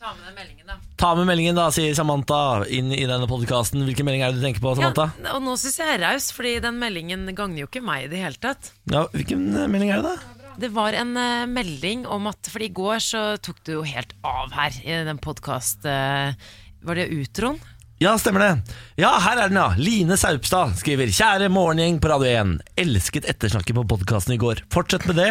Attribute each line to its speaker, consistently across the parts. Speaker 1: Ta med den meldingen, da.
Speaker 2: Ta med meldingen, da, sier Samantha inn i denne podkasten. Hvilken melding er det du tenker på, Samantha?
Speaker 3: Ja, og nå syns jeg er raus, fordi den meldingen gagner jo ikke meg i det hele tatt.
Speaker 2: Ja, hvilken eh, melding er det, da?
Speaker 3: Det var en eh, melding om at For i går så tok det jo helt av her i den podkast... var det utroen?
Speaker 2: Ja, stemmer det. Ja, her er den, ja. Line Saupstad skriver Kjære morgengjeng på Radio 1. Elsket ettersnakket på podkasten i går. Fortsett med det.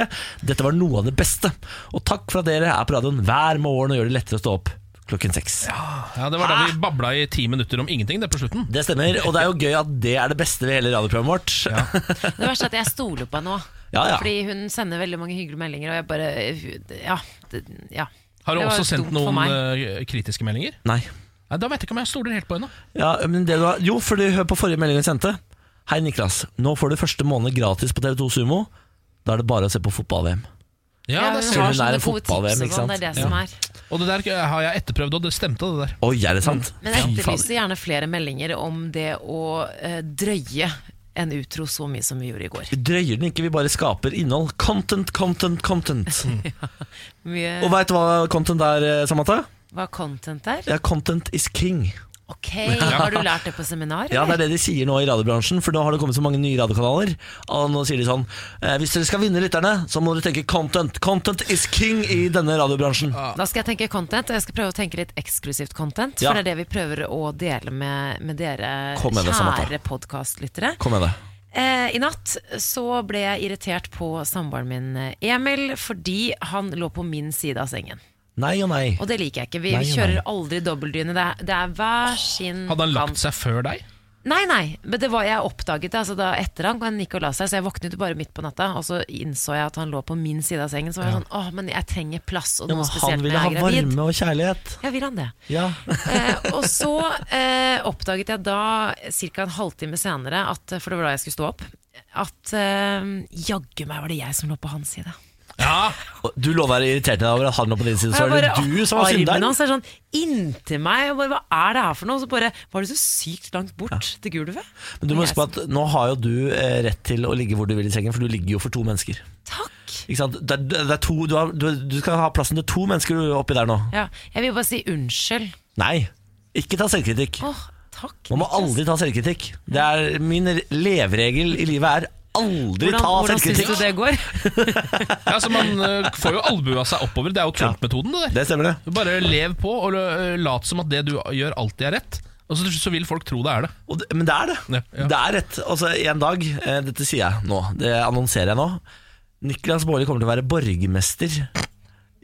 Speaker 2: Dette var noe av det beste. Og takk for at dere er på radioen hver morgen og gjør det lettere å stå opp klokken seks.
Speaker 4: Ja, Det var da vi babla i ti minutter om ingenting det på slutten.
Speaker 2: Det stemmer, og det er jo gøy at det er det beste ved hele radioprogrammet vårt. Ja,
Speaker 3: Det verste er at jeg stoler på henne nå.
Speaker 2: ja. ja.
Speaker 3: Fordi hun sender veldig mange hyggelige meldinger, og jeg bare eh, Ja. Det, ja.
Speaker 4: Har hun
Speaker 3: Det var
Speaker 4: også sendt
Speaker 3: dumt for
Speaker 4: noen
Speaker 3: meg.
Speaker 4: eh, kritiske meldinger?
Speaker 2: Nei.
Speaker 4: Nei, Da vet jeg ikke om jeg stoler helt på henne.
Speaker 2: Ja, men det du har, jo, for du hør på forrige melding vi sendte. Hei, Niklas. Nå får du første måned gratis på TV2 Sumo. Da er det bare å se på fotball-VM.
Speaker 4: Ja,
Speaker 3: hun
Speaker 4: det ser
Speaker 2: hun
Speaker 3: har
Speaker 2: er
Speaker 3: sånne
Speaker 2: en
Speaker 3: gode tips,
Speaker 2: fotball-VM,
Speaker 3: og
Speaker 2: ikke
Speaker 3: sånn,
Speaker 2: sant?
Speaker 3: det er det som er.
Speaker 4: du. Og det der eh, har jeg etterprøvd, og det stemte, det der.
Speaker 2: Oi, er det sant?
Speaker 3: Men jeg
Speaker 2: Fy faen.
Speaker 3: etterlyser gjerne flere meldinger om det å eh, drøye en utro så mye som vi gjorde i går.
Speaker 2: Vi drøyer den ikke, vi bare skaper innhold. Content, content, content. Og
Speaker 3: Mye,
Speaker 2: veit du hva content er, eh, Samantha?
Speaker 3: hva content er?
Speaker 2: Ja, content is king.
Speaker 3: Ok, har du lært det på seminar?
Speaker 2: Ja, Det
Speaker 3: eller?
Speaker 2: er det de sier nå i radiobransjen, for nå har det kommet så mange nye radiokanaler. Og nå sier de sånn eh, Hvis dere skal vinne lytterne, så må dere tenke content. Content is king i denne radiobransjen.
Speaker 3: Da skal jeg tenke content, og jeg skal prøve å tenke litt eksklusivt content.
Speaker 2: Ja.
Speaker 3: For det er det vi prøver å dele med, med dere
Speaker 2: Kom med det, Samantha.
Speaker 3: kjære podkastlyttere.
Speaker 2: Kom med det.
Speaker 3: Eh, I natt så ble jeg irritert på samboeren min eh, Emil fordi han lå på min side av sengen.
Speaker 2: Nei og nei.
Speaker 3: Og det liker jeg ikke. Vi,
Speaker 2: Nei,
Speaker 3: vi
Speaker 2: nei.
Speaker 3: kjører aldri dobbeltdyne. Det, er- det er hver sin
Speaker 4: Hadde han
Speaker 3: kant.
Speaker 4: lagt seg før deg?
Speaker 3: Nei, nei, men det var jeg oppdaget det, altså da etter han, han gikk og la seg, så jeg våknet jo bare midt på natta, og så innså jeg at han lå på min side av sengen, så var jeg sånn, åh, men jeg trenger plass, og
Speaker 2: Ja,
Speaker 3: noe
Speaker 2: men
Speaker 3: spesielt
Speaker 2: han
Speaker 3: når
Speaker 2: ville ha
Speaker 3: jeg er gravid.
Speaker 2: varme og kjærlighet.
Speaker 3: Ja, vil han det?
Speaker 2: Ja.
Speaker 3: Eh, og så eh, oppdaget jeg da, cirka en halvtime senere, at, for det var da jeg skulle stå opp, at eh, jaggu meg var det jeg som lå på hans side.
Speaker 4: Ja,
Speaker 2: Og Du lå der irritert over at han lå på din side, så
Speaker 3: Og
Speaker 2: var
Speaker 3: jeg
Speaker 2: det
Speaker 3: bare,
Speaker 2: du som var
Speaker 3: Armen
Speaker 2: synderen.
Speaker 3: hans er sånn inntil meg, og bare, hva er det her for noe? Og så bare, var du så sykt langt bort til gulvet?
Speaker 2: Men du må huske på at nå har jo du eh, rett til å ligge hvor du vil i sengen, for du ligger jo for to mennesker.
Speaker 3: Takk!
Speaker 2: Ikke sant? Det er, det er to, du, har, du, du skal ha plassen til to mennesker oppi der nå.
Speaker 3: Ja, jeg vil bare si unnskyld.
Speaker 2: Nei, ikke ta selvkritikk.
Speaker 3: Åh, takk
Speaker 2: Man må
Speaker 3: Niklas.
Speaker 2: aldri ta selvkritikk. Det er Min leveregel i livet er aldri
Speaker 3: hvordan,
Speaker 2: ta
Speaker 3: hvordan syns
Speaker 2: selvkritikk.
Speaker 3: du det går?
Speaker 4: ja så Man eh, får jo albua seg oppover. Det er jo Trump-metoden. det der
Speaker 2: Det stemmer, det.
Speaker 4: Bare lev på og eh, lat som at det du gjør, alltid er rett. Og så, så vil folk tro det er det.
Speaker 2: Og det. Men det er det.
Speaker 4: Ja, ja.
Speaker 2: Det er rett. Altså, en dag eh, Dette sier jeg nå. Det annonserer jeg nå. Niklas Baarli kommer til å være borgermester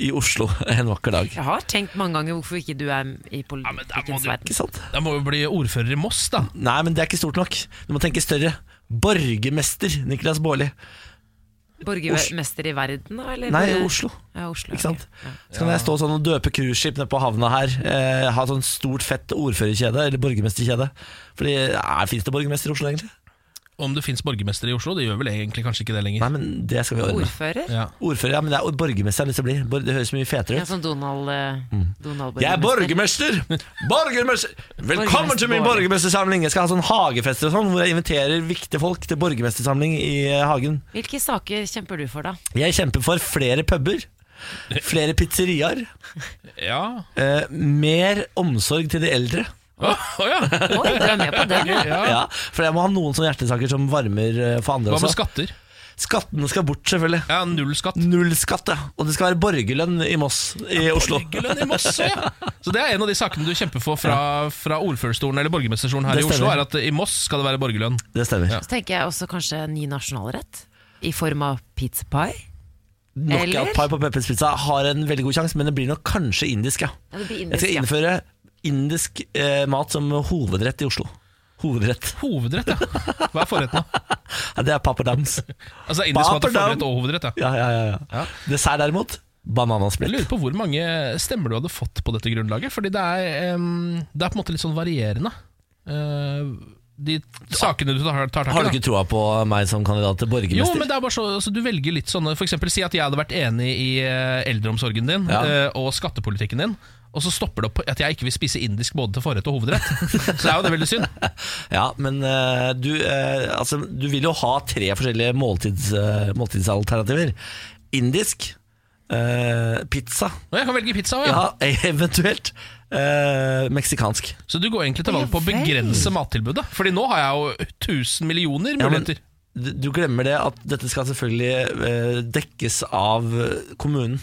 Speaker 2: i Oslo en vakker dag.
Speaker 3: Jeg har tenkt mange ganger hvorfor ikke du er i
Speaker 4: der må
Speaker 3: politikkens
Speaker 4: du-
Speaker 3: verden.
Speaker 2: Ikke sant?
Speaker 4: Da må jo bli ordfører i Moss, da.
Speaker 2: Nei, men det er ikke stort nok. Du må tenke større. Borgermester Niklas Baarli.
Speaker 3: Borgermester i verden, da? Eller?
Speaker 2: Nei, Oslo.
Speaker 3: Ja, Oslo
Speaker 2: Ikke sant?
Speaker 3: ok. Ja.
Speaker 2: Så kan jeg stå sånn og døpe cruiseskip nede på havna her. Eh, ha sånn stort, fett ordførerkjede, eller borgermesterkjede. Fordi eh, Fins det borgermester i Oslo, egentlig?
Speaker 4: Om det fins borgermester i Oslo, det gjør vel egentlig kanskje ikke det lenger.
Speaker 2: Nei, men det skal vi ordne.
Speaker 3: Ordfører?
Speaker 4: Ja.
Speaker 2: Ordfører, ja, men det er borgermester jeg har lyst til å bli. Bor- Det høres mye fetere
Speaker 3: Ja,
Speaker 2: ut.
Speaker 3: sånn Donald, eh, Donald
Speaker 2: Mm. Jeg er borgermester! Borgermester! Velkommen til min borgermestersamling! Jeg skal ha sånn hagefester og sånn, hvor jeg inviterer viktige folk til borgermestersamling i eh, hagen.
Speaker 3: Hvilke saker kjemper du for, da?
Speaker 2: Jeg kjemper for flere puber, flere pizzeriaer,
Speaker 4: ja.
Speaker 2: eh, mer omsorg til de eldre.
Speaker 4: Å å ja.
Speaker 3: Oi, du er med på den, ja.
Speaker 4: ja.
Speaker 2: Ja, for jeg må ha noen sånne hjertesaker som varmer eh, for andre
Speaker 4: Hva med
Speaker 2: også.
Speaker 4: skatter?
Speaker 2: Skattene skal bort, selvfølgelig.
Speaker 4: Ja, Null skatt.
Speaker 2: Null skatt, ja. Og det skal være borgerlønn i Moss i Oslo.
Speaker 4: Borgerlønn i Moss, ja. Så det er en av de sakene du kjemper for fra, fra ordførerstolen eller borgermesterstolen her i
Speaker 2: Det
Speaker 4: Oslo,
Speaker 2: stemmer.
Speaker 4: er at i Moss skal det være borgerlønn.
Speaker 2: Det stemmer.
Speaker 4: Ja.
Speaker 3: Så tenker jeg også kanskje en ny nasjonalrett. I form av pizza pie. Eller?
Speaker 2: Knockout-pie på Peppers Pizza har en veldig god sjanse, men det blir nok kanskje indisk, ja.
Speaker 3: Ja, det blir
Speaker 2: Jeg
Speaker 3: indisk,
Speaker 2: skal
Speaker 3: ja.
Speaker 2: innføre indisk eh, mat som hovedrett i Oslo. Hovedrett.
Speaker 4: Hovedrett, ja. Hva er forretten, da?
Speaker 2: Ja, det er papperdams.
Speaker 4: Altså, det er indisk mat er
Speaker 2: Papadam.
Speaker 4: forrett og hovedrett, ja.
Speaker 2: Ja, ja, ja, ja. Dessert derimot,
Speaker 4: Jeg
Speaker 2: bananasplitt.
Speaker 4: lurer på hvor mange stemmer du hadde fått på dette grunnlaget. Fordi det er, em, det er på en måte litt sånn varierende. Eh, de sakene du tar, tar tak i.
Speaker 2: Har du
Speaker 4: da.
Speaker 2: ikke troa på meg som kandidat til
Speaker 4: Jo,
Speaker 2: borgermester?
Speaker 4: men det er bare så, altså, du velger litt sånne For eksempel si at jeg hadde vært enig i eh, eldreomsorgen din
Speaker 2: Ja.
Speaker 4: eh, og skattepolitikken din. Og så stopper det opp på at jeg ikke vil spise indisk både til forrett og hovedrett. Så det er jo det veldig synd.
Speaker 2: Ja, men eh, du, eh, altså, du vil jo ha tre forskjellige måltids, eh, måltidsalternativer. Indisk, eh, pizza.
Speaker 4: Og jeg kan velge pizza også, ja.
Speaker 2: Ja, eventuelt eh, meksikansk.
Speaker 4: Så du går egentlig til
Speaker 3: Å, ja
Speaker 4: valg på å
Speaker 3: vel.
Speaker 4: begrense mattilbudet? Fordi nå har jeg jo 1000 millioner
Speaker 2: Ja, men-
Speaker 4: muligheter.
Speaker 2: Du du glemmer det at dette skal selvfølgelig eh, dekkes av eh, kommunen.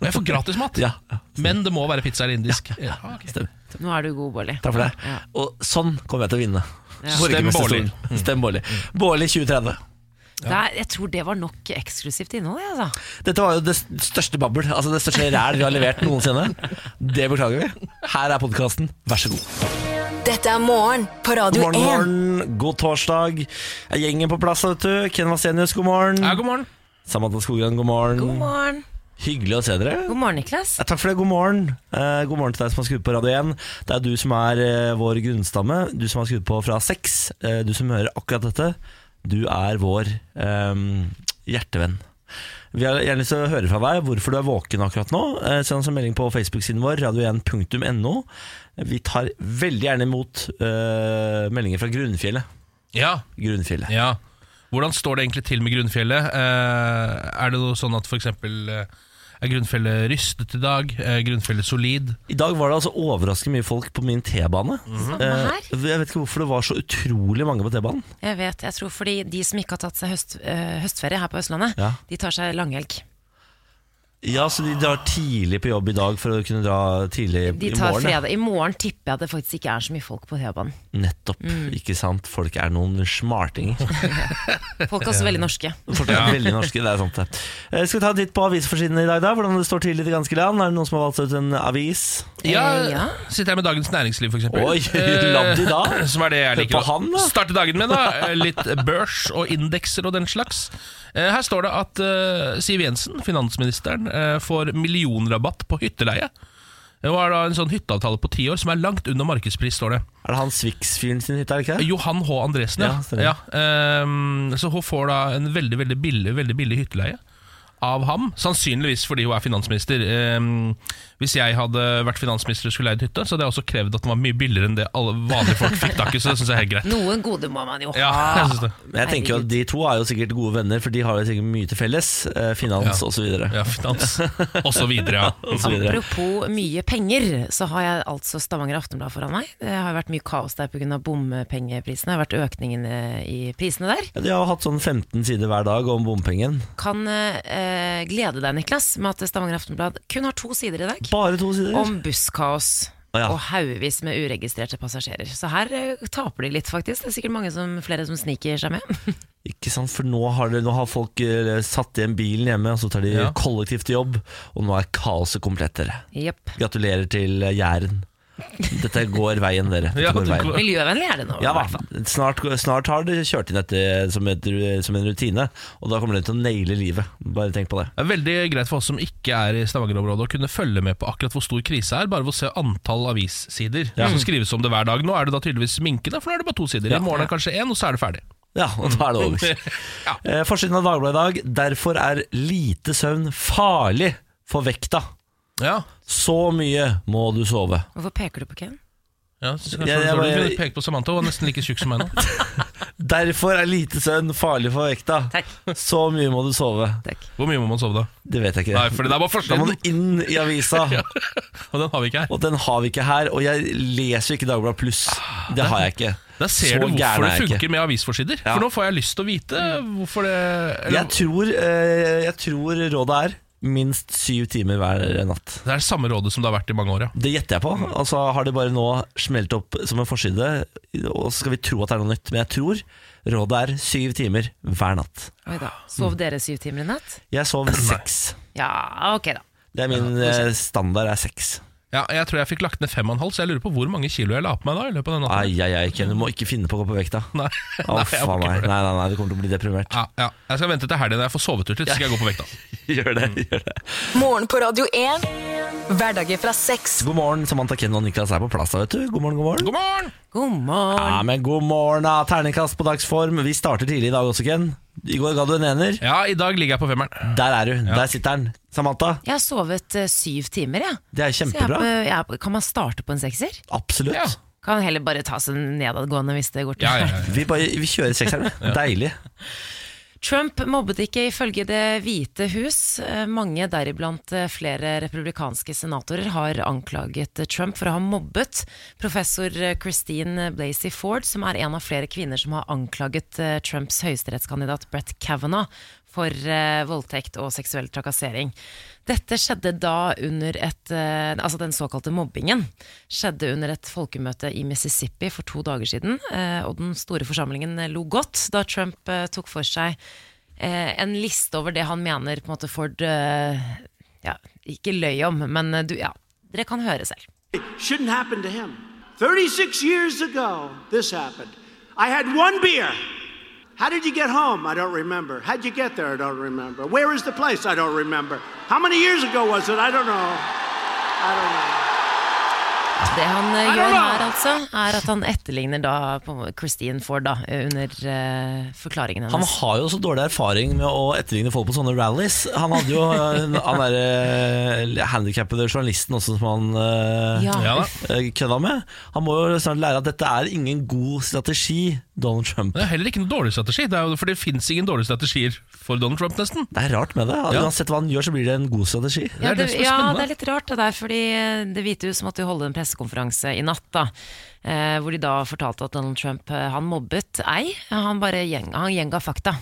Speaker 4: Og jeg får gratis mat.
Speaker 2: Ja, ja,
Speaker 4: Men det må være pizza eller indisk. Ja, ok.
Speaker 2: stemmer.
Speaker 3: Nå er du god, Bolli.
Speaker 2: Takk for det.
Speaker 3: Ja.
Speaker 2: Og sånn kommer jeg til å vinne.
Speaker 3: Ja.
Speaker 2: Borgermesterstolen. Stem Bårli. Bårli 2030.
Speaker 3: Der, jeg tror det var nok eksklusivt innhold, jeg, altså.
Speaker 2: Dette var jo det største babbel, altså det største ræl vi har levert noensinne. Det beklager vi. Her er podkasten, vær så god.
Speaker 1: Dette er morgen på Radio
Speaker 2: God morgen,
Speaker 1: 1.
Speaker 2: morgen. god torsdag. Er gjengen på plass, vet du? Ken Vasenius, god morgen.
Speaker 4: Ja, god morgen.
Speaker 2: Samantha Skogran, god morgen.
Speaker 3: God morgen.
Speaker 2: Hyggelig å se dere.
Speaker 3: God morgen, Niklas.
Speaker 2: Ja, takk for det, god morgen. Eh, god morgen til deg som har skrudd på Radio 1. Det er du som er eh, vår grunnstamme, du som har skrudd på fra seks. Eh, du som hører akkurat dette. Du er vår eh, hjertevenn. Vi har gjerne lyst til å høre fra deg hvorfor du er våken akkurat nå. Eh, Send oss en melding på Facebook-siden vår, radio1.no. Vi tar veldig gjerne imot eh, meldinger fra Grunnfjellet.
Speaker 4: Ja,
Speaker 2: Grunnfjellet.
Speaker 4: ja. Hvordan står det egentlig til med grunnfjellet? Eh, er det noe sånn at f.eks. er grunnfjellet rystet i dag? Er grunnfjellet solid?
Speaker 2: I dag var det altså overraskende mye folk på min T-bane.
Speaker 3: Mm. her.
Speaker 2: Eh, jeg vet ikke hvorfor det var så utrolig mange på T-banen.
Speaker 3: Jeg vet, jeg tror fordi de som ikke har tatt seg høst, eh, høstferie her på Østlandet,
Speaker 2: Ja.
Speaker 3: de tar seg langhelg.
Speaker 2: Ja, så de drar tidlig på jobb i dag for å kunne dra tidlig
Speaker 3: De
Speaker 2: i
Speaker 3: tar
Speaker 2: morgen. ja.
Speaker 3: fredag. I morgen tipper jeg at det faktisk ikke er så mye folk på T-banen.
Speaker 2: Nettopp,
Speaker 3: Mm.
Speaker 2: ikke sant? Folk er noen smartinger.
Speaker 3: Folk er også veldig norske.
Speaker 2: Folk er veldig norske, det er sant det. Eh, Skal vi ta en titt på avisforsidene i dag, da? Hvordan det står til i det ganske land? Er det noen som har valgt ut en avis?
Speaker 4: Ja,
Speaker 3: Eh, ja.
Speaker 4: Sitter jeg med Dagens Næringsliv, f.eks.
Speaker 2: Oi,
Speaker 4: Eh,
Speaker 2: la de da.
Speaker 4: Som er det jeg
Speaker 2: Hør
Speaker 4: liker
Speaker 2: på han,
Speaker 4: å
Speaker 2: da.
Speaker 4: starte dagen med. da Eh, Litt børs og indekser og den slags. Eh, Her står det at eh, Siv Jensen, finansministeren, eh, får millionrabatt på hytteleie. Det var da en sånn hytteavtale på ti år som er langt under markedspris, står det.
Speaker 2: Er det han Swix-fyren sin hytte, er det ikke det?
Speaker 4: Johan H. Andresen,
Speaker 2: Ja,
Speaker 4: ja.
Speaker 2: stemmer.
Speaker 4: ja, ehm, så hun får da en veldig, veldig billig, veldig billig hytteleie av ham. Sannsynligvis fordi hun er finansminister. Ehm, hvis jeg hadde vært finansminister og skulle leid hytte, så hadde jeg også krevd at den var mye billigere enn det alle vanlige folk fikk tak i, så det syns jeg er helt greit.
Speaker 3: Noen gode må man jo ha.
Speaker 4: Ja, jeg synes det.
Speaker 2: Men jeg tenker jo at De to er jo sikkert gode venner, for de har jo sikkert mye til felles. Eh, Finans
Speaker 4: Ja.
Speaker 2: og så videre
Speaker 4: Ja, finans og så videre, ja.
Speaker 2: og så videre.
Speaker 3: Apropos mye penger, så har jeg altså Stavanger Aftenblad foran meg. Det har vært mye kaos der pga. bompengeprisene. Det har vært økningen eh, i prisene der.
Speaker 2: Ja, de har jo hatt sånn 15 sider hver dag om bompengen.
Speaker 3: Kan eh, glede deg, Niklas, med at Stavanger Aftenblad kun har to sider i dag.
Speaker 2: Bare to sider.
Speaker 3: om busskaos
Speaker 2: Å, ja.
Speaker 3: og haugevis med uregistrerte passasjerer. Så her eh, taper de litt, faktisk. Det er sikkert mange som, flere som sniker seg med.
Speaker 2: Ikke sant, for nå har, det, nå har folk eh, satt igjen bilen hjemme, og så tar de
Speaker 4: Ja.
Speaker 2: kollektivt til jobb, og nå er kaoset komplett, dere.
Speaker 3: Jepp.
Speaker 2: Gratulerer til eh, Jæren. Dette går veien, dere. Dette
Speaker 4: Ja,
Speaker 2: går
Speaker 4: det
Speaker 2: veien.
Speaker 4: går-
Speaker 3: Miljøvennlig er det nå. i
Speaker 2: Ja, hva?
Speaker 3: hvert fall.
Speaker 2: snart, snart har de kjørt inn dette som, et, som en rutine, og da kommer de til å naile livet. Bare tenk på det.
Speaker 4: Det er veldig greit for oss som ikke er i Stavanger-området å kunne følge med på akkurat hvor stor krise er, bare ved å se antall avissider som skrives om det hver dag. Nå er det da tydeligvis minkende, for nå er det bare to sider. I morgen er det kanskje én, og så er det ferdig.
Speaker 2: Ja, og da er det over.
Speaker 4: Ja.
Speaker 2: Eh, Forsiden av Dagbladet i dag. Derfor er lite søvn farlig for vekta.
Speaker 4: Ja,
Speaker 2: Så mye må du sove.
Speaker 3: Hvorfor peker du på Ken?
Speaker 4: ja så kanskje
Speaker 2: Jeg- jeg
Speaker 4: jeg,
Speaker 2: bare-
Speaker 4: du peke på Samantha, hun er nesten like tjukk som meg nå.
Speaker 2: Derfor er lite søvn farlig for vekta.
Speaker 3: Takk.
Speaker 2: Så mye må du sove.
Speaker 4: Hvor mye må man sove da?
Speaker 2: Det vet jeg ikke.
Speaker 4: Nei, for det er bare
Speaker 2: Da må
Speaker 4: forsiden,
Speaker 2: den inn i avisa,
Speaker 4: og den har vi ikke her.
Speaker 2: og den har vi ikke her. Og jeg leser jo ikke Dagbladet Pluss. Det har jeg ikke.
Speaker 4: Ah, Da ser du hvorfor
Speaker 2: gæren
Speaker 4: det
Speaker 2: er jeg ikke.
Speaker 4: funker med avisforsider.
Speaker 2: Ja.
Speaker 4: For nå får jeg lyst til å vite hvorfor det
Speaker 2: Jeg
Speaker 4: eller,
Speaker 2: tror, eh, jeg tror rådet er minst syv timer hver natt.
Speaker 4: Det er det samme rådet som det har vært i mange år, ja.
Speaker 2: Det gjetter jeg på.
Speaker 4: Mm.
Speaker 2: Altså Har det bare nå smelt opp som en forside, og så skal vi tro at det er noe nytt. Men jeg tror rådet er syv timer hver natt.
Speaker 3: Oi da. Sov dere syv timer i natt?
Speaker 2: Jeg sov seks.
Speaker 3: Ja, ok da.
Speaker 2: Det er min eh, standard er seks.
Speaker 4: ja. Jeg tror jeg fikk lagt ned fem og en halv, så jeg lurer på hvor mange kilo jeg la på meg da i løpet av den natten.
Speaker 2: Ai, ai, ai, Ken, du må ikke finne på å gå på vekta. Å,
Speaker 4: Nei. Nei, jeg må
Speaker 2: faen
Speaker 4: ikke
Speaker 2: meg.
Speaker 4: gjøre det.
Speaker 2: Nei, nei, nei, du kommer til å bli deprimert.
Speaker 4: Ja, ja. Jeg skal vente til helgen når jeg får sovet ut litt, så skal jeg gå på vekta.
Speaker 2: Gjør det, gjør det.
Speaker 1: Morgen på Radio 1. Hverdager fra seks.
Speaker 2: God morgen, Samantha Ken og Niklas er på plass da, vet du. God morgen, god morgen.
Speaker 4: God morgen!
Speaker 3: God morgen.
Speaker 2: Ja, men god morgen, da. Terningkast på dagsform. Vi starter tidlig i dag også, Ken. I går ga du en ener.
Speaker 4: Ja, i dag ligger jeg på femmeren.
Speaker 2: Der er du. Der sitter den. Samantha,
Speaker 3: Jeg har sovet eh, syv timer, jeg.
Speaker 2: det er
Speaker 3: Så jeg er på,
Speaker 2: kjempebra.
Speaker 3: jeg er på, kan man starte på en sekser?
Speaker 2: Absolutt.
Speaker 4: Ja.
Speaker 3: Kan heller bare ta seg nedadgående hvis det går til
Speaker 4: Ja, ja, ja.
Speaker 2: Vi, bare, vi kjører sekserne. Deilig.
Speaker 3: Trump mobbet ikke ifølge Det hvite hus. Eh, Mange, deriblant eh, flere republikanske senatorer, har anklaget eh, Trump for å ha mobbet professor eh, Christine Blasey Ford, som er en av flere kvinner som har anklaget eh, Trumps høyesterettskandidat Brett Kavanaugh for eh, voldtekt og seksuell trakassering. Dette skjedde da under et eh, Altså den såkalte mobbingen skjedde under et folkemøte i Mississippi for to dager siden. eh, og den store forsamlingen eh, lo godt da Trump eh, tok for seg eh, en liste over det han mener på en måte Ford eh, ja, ikke løy om, men eh, du, ja, dere kan høre selv.
Speaker 5: It shouldn't happen to him. 36 years ago, this happened. I had one beer. How did you get home? I don't remember. How'd you get there? I don't remember. Where is the place? I don't remember. How many years ago was it? I don't know. I
Speaker 3: Det han eh, gjør her, altså, er at han etterligner da på en måte Christine Ford da, eh, under eh, forklaringen hennes.
Speaker 2: Han har jo så dårlig erfaring med å etterligne folk på sånne rallies. Han hadde jo eh, han derre handikappede journalisten også som han eh,
Speaker 3: Ja.
Speaker 4: Ja da.
Speaker 2: eh, kødda med. Han må jo snart lære at dette er ingen god strategi, Donald Trump.
Speaker 4: Det er heller ikke noen dårlig strategi, det er jo, for det fins ingen dårlige strategier for Donald Trump, nesten.
Speaker 2: Det er rart med det.
Speaker 4: Ja.
Speaker 2: Uansett hva han gjør, så blir det en god strategi.
Speaker 4: Det
Speaker 3: Ja,
Speaker 4: er
Speaker 3: det,
Speaker 4: det som er
Speaker 3: ja,
Speaker 4: spennende.
Speaker 3: det er litt rart det der, fordi eh, Det hvite hus måtte jo holde en pressekonferanse i natt, da. Eh, hvor de da fortalte at Donald Trump eh, han mobbet ei, han bare gjeng, han gjenga fakta.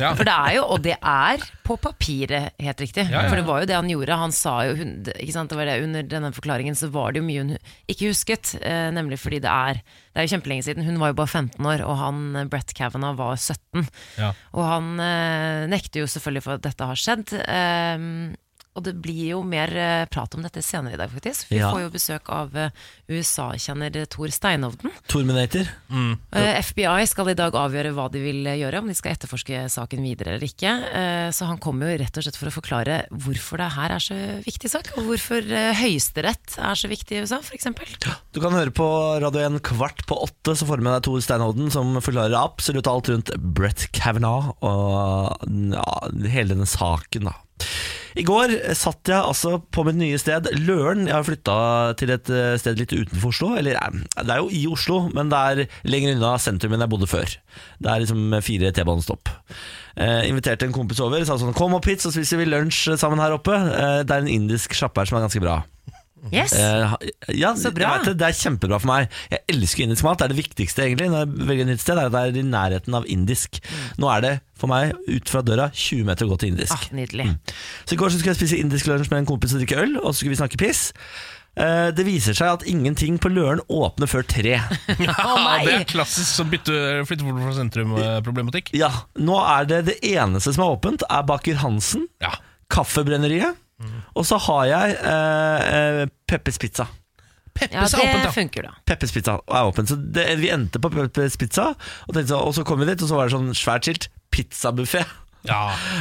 Speaker 4: Ja.
Speaker 3: For det er jo, og det er på papiret helt riktig,
Speaker 4: ja, ja.
Speaker 3: for det var jo det han gjorde. Han sa jo, hun- ikke sant, det var det, Under denne forklaringen så var det jo mye hun ikke husket, eh, nemlig fordi det er Det er jo kjempelenge siden, hun var jo bare 15 år, og han eh, Brett Kavanaugh var 17.
Speaker 4: Ja.
Speaker 3: Og han eh, nekter jo selvfølgelig for at dette har skjedd. ehm, og det blir jo mer eh, prat om dette senere i dag, faktisk. Vi
Speaker 2: Ja.
Speaker 3: får jo besøk av eh, USA-kjenner Tor Steinovden.
Speaker 2: Terminator.
Speaker 3: Eh, FBI skal i dag avgjøre hva de vil eh, gjøre, om de skal etterforske saken videre eller ikke. Eh, så han kommer jo rett og slett for å forklare hvorfor det her er så viktig sak, og hvorfor eh, Høyesterett er så viktig i USA, f.eks.
Speaker 2: Du kan høre på Radio 1 kvart på åtte, så får du med deg Tor Steinhovden, som forklarer absolutt alt rundt Brett Kavanaugh og ja, hele denne saken, da. I går satt jeg altså på mitt nye sted, Løren. Jeg har flytta til et eh, sted litt utenfor Oslo. Eller eh, det er jo i Oslo, men det er lenger unna sentrum enn jeg bodde før. Det er liksom fire T-banestopp. Eh, inviterte en kompis over, sa sånn 'kom opp hit, så spiser vi lunsj sammen her oppe'. Eh, det er en indisk sjappe her som er ganske bra.
Speaker 3: Yes.
Speaker 2: Eh, ha- ja,
Speaker 3: Så
Speaker 2: Jeg
Speaker 3: bra.
Speaker 2: vet det, det er kjempebra for meg. Jeg elsker indisk mat. Det er det viktigste egentlig når jeg velger et nytt sted. Er at det er i nærheten av indisk. Nå er det for meg ut fra døra 20 meter å gå til indisk.
Speaker 3: Ah, nydelig.
Speaker 2: Mm. Så i går så skulle jeg spise indisk lunsj med en kompis og drikke øl, og så skulle vi snakke piss. Eh, Det viser seg at ingenting på Løren åpner før tre.
Speaker 3: nei!
Speaker 4: det er klassisk sånn bytte flytte bort fra sentrum-problematikk.
Speaker 2: Ja, Nå er det det eneste som er åpent, er Baker Hansen,
Speaker 4: Ja.
Speaker 2: Kaffebrenneriet, og så har jeg eh, eh, Peppers Pizza.
Speaker 3: Ja,
Speaker 4: Peppes er
Speaker 3: det
Speaker 4: åpent, ja.
Speaker 3: funker, da.
Speaker 2: Peppers Pizza er åpen. Så det, vi endte på Peppers Pizza, og, tenkte, så- og så kom vi dit, og så var det sånn svært skilt pizzabuffé.
Speaker 4: ja.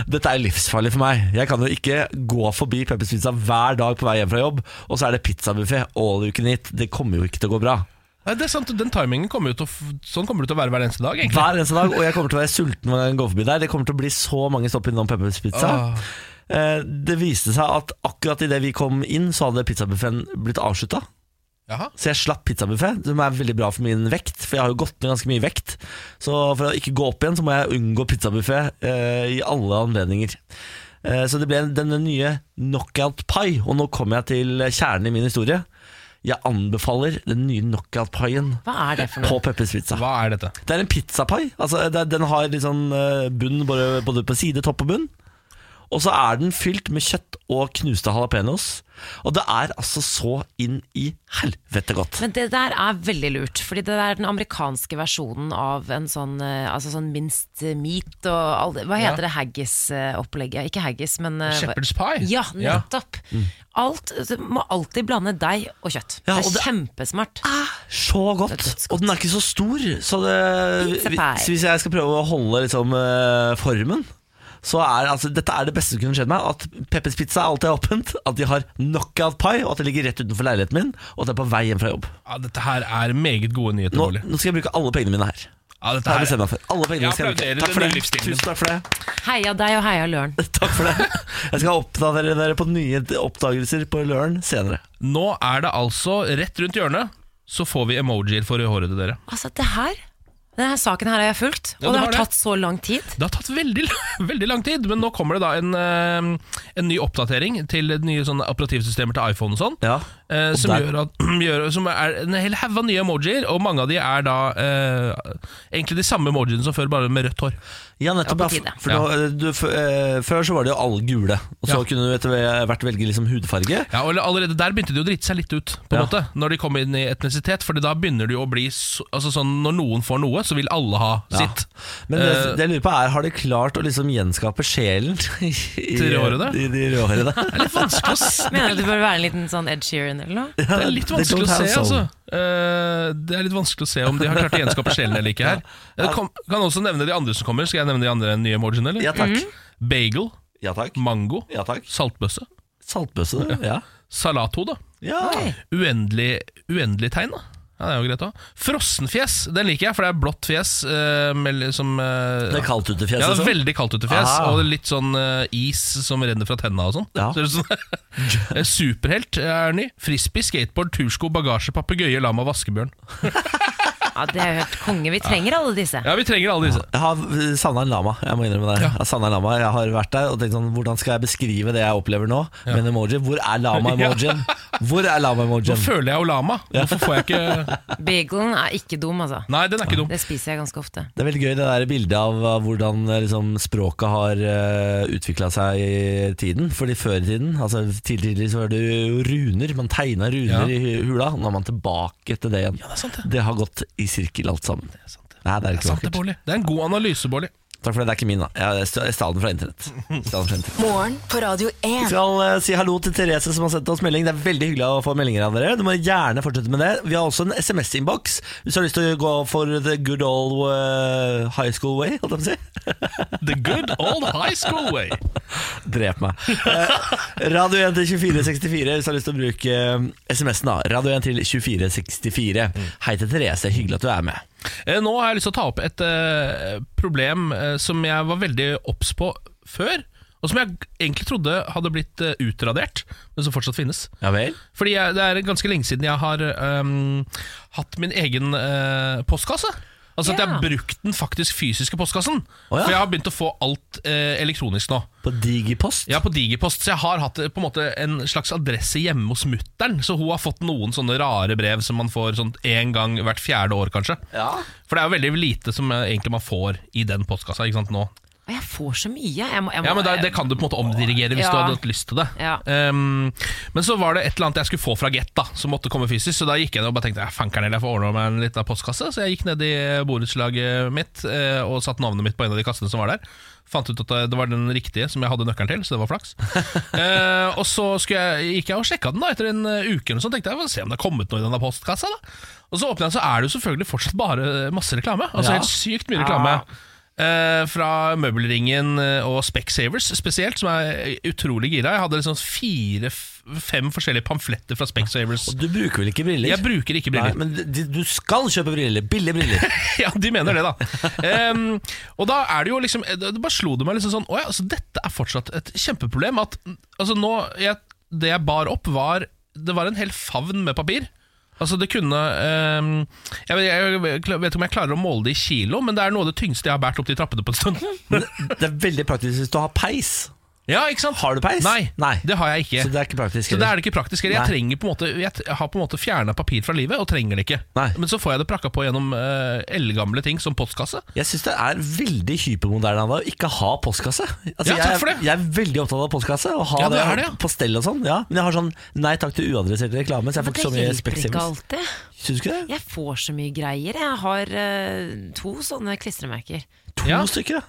Speaker 2: Dette er livsfarlig for meg. Jeg kan jo ikke gå forbi Peppers Pizza hver dag på vei hjem fra jobb, og så er det pizzabuffé all you can eat. Det kommer jo ikke til å gå bra.
Speaker 4: Nei, det er sant, Den timingen kommer jo til å, f- sånn kommer det til å være hver eneste dag. egentlig
Speaker 2: Hver eneste dag, og jeg kommer til å være sulten når jeg går forbi der. Det kommer til å bli så mange stopp innom Peppers Pizza.
Speaker 4: Åh.
Speaker 2: Eh, Det viste seg at akkurat idet vi kom inn, så hadde pizzabuffeen blitt avslutta.
Speaker 4: Jaha.
Speaker 2: Så jeg slapp pizzabuffé, som er veldig bra for min vekt. For jeg har jo gått ned ganske mye vekt. Så for å ikke gå opp igjen, så må jeg unngå pizzabuffé eh, i alle anledninger. Eh, så det ble denne nye knockout pie. Og nå kommer jeg til kjernen i min historie. Jeg anbefaler den nye knockout pien
Speaker 3: Hva er det for noe?
Speaker 2: på Peppers Pizza.
Speaker 4: Hva er dette?
Speaker 2: Det er en pizzapai. Altså, det, er- den har litt sånn eh, bunn både, både på side, topp og bunn. Og så er den fylt med kjøtt og knuste jalapeños. Og det er altså så inn i helvete godt.
Speaker 3: Men det der er veldig lurt, fordi det der er den amerikanske versjonen av en sånn, eh, altså sånn minst meat og all det. Hva heter det haggis-opplegget? Ikke haggis, men eh, hva-
Speaker 4: Shepherd's pie?
Speaker 3: Ja,
Speaker 4: Ja. Mm.
Speaker 3: nettopp. Alt, altså, du må alltid blande deig og kjøtt.
Speaker 2: Ja,
Speaker 3: det
Speaker 2: og
Speaker 3: er
Speaker 2: det-
Speaker 3: kjempesmart.
Speaker 4: Ah.
Speaker 2: Så
Speaker 3: Det er
Speaker 2: godt.
Speaker 3: dødsgodt.
Speaker 2: Og den er ikke så stor. Så, det,
Speaker 3: Pizza pie.
Speaker 2: så hvis jeg skal prøve å holde liksom, eh, formen så er, altså, Dette er det beste som kunne skjedd meg. At Peppers Pizza alltid er åpent. At de har knockout pie, og at det ligger rett utenfor leiligheten min. Og at det er på vei hjem fra jobb.
Speaker 4: Ja, dette her er meget gode nyheter,
Speaker 2: Nå,
Speaker 4: Ole.
Speaker 2: nå skal jeg bruke alle pengene mine her.
Speaker 4: Ja, dette
Speaker 2: Det har jeg
Speaker 4: her,
Speaker 2: bestemt meg for. Alle pengene
Speaker 4: Jeg
Speaker 2: skal jeg bruke.
Speaker 4: applauderer
Speaker 2: Takk for
Speaker 4: den
Speaker 2: det.
Speaker 4: nye livsstilen din.
Speaker 2: Tusen takk for det.
Speaker 3: Heia deg og heia løren.
Speaker 2: Takk for det. Jeg skal oppdatere dere på nye oppdagelser på Løren senere.
Speaker 4: nå er det altså rett rundt hjørnet, så får vi emojier for håret til dere.
Speaker 3: Altså, det her Denne saken her har jeg fulgt, og
Speaker 4: Ja, du
Speaker 3: det
Speaker 4: har
Speaker 3: har
Speaker 4: det.
Speaker 3: tatt så lang tid.
Speaker 4: Det har tatt veldig, veldig lang tid, men nå kommer det da en, eh, en ny oppdatering til nye sånne operativsystemer til iPhone og sånn.
Speaker 2: Ja.
Speaker 4: eh,
Speaker 2: Og
Speaker 4: som,
Speaker 2: der-
Speaker 4: gjør at, gjør, som er en hel haug av nye emojier, og mange av de er da eh, egentlig de samme emojiene som før, bare med rødt hår.
Speaker 2: Ja, nettopp.
Speaker 3: Ja,
Speaker 2: Ja,
Speaker 3: på tide.
Speaker 2: for nå, du, f- eh, før så var det jo alle gule, og så
Speaker 4: Ja.
Speaker 2: kunne du etter hvert velge liksom hudfarge.
Speaker 4: Ja, og Allerede der begynte de å drite seg litt ut, på en
Speaker 2: Ja.
Speaker 4: måte når de kom inn i etnisitet. Fordi da begynner det jo å bli så, altså sånn Når noen får noe, så vil alle ha
Speaker 2: Ja.
Speaker 4: sitt.
Speaker 2: Men det,
Speaker 4: Eh,
Speaker 2: det jeg lurer på er, har de klart å liksom gjenskape sjelen i, i,
Speaker 4: Til råhårene?
Speaker 2: i de råhårene?
Speaker 4: vanskelig å s-
Speaker 3: Mener du det bør være en liten sånn Ed Sheeran eller noe?
Speaker 4: Det er litt
Speaker 2: They
Speaker 4: vanskelig å
Speaker 2: don't
Speaker 4: se,
Speaker 2: have soul.
Speaker 4: altså. Eh, det er litt vanskelig å se om de har klart å gjenskape sjelen eller ikke her. Jeg kom, kan også nevne de andre som kommer. Skal jeg nevne de andre nye emojiene, eller?
Speaker 2: Ja takk.
Speaker 3: Mhm.
Speaker 4: Bagel,
Speaker 2: Ja takk.
Speaker 4: mango,
Speaker 2: Ja takk.
Speaker 4: saltbøsse,
Speaker 2: Saltbøsse, du. Ja.
Speaker 4: salathode,
Speaker 2: ja.
Speaker 4: uendelig, uendelig tegn, da. Ja, det er jo greit, da. Frossenfjes, den liker jeg, for det er blått fjes. eh, med liksom, eh,
Speaker 2: Det er kaldt ute i
Speaker 4: ja,
Speaker 2: fjeset.
Speaker 4: det er
Speaker 2: sånn.
Speaker 4: veldig kaldt ute fjes,
Speaker 2: Ah.
Speaker 4: og det er litt sånn eh, is som renner fra tenna og sånn.
Speaker 2: Ja.
Speaker 4: Ser ut som- Eh, Superhelt er ny. Frisbee, skateboard, tursko, bagasje, papegøye, lama, vaskebjørn.
Speaker 3: Ja, det er jo helt konge. Vi trenger alle disse.
Speaker 4: Ja, vi trenger alle disse.
Speaker 2: Jeg har eh, savna en lama. Jeg må innrømme det.
Speaker 4: Ja.
Speaker 2: Jeg har savnet en lama Jeg har vært der og tenkt sånn Hvordan skal jeg beskrive det jeg opplever nå med en emoji? Hvor er lama-emojien? Hvor er
Speaker 4: Nå
Speaker 2: lama-emojien?
Speaker 4: føler jeg jo lama. Hvorfor får jeg ikke
Speaker 3: Bagelen er ikke dum, altså.
Speaker 4: Nei, den er ikke dum.
Speaker 3: Det spiser jeg ganske ofte.
Speaker 2: Det er veldig gøy det der bildet av eh, hvordan eh, liksom, språket har uh, utvikla seg i tiden. Fordi før i tiden, altså tidlig tidlig så var det jo runer. Man tegna runer
Speaker 4: Ja.
Speaker 2: i hula. Nå er man tilbake til det igjen.
Speaker 4: det er sant, det.
Speaker 2: har gått i sirkel alt sammen.
Speaker 4: Det er sant, det.
Speaker 2: Nei, det er
Speaker 4: Det er
Speaker 2: ikke
Speaker 4: sant, det,
Speaker 2: vakkert.
Speaker 4: Bårdli. Det er en god analyse, Bårdli.
Speaker 2: Takk for det, det er ikke min da. Jeg st- jeg stjal den fra internett. Jeg Stjal den fra internett.
Speaker 1: Morgen på Radio
Speaker 2: Vi
Speaker 1: 1.
Speaker 2: skal eh, si hallo til Therese som har sendt oss melding. Det er veldig hyggelig å få meldinger av dere. Du må gjerne fortsette med det. Vi har også en SMS-innboks hvis du har lyst til å gå for the good old eh, high school way. Holdt jeg på å si.
Speaker 4: The good old high school way.
Speaker 2: Drep meg. Eh, radio 1 til 2464 hvis du har lyst til å bruke eh, SMS-en. da Radio 1 til 2464.
Speaker 4: Mm.
Speaker 2: Hei til Therese, hyggelig at du er med.
Speaker 4: Eh, Nå har jeg lyst til å ta opp et eh, problem eh, som jeg var veldig obs på før. Og som jeg egentlig trodde hadde blitt eh, utradert, men som fortsatt finnes.
Speaker 2: Ja vel?
Speaker 4: Fordi jeg, Det er ganske lenge siden jeg har ehm, hatt min egen eh, postkasse. Altså at jeg
Speaker 3: Ja.
Speaker 4: har brukt den faktisk fysiske postkassen.
Speaker 2: Å ja.
Speaker 4: For jeg har begynt å få alt eh, elektronisk nå.
Speaker 2: På Digipost?
Speaker 4: Ja, på Digipost, så jeg har hatt eh, på en måte en slags adresse hjemme hos mutteren. Så hun har fått noen sånne rare brev som man får sånn én gang hvert fjerde år, kanskje.
Speaker 2: Ja.
Speaker 4: For det er jo veldig lite som eh, egentlig man får i den postkassa ikke sant, nå.
Speaker 3: Og jeg får så mye. Jeg må, jeg må,
Speaker 4: Ja, men da, Det kan du på en måte omdirigere hvis
Speaker 3: Ja.
Speaker 4: du hadde hatt lyst til det.
Speaker 3: Ja.
Speaker 4: Ehm, men så var det et eller annet jeg skulle få fra Get, da som måtte komme fysisk. Så da gikk jeg ned og bare tenkte "Ja, fankeren heller, jeg får ordna meg en liten postkasse. Så jeg gikk ned i borettslaget mitt eh, og satte navnet mitt på en av de kassene som var der. Fant ut at det- det var den riktige som jeg hadde nøkkelen til, så det var flaks. Eh, og så skulle jeg, gikk jeg og sjekka den da etter en eh, uke, eller noe sånt, tenkte jeg "Få se om det har kommet noe i denne postkassa. da Og så åpner jeg den, så er det jo selvfølgelig fortsatt bare masse reklame. Altså
Speaker 2: Ja.
Speaker 4: helt sykt mye reklame. Eh, fra Møbelringen eh, og Specsavers spesielt, som er utrolig gira. Jeg hadde liksom fire-fem forskjellige pamfletter fra Specsavers.
Speaker 2: Du bruker vel ikke briller?
Speaker 4: Jeg bruker ikke
Speaker 2: Nei,
Speaker 4: briller.
Speaker 2: men du, du skal kjøpe briller. Billige briller.
Speaker 4: ja, de mener det, da. Em, og da er det jo liksom Det det bare slo det meg liksom sånn Å ja, altså dette er fortsatt et kjempeproblem. At altså nå jeg, Det jeg bar opp, var Det var en hel favn med papir. Altså det kunne em, jeg, vet- jeg vet ikke om jeg klarer å måle det i kilo, men det er noe av det tyngste jeg har båret opp de trappene på en stund.
Speaker 2: Men det er veldig praktisk hvis du har peis.
Speaker 4: Ja, ikke sant?
Speaker 2: Har du peis?
Speaker 4: Nei,
Speaker 2: Nei.
Speaker 4: det har jeg ikke.
Speaker 2: Så det er ikke
Speaker 4: Så
Speaker 2: praktisk.
Speaker 4: det
Speaker 2: heller.
Speaker 4: er det ikke praktisk. heller.
Speaker 2: Nei.
Speaker 4: Jeg, trenger på en måte, jeg t- har på en måte fjerna papir fra livet, og trenger det ikke.
Speaker 2: Nei.
Speaker 4: Men så får jeg det prakka på gjennom uh, eldgamle ting, som postkasse.
Speaker 2: Jeg syns det er veldig hypermoderne av deg å ikke ha postkasse. Altså,
Speaker 4: Ja, takk
Speaker 2: jeg,
Speaker 4: for det.
Speaker 2: jeg er veldig opptatt av postkasse, og ha
Speaker 4: Ja,
Speaker 2: det,
Speaker 4: det er det, ja.
Speaker 2: på stell og sånn. Ja. Men jeg har sånn nei takk til uadressert reklame, så jeg får
Speaker 3: Men
Speaker 2: ikke så
Speaker 3: det
Speaker 2: mye
Speaker 3: hjelper ikke
Speaker 2: specsavers.
Speaker 3: alltid.
Speaker 2: Syns du ikke det?
Speaker 3: Jeg får så mye greier. Jeg har eh, to sånne klistremerker.
Speaker 2: To
Speaker 4: Ja.
Speaker 2: stykker, da.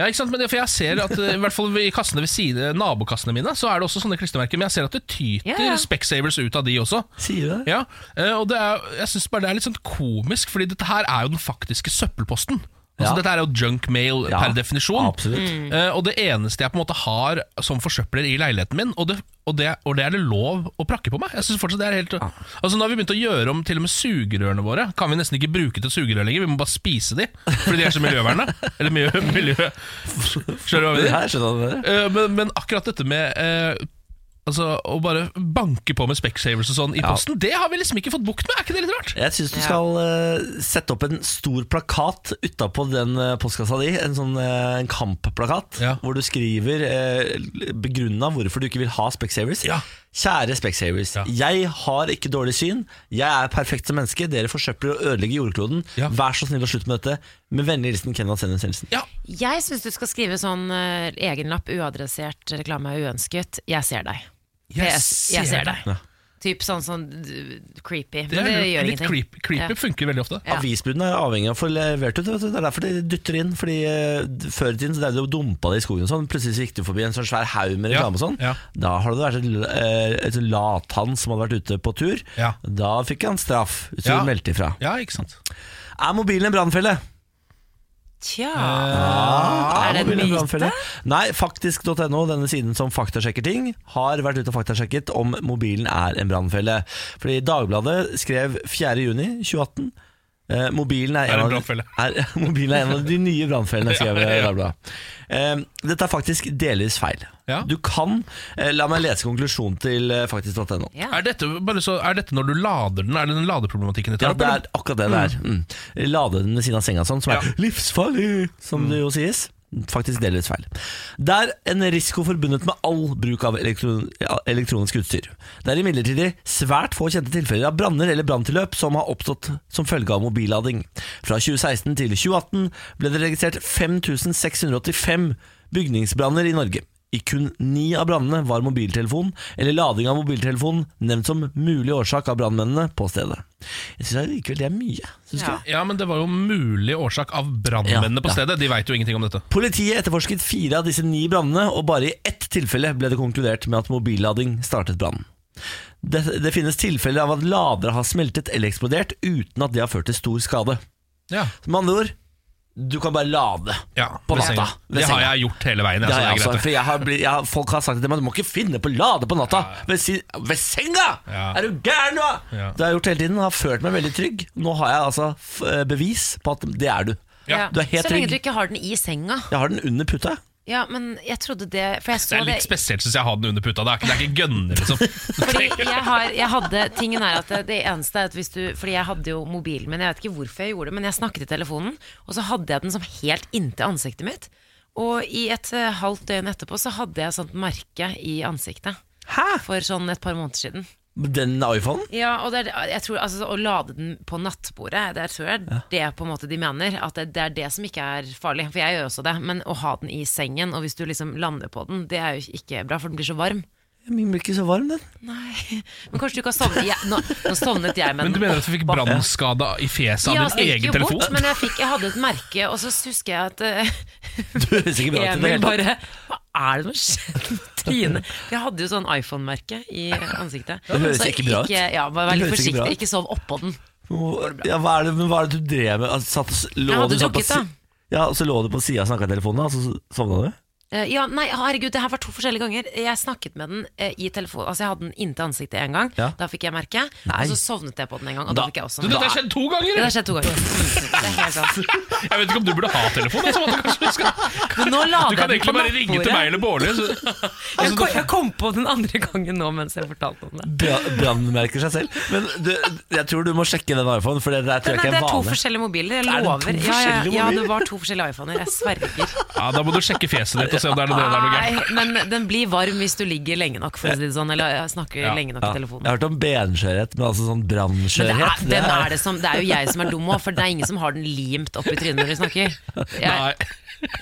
Speaker 4: Ja, ikke sant? Men det, for jeg ser at eh, I hvert fall i kassene ved siden, eh, nabokassene mine Så er det også sånne klistremerker, men jeg ser at det tyter
Speaker 3: Ja, ja.
Speaker 4: Specsavers ut av de også.
Speaker 2: Sier du det?
Speaker 4: Ja, eh, og det er, jeg synes bare det er litt sånn komisk, Fordi dette her er jo den faktiske søppelposten. Altså
Speaker 2: Ja.
Speaker 4: Dette er jo junk mail
Speaker 2: Ja,
Speaker 4: per definisjon.
Speaker 2: absolutt.
Speaker 3: Mm.
Speaker 4: Eh, og det eneste jeg på en måte har som forsøpler i leiligheten min, og det, og det, og det er det lov å prakke på meg. Jeg synes fortsatt det er helt Altså Nå har vi begynt å gjøre om til og med sugerørene våre. Kan vi nesten ikke bruke til sugerør lenger, vi må bare spise de fordi de er så miljøvernende. Eller miljø... miljø. Skjønner du hva jeg mener?
Speaker 2: Her skjønner du det.
Speaker 4: Eh, men, men akkurat dette med eh, Altså, Å bare banke på med Specsavers og sånn i
Speaker 2: Ja.
Speaker 4: posten, det har vi liksom ikke fått bukt med! Er ikke det litt rart?
Speaker 2: Jeg syns du
Speaker 3: Ja.
Speaker 2: skal eh, sette opp en stor plakat utapå den eh, postkassa di. En sånn eh, en kampplakat
Speaker 4: Ja.
Speaker 2: hvor du skriver uh, begrunna hvorfor du ikke vil ha Specsavers.
Speaker 4: Ja.
Speaker 2: Kjære Specsavers,
Speaker 4: Ja.
Speaker 2: jeg har ikke dårlig syn. Jeg er perfekt som menneske. Dere forsøpler og ødelegger jordkloden.
Speaker 4: Ja.
Speaker 2: Vær så snill å slutte med dette. Med vennlig hilsen Kenna Sennes Nielsen.
Speaker 4: Ja,
Speaker 3: Jeg syns du skal skrive sånn eh, egenlapp, uadressert reklame er uønsket. Jeg ser deg. PS. Jeg ser deg.
Speaker 2: Ja.
Speaker 3: Typ sånn sånn d- creepy.
Speaker 4: Det
Speaker 3: Men
Speaker 4: er
Speaker 3: det
Speaker 4: lurt.
Speaker 3: gjør
Speaker 4: litt
Speaker 3: ingenting.
Speaker 4: creepy. creepy
Speaker 3: Ja.
Speaker 4: funker veldig ofte.
Speaker 3: Ja.
Speaker 2: Avisbudene er avhengig av å få levert ut. vet du. Det er derfor de dytter inn. Fordi eh, Før i tiden så drev de og dumpa det i skogen. og sånn Plutselig så gikk du forbi en sånn svær haug med
Speaker 4: Ja,
Speaker 2: reklame. og sånn
Speaker 4: ja.
Speaker 2: Da hadde det vært en, l- eh, et sånn lathann som hadde vært ute på tur.
Speaker 4: Ja.
Speaker 2: Da fikk han straff. Så
Speaker 4: Ja.
Speaker 2: meldte ifra.
Speaker 4: Ja, ikke sant?
Speaker 2: Er mobilen en brannfelle?
Speaker 3: Tja
Speaker 2: Er
Speaker 3: Er det en
Speaker 2: mobilen en
Speaker 3: myte?
Speaker 2: brannfelle? Nei, faktisk.no, denne siden som faktasjekker ting, har vært ute og faktasjekket om mobilen er en brannfelle. Fordi Dagbladet skrev 4. juni 2018 eh, mobilen er,
Speaker 4: Er en
Speaker 2: av-
Speaker 4: brannfelle.
Speaker 2: Er, mobilen er en av de nye brannfellene, skrev
Speaker 4: Ja, ja.
Speaker 2: Dagbladet. Eh, dette er faktisk delvis feil.
Speaker 4: Ja.
Speaker 2: Du kan eh, La meg lese konklusjonen til eh, faktisk.no.
Speaker 3: Ja.
Speaker 4: Er dette, bare så, er dette når du lader den? Er det den ladeproblematikken ditt?
Speaker 2: Ja, det er akkurat det det er. Mm. Lade den ved siden av senga sånn, som er
Speaker 4: Ja.
Speaker 2: livsfarlig, som det jo sies. Faktisk delvis feil. Det er en risiko forbundet med all bruk av elektron ja, elektronisk utstyr. Det er imidlertid svært få kjente tilfeller av branner eller branntilløp som har oppstått som følge av mobillading. Fra 2016 til 2018 ble det registrert 5685 bygningsbranner i Norge. I kun ni av brannene var mobiltelefon eller lading av mobiltelefon nevnt som mulig årsak av brannmennene på stedet. Jeg syns likevel det er mye. Synes
Speaker 3: Ja.
Speaker 2: du?
Speaker 4: Ja, men det var jo mulig årsak av brannmennene
Speaker 2: Ja,
Speaker 4: på
Speaker 2: ja.
Speaker 4: stedet. De veit jo ingenting om dette.
Speaker 2: Politiet etterforsket fire av disse ni brannene, og bare i ett tilfelle ble det konkludert med at mobillading startet brannen. Det, det finnes tilfeller av at ladere har smeltet eller eksplodert uten at det har ført til stor skade.
Speaker 4: Ja,
Speaker 2: Med andre ord, du kan bare lade. På
Speaker 4: ved
Speaker 2: natta.
Speaker 4: senga.
Speaker 2: Ved
Speaker 4: Det har
Speaker 2: senga.
Speaker 4: jeg gjort hele veien.
Speaker 2: Det
Speaker 4: Ja,
Speaker 2: har jeg
Speaker 4: så
Speaker 2: også,
Speaker 4: Altså, det er greit,
Speaker 2: for altså, jeg har blitt, jeg har, folk har sagt til meg Du må ikke finne på å lade på natta ved, si, ved senga!
Speaker 4: Ja.
Speaker 2: Er du gæren, du? da?"
Speaker 4: Ja.
Speaker 2: Det har jeg gjort hele tiden, har følt meg veldig trygg. Nå har jeg altså f bevis på at det er du.
Speaker 4: Ja.
Speaker 2: Du er helt
Speaker 3: Så lenge du
Speaker 2: trygg.
Speaker 3: ikke har den i senga.
Speaker 2: Jeg har den under puta.
Speaker 3: Ja, men jeg trodde det For jeg
Speaker 4: det
Speaker 3: så
Speaker 4: er
Speaker 3: det,
Speaker 4: litt spesielt, syns jeg, å ha den under puta. Det er ikke, det er ikke gønner, liksom.
Speaker 3: fordi jeg, har, jeg hadde Tingen er at det, det eneste er at hvis du Fordi jeg hadde jo mobilen min, jeg vet ikke hvorfor jeg gjorde det, men jeg snakket i telefonen, og så hadde jeg den som helt inntil ansiktet mitt. Og i et eh, halvt døgn etterpå så hadde jeg sånt merke i ansiktet.
Speaker 2: Hæ?
Speaker 3: For sånn et par måneder siden.
Speaker 2: Den iPhonen?
Speaker 3: Ja, og det er, jeg tror, altså, Å lade den på nattbordet, det er, tror jeg er det på en måte de mener. At det, det er det som ikke er farlig. For jeg gjør også det. Men å ha den i sengen, og hvis du liksom lander på den, det er jo ikke bra, for den blir så varm.
Speaker 2: Min blir ikke så varm, den.
Speaker 3: Nei. Men kanskje du ikke har sovnet jeg, nå, nå sovnet jeg, men
Speaker 4: Men du mener at du fikk brannskade i fjeset
Speaker 3: Ja,
Speaker 4: av
Speaker 3: altså,
Speaker 4: din
Speaker 3: det gikk
Speaker 4: egen
Speaker 3: jo
Speaker 4: telefon?
Speaker 3: Bort, men jeg, fikk, jeg hadde et merke, og så husker jeg at eh,
Speaker 2: Du høres ikke bra ut i det
Speaker 3: Emil
Speaker 2: hele tatt.
Speaker 3: bare Hva er det som har skjedd med Trine? Jeg hadde jo sånn iPhone-merke i ansiktet.
Speaker 2: Det høres
Speaker 3: Så
Speaker 2: ikke bra ut.
Speaker 3: Ja, bare
Speaker 2: Det
Speaker 3: vær litt
Speaker 2: høres ikke bra
Speaker 3: forsiktig,
Speaker 2: ut.
Speaker 3: ikke sov oppå den.
Speaker 2: Hvor- Ja, hva, er det, men hva er det du drev med? Altså, satt, lå
Speaker 3: Jeg hadde
Speaker 2: du sånn på
Speaker 3: drukket, da.
Speaker 2: si- Ja, og så lå du på sida og snakka i telefonen, og så sovna du?
Speaker 3: Eh, Ja, nei, herregud, det her var to forskjellige ganger. Jeg snakket med den eh, i telefonen. Altså, jeg hadde den inntil ansiktet en gang.
Speaker 2: Ja.
Speaker 3: Da fikk jeg merke.
Speaker 2: Nei.
Speaker 3: Og så sovnet jeg på den en gang, og da, fikk jeg også
Speaker 4: Du, dette har skjedd to ganger!
Speaker 3: Det
Speaker 4: eller?
Speaker 3: har skjedd to ganger. Det er helt sant.
Speaker 4: Jeg vet ikke om du burde ha telefon. Altså, at du, kanskje du, skal,
Speaker 3: Men nå lader
Speaker 4: du kan
Speaker 3: jeg den på
Speaker 4: egentlig bare ringe til
Speaker 3: nattbordet.
Speaker 4: meg eller Bårli. så-
Speaker 3: jeg, kom, jeg kom på den andre gangen nå mens jeg fortalte om det.
Speaker 2: Bra- Brannmerker seg selv. Men du, jeg tror du må sjekke den iPhonen, for det der tror
Speaker 3: Nei,
Speaker 2: jeg ikke
Speaker 3: det er
Speaker 2: er
Speaker 3: to
Speaker 2: vanlig.
Speaker 3: forskjellige mobiler, jeg
Speaker 2: Er det to
Speaker 3: lover. Ja, ja,
Speaker 2: forskjellige
Speaker 3: ja, det
Speaker 2: mobiler?
Speaker 3: var to forskjellige iPhoner, jeg sverger.
Speaker 4: Ja, Da må du sjekke fjeset ditt og se om det er det der du er
Speaker 3: Nei,
Speaker 4: gæren.
Speaker 3: men den blir varm hvis du ligger lenge nok, for å si det sånn. Eller jeg snakker
Speaker 4: Ja.
Speaker 3: lenge nok
Speaker 2: Ja.
Speaker 3: i
Speaker 2: Jeg
Speaker 3: telefonen.
Speaker 2: har hørt om benskjørhet, men altså sånn
Speaker 3: Men det
Speaker 2: brannskjørhet
Speaker 3: er, hvem er det, som, det er jo jeg som er dum òg, for det er ingen som har den limt opp i trynet når de snakker. Jeg,
Speaker 4: Nei.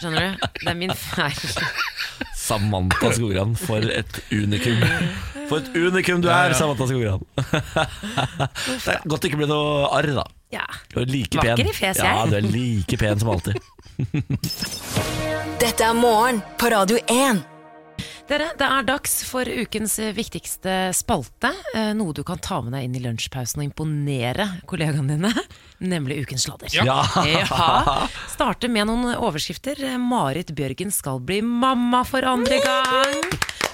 Speaker 3: skjønner du? Det er min feil.
Speaker 2: Samantha Skogran, for et unikum. For et unikum du
Speaker 4: ja.
Speaker 2: er, Samantha Skogran. det er godt det ikke ble noe arr, da.
Speaker 3: Ja.
Speaker 2: Du er like
Speaker 3: Vakker
Speaker 2: pen.
Speaker 3: i fjes,
Speaker 2: ja,
Speaker 3: jeg.
Speaker 2: du er like pen som alltid.
Speaker 1: Dette er morgen på Radio 1.
Speaker 3: Dere, det er dags for ukens viktigste spalte. eh, Noe du kan ta med deg inn i lunsjpausen og imponere kollegaene dine. Nemlig ukens sladder.
Speaker 2: Ja.
Speaker 3: Ja. Starte med noen overskrifter. Marit Bjørgen skal bli mamma for andre gang.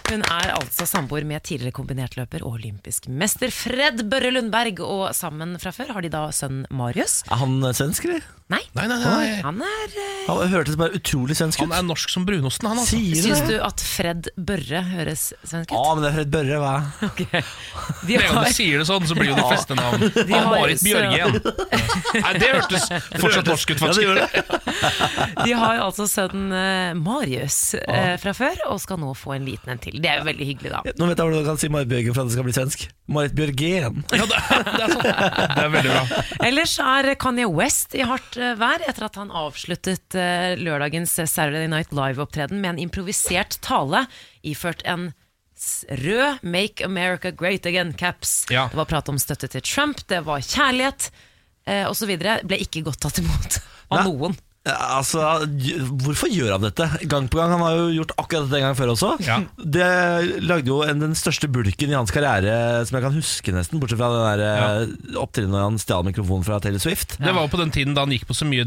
Speaker 3: Hun er altså samboer med tidligere kombinertløper og olympisk mester Fred Børre Lundberg. Og sammen fra før har de da sønnen Marius.
Speaker 2: Er han eh, svensk, eller?
Speaker 3: Nei,
Speaker 4: Nei, nei, nei, nei.
Speaker 3: han er eh,
Speaker 2: Han hørtes bare utrolig svensk ut.
Speaker 4: Han er norsk som brunosten, han altså.
Speaker 2: Sier
Speaker 3: Syns
Speaker 2: du det?
Speaker 3: du at Fred Børre høres svensk
Speaker 2: Ja,
Speaker 3: ut?
Speaker 2: men det er Fred Børre, hva?
Speaker 3: De
Speaker 4: Ah, Det er jo
Speaker 3: har,
Speaker 4: det sier det sånn, så blir jo de
Speaker 2: Ja.
Speaker 4: fleste navn.
Speaker 3: har
Speaker 4: Marit
Speaker 3: sø-
Speaker 4: Bjørgen. Nei, det hørtes fortsatt norsk ut,
Speaker 2: Ja, det
Speaker 4: faktisk.
Speaker 2: gjør
Speaker 3: de har jo altså sønnen eh, Marius
Speaker 4: Ah.
Speaker 3: eh, fra før, og skal nå få en liten en til. Det er jo veldig hyggelig, da.
Speaker 2: Nå vet jeg hvordan du kan si Marit Bjørgen for at det skal bli svensk. Marit Bjørgen.
Speaker 4: Ja, det, det er sånn. Det er veldig bra.
Speaker 3: Ellers er Kanye West i hardt eh, vær etter at han avsluttet eh, lørdagens Saturday Night Live-opptreden med en improvisert tale iført en s- rød Make America Great Again-caps.
Speaker 4: Ja.
Speaker 3: Det var prat om støtte til Trump, det var kjærlighet eh, osv. Ble ikke godt tatt imot av
Speaker 2: Nei.
Speaker 3: noen.
Speaker 2: Ja, Altså, Hvorfor gjør han dette gang på gang? Han har jo gjort akkurat dette en gang før også.
Speaker 4: Ja.
Speaker 2: Det lagde jo en, den største bulken i hans karriere som jeg kan huske, nesten. Bortsett fra den der ja. opptredenen da han stjal mikrofonen fra Taylor Swift.
Speaker 4: Det var jo på den tiden da han gikk på så mye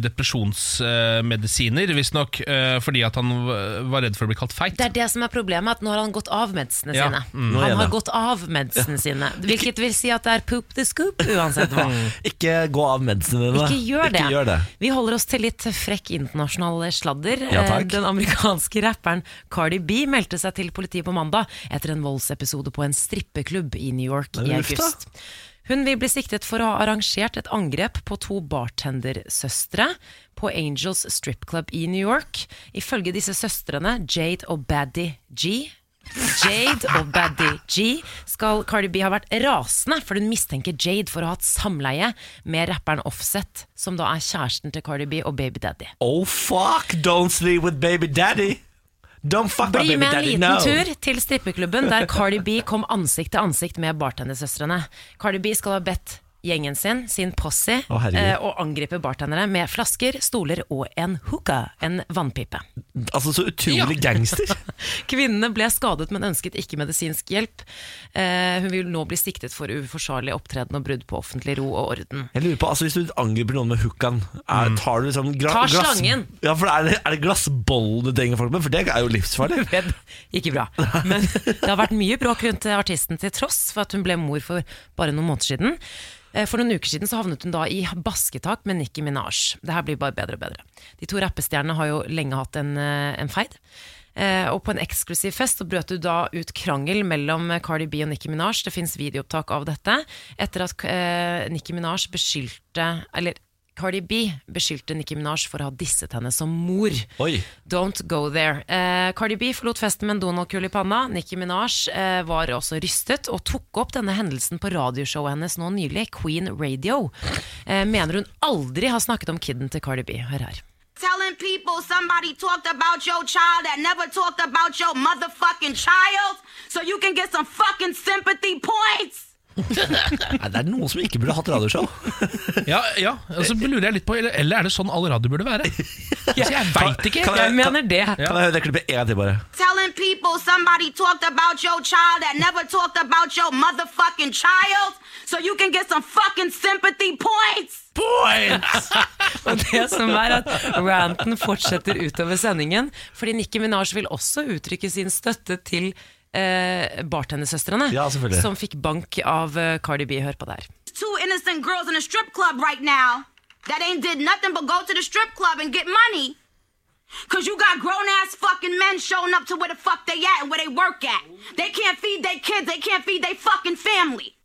Speaker 4: depresjonsmedisiner, visstnok eh, fordi at han v- var redd for å bli kalt feit.
Speaker 3: Det er det som er problemet, at nå har han gått av medsene
Speaker 4: Ja,
Speaker 3: sine.
Speaker 4: mm.
Speaker 2: Nå er jeg
Speaker 3: han har
Speaker 2: det.
Speaker 3: gått av medsene sine, hvilket vil si at det er poop the scoop, uansett hva.
Speaker 2: Ikke gå av medisinene dine.
Speaker 3: Ikke gjør det.
Speaker 2: Ikke gjør det.
Speaker 3: Vi holder oss til litt frekk internasjonal sladder.
Speaker 2: Ja, takk.
Speaker 3: Eh, Den amerikanske rapperen Cardi B meldte seg til politiet på mandag etter en voldsepisode på en strippeklubb i New York
Speaker 2: Er det
Speaker 3: i
Speaker 2: luft, da?
Speaker 3: august. Hun vil bli siktet for å ha arrangert et angrep på to bartendersøstre på Angels Strip Club i New York. Ifølge disse søstrene, Jade og Baddy G Jade og Baddy G skal Cardi B ha vært rasende, for hun mistenker Jade for å ha hatt samleie med rapperen Offset, som da er kjæresten til Cardi B og Baby Daddy.
Speaker 2: Oh fuck, don't sleep with baby daddy. Don't fuck my
Speaker 3: Bli
Speaker 2: baby
Speaker 3: med en
Speaker 2: daddy,
Speaker 3: liten
Speaker 2: no.
Speaker 3: tur til strippeklubben der Cardi B kom ansikt til ansikt med bartendersøstrene. Cardi B skal ha bedt gjengen sin, sin posse,
Speaker 2: Å, herregud.
Speaker 3: eh, å angripe bartenderne med flasker, stoler og en hookah, en vannpipe.
Speaker 2: Altså, så utrolig gangster.
Speaker 3: Kvinnene ble skadet, men ønsket ikke medisinsk hjelp. Eh, hun vil nå bli siktet for uforsvarlig opptreden og brudd på offentlig ro og orden.
Speaker 2: Jeg lurer på, altså Hvis du angriper noen med hookaen, er- tar du liksom gra
Speaker 3: Ta
Speaker 2: glass-
Speaker 3: slangen.
Speaker 2: Ja, for er det, er det glassboll du trenger folk med? For det er jo livsfarlig.
Speaker 3: Fred, ikke bra. Men det har vært mye bråk rundt eh, artisten til tross for at hun ble mor for bare noen måneder siden. Eh, For noen uker siden så havnet hun da i basketak med Nicki Minaj. Det her blir bare bedre og bedre. De to rappestjernene har jo lenge hatt en, eh, en feid. Eh, og på en eksklusiv fest så brøt du da ut krangel mellom eh, Cardi B og Nicki Minaj. Det fins videoopptak av dette. Etter at eh, Nicki Minaj beskyldte Eller Cardi B beskyldte Nicki Minaj for å ha disset henne som mor.
Speaker 2: Oi.
Speaker 3: Don't go there. Eh, Cardi B forlot festen med en Donald-kule i panna. Nicki Minaj eh, var også rystet og tok opp denne hendelsen på radioshowet hennes nå nylig, Queen Radio. Eh, mener hun aldri har snakket om kidden til Cardi B. Hør her.
Speaker 6: Telling people somebody talked about your child that never talked about your motherfucking child so you can get some fucking sympathy points.
Speaker 2: Nei, det er noen som ikke burde hatt radioshow.
Speaker 4: Ja, ja, og så lurer jeg litt på Eller, eller er det sånn all radio burde være? Altså, jeg veit ikke.
Speaker 2: Kan
Speaker 3: Jeg
Speaker 2: jeg, kan,
Speaker 3: mener det.
Speaker 2: kan jeg høre det klippet en gang til, bare?
Speaker 6: Telling people somebody talked about your child that never talked about your motherfucking child so you can get some fucking sympathy points.
Speaker 3: Og det som er at ranten fortsetter utover sendingen, fordi Nicki Minaj vil også uttrykke sin støtte til eh, bartendersøstrene,
Speaker 2: Ja, selvfølgelig.
Speaker 3: som fikk bank av eh, Cardi B. Hør på det her.
Speaker 6: Two innocent girls in a strip club right now that ain't did nothing but go to the strip club and get money. Cause you got grown ass fucking men showing up to where the fuck they at and where they work at. They can't feed their kids, they can't feed their fucking family.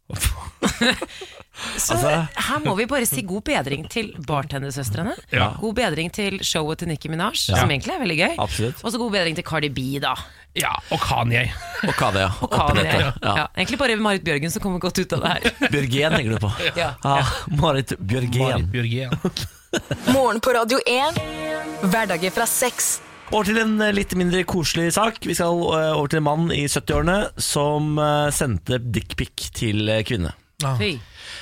Speaker 3: Så her må vi bare si god bedring til bartendersøstrene.
Speaker 4: Ja.
Speaker 3: God bedring til showet til Nicki Minaj, som egentlig er veldig gøy.
Speaker 2: Absolutt.
Speaker 3: Og så god bedring til Cardi B, da.
Speaker 4: Ja, og Kanye.
Speaker 2: Og Kaveh, ja.
Speaker 3: Og Kanye.
Speaker 2: Oppi
Speaker 3: Ja.
Speaker 2: dette, ja.
Speaker 3: Egentlig bare Marit Bjørgen som kommer godt ut av det her.
Speaker 2: Bjørgen tenker du på. Ah,
Speaker 3: Ja.
Speaker 2: Marit Bjørgen.
Speaker 4: Marit Bjørgen.
Speaker 1: Morgen på Radio 1. Hverdager fra seks.
Speaker 2: Over til en eh, litt mindre koselig sak. Vi skal eh, over til en mann i 70-årene som eh, sendte dickpic til eh, kvinne.
Speaker 4: Ah.
Speaker 3: Fy.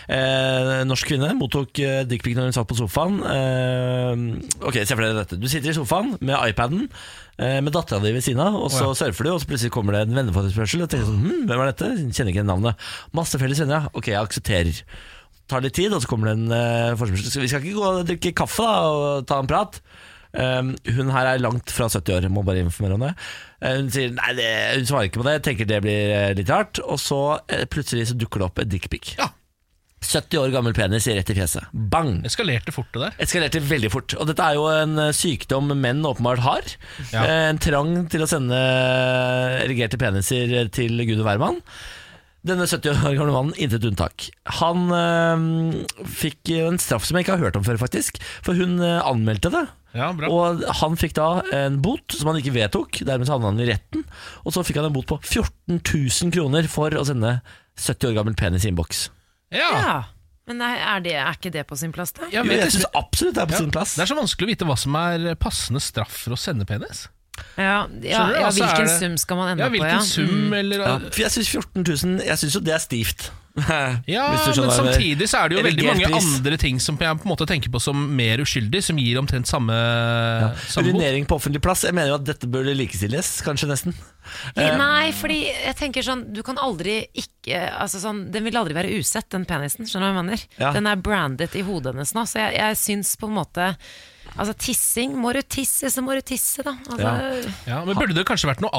Speaker 2: Eh, norsk kvinne mottok eh, dickpic når hun satt på sofaen. Eh, ok, Se for deg dette. Du sitter i sofaen med iPaden eh, med dattera di ved siden av, og så surfer du, og så plutselig kommer det en venneforespørsel. Og tenker sånn, hm, hvem er dette? Kjenner ikke navnet. Masse felles venner, ja. Ok, jeg aksepterer. Tar litt tid, og så kommer det en eh, forespørsel. Så Vi skal ikke gå og drikke kaffe da og ta en prat. Um, hun her er langt fra 70 år, må bare informere om det. Eh, Hun sier nei, det, hun svarer ikke på det, tenker det blir eh, litt rart. Og så eh, plutselig så dukker det opp et dickpic.
Speaker 4: Ja.
Speaker 2: 70 år gammel penis rett i fjeset. Bang!
Speaker 4: Eskalerte fort det der.
Speaker 2: eskalerte veldig fort. Og dette er jo en eh, sykdom menn åpenbart har.
Speaker 4: Ja.
Speaker 2: Eh, En trang til å sende erigerte peniser til gud og hvermann. Denne 70 år gamle mannen, intet unntak. Han eh, fikk jo en straff som jeg ikke har hørt om før, faktisk. For hun eh, anmeldte det.
Speaker 4: Ja, bra.
Speaker 2: og han fikk da en bot som han ikke vedtok. Dermed så havna han i retten. Og så fikk han en bot på 14 000 kroner for å sende 70 år gammel penis i innboks.
Speaker 4: Ja,
Speaker 3: Ja. Men er, er, det, er ikke det på sin plass, da?
Speaker 4: Ja,
Speaker 2: Jo,
Speaker 4: men
Speaker 2: Jeg
Speaker 4: det-
Speaker 2: syns absolutt det er på sin plass.
Speaker 4: Det er så vanskelig å vite hva som er passende straff for å sende penis.
Speaker 3: Ja, ja,
Speaker 4: Skjønner du?
Speaker 3: ja
Speaker 4: Altså, er
Speaker 3: hvilken
Speaker 4: det-
Speaker 3: sum skal man ende
Speaker 4: Ja,
Speaker 3: på?
Speaker 4: hvilken
Speaker 3: Ja. Mm.
Speaker 4: sum, eller
Speaker 2: Ja, for jeg syns 14 000 Jeg syns jo det er stivt.
Speaker 4: Ja,
Speaker 2: Hvis
Speaker 4: men
Speaker 2: du skjønner hva jeg mener.
Speaker 4: samtidig så er det jo veldig
Speaker 2: Erigert
Speaker 4: mange
Speaker 2: pris.
Speaker 4: andre ting som jeg på en måte tenker på som mer uskyldig, som gir omtrent samme, samme bot.
Speaker 2: Urinering på offentlig plass. Jeg mener jo at dette burde likestilles, kanskje nesten.
Speaker 4: Eh,
Speaker 3: Ja,
Speaker 2: Eh,
Speaker 3: Eh, Nei, fordi jeg tenker sånn Du kan aldri ikke altså sånn, Den vil aldri være usett, den penisen. Skjønner du hva jeg mener?
Speaker 2: Ja.
Speaker 3: Den er brandet i hodet hennes nå, så jeg, jeg syns på en måte Altså, tissing Må du tisse, så må du tisse, da. Altså,
Speaker 4: Ja, men Burde det kanskje vært noe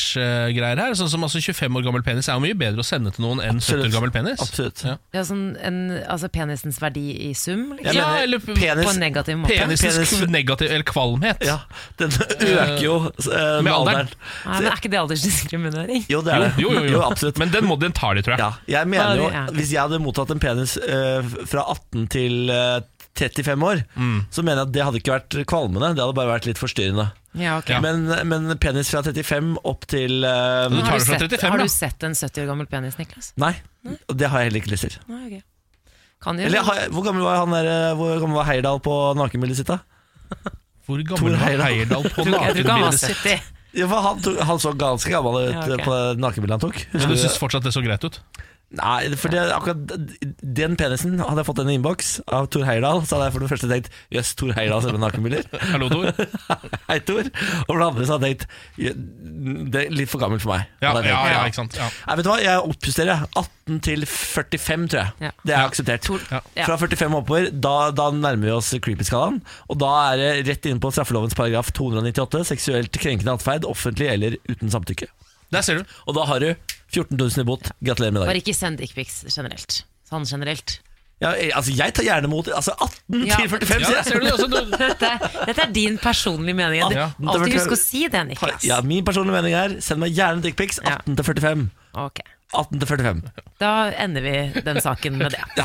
Speaker 4: aldersgreier her? Sånn som altså 25 år gammel penis er jo mye bedre å sende til noen enn 70 år gammel penis.
Speaker 2: Absolutt.
Speaker 4: Ja.
Speaker 3: ja, sånn en, altså penisens verdi i sum,
Speaker 2: Jeg
Speaker 3: liksom.
Speaker 4: Ja,
Speaker 2: mener,
Speaker 4: eller
Speaker 3: På
Speaker 2: penis,
Speaker 3: en negativ måte.
Speaker 4: Penisens
Speaker 2: Penis-
Speaker 4: kv- negativ, eller kvalmhet.
Speaker 2: ja, Den øker jo eh, med
Speaker 4: Med alderen.
Speaker 2: alderen.
Speaker 3: Nei, men er ikke det aldersdiskriminering?
Speaker 2: Jo, det
Speaker 4: Jo,
Speaker 2: er det.
Speaker 4: jo, jo, jo.
Speaker 2: absolutt.
Speaker 4: Men den må den tar de, tror jeg.
Speaker 2: ja, jeg mener jo,
Speaker 3: Ja, det er det.
Speaker 2: hvis jeg hadde mottatt en penis eh, fra 18 til eh, 35 år,
Speaker 4: Mm.
Speaker 2: så mener jeg at det hadde ikke vært kvalmende, det hadde bare vært litt forstyrrende.
Speaker 3: Ja, ok.
Speaker 4: Ja.
Speaker 2: Men, men penis fra 35 opp til eh,
Speaker 4: Du tar
Speaker 3: Har, du
Speaker 4: det fra
Speaker 3: sett,
Speaker 4: 35,
Speaker 3: har
Speaker 4: da.
Speaker 3: du sett en 70 år gammel penis, Niklas?
Speaker 2: Nei, det har jeg heller ikke lyst til.
Speaker 3: Nei, ok. Kan jo
Speaker 2: Eller, har- hvor gammel var han der, eh, hvor gammel var Heyerdahl på nakenbildet sitt da?
Speaker 4: Hvor
Speaker 2: Tor
Speaker 4: gammel var
Speaker 2: Heyerdahl.
Speaker 4: Heyerdahl på
Speaker 3: Jeg tror ikke han var
Speaker 4: nakenbildet sitt?
Speaker 3: 70.
Speaker 2: Ja, for han, tok, han så ganske gammel ut
Speaker 3: Ja, ok.
Speaker 2: eh, på det nakenbildet han tok.
Speaker 4: Men du syns fortsatt det så greit ut?
Speaker 2: Nei, for det, akkurat d- den penisen hadde jeg fått den i innboks av Tor Heyerdahl, så hadde jeg for det første tenkt jøss, Tor Heyerdahl selger nakenbilder.
Speaker 4: Hallo, Tor.
Speaker 2: Hei, Tor. Og for det andre så hadde jeg tenkt «Jø, det er litt for gammelt for meg.
Speaker 4: Ja,
Speaker 2: Hadde jeg
Speaker 4: ja,
Speaker 2: tenkt.
Speaker 4: ja, ikke sant. Ja.
Speaker 2: Nei, vet du hva, jeg oppjusterer jeg. 18 til 45, tror jeg.
Speaker 3: Ja.
Speaker 2: Det er akseptert.
Speaker 3: Tor- ja.
Speaker 2: Fra 45 oppover, da, da nærmer vi oss creepy-skalaen. Og da er det rett inne på straffelovens paragraf 298, seksuelt krenkende atferd, offentlig eller uten samtykke.
Speaker 4: Der ser du.
Speaker 2: Og da har du 14 000 i bot. Gratulerer med
Speaker 3: Bare
Speaker 2: dagen.
Speaker 3: ikke send dickpics generelt. Sånn generelt.
Speaker 2: Ja, jeg- altså, jeg tar gjerne mot altså 18
Speaker 3: Ja.
Speaker 2: til 45,
Speaker 4: Ja, der
Speaker 2: sier
Speaker 4: ser
Speaker 2: jeg.
Speaker 4: du det også. Du,
Speaker 3: Dette, dette er din personlige mening. Du-
Speaker 2: Ja.
Speaker 3: Alltid husk å si det, Niklas.
Speaker 2: Ja, min personlige mening er send meg gjerne dickpics 18 til 45.
Speaker 3: Ok,
Speaker 2: 18 til 45.
Speaker 3: Da ender vi den saken med det.
Speaker 2: Ja.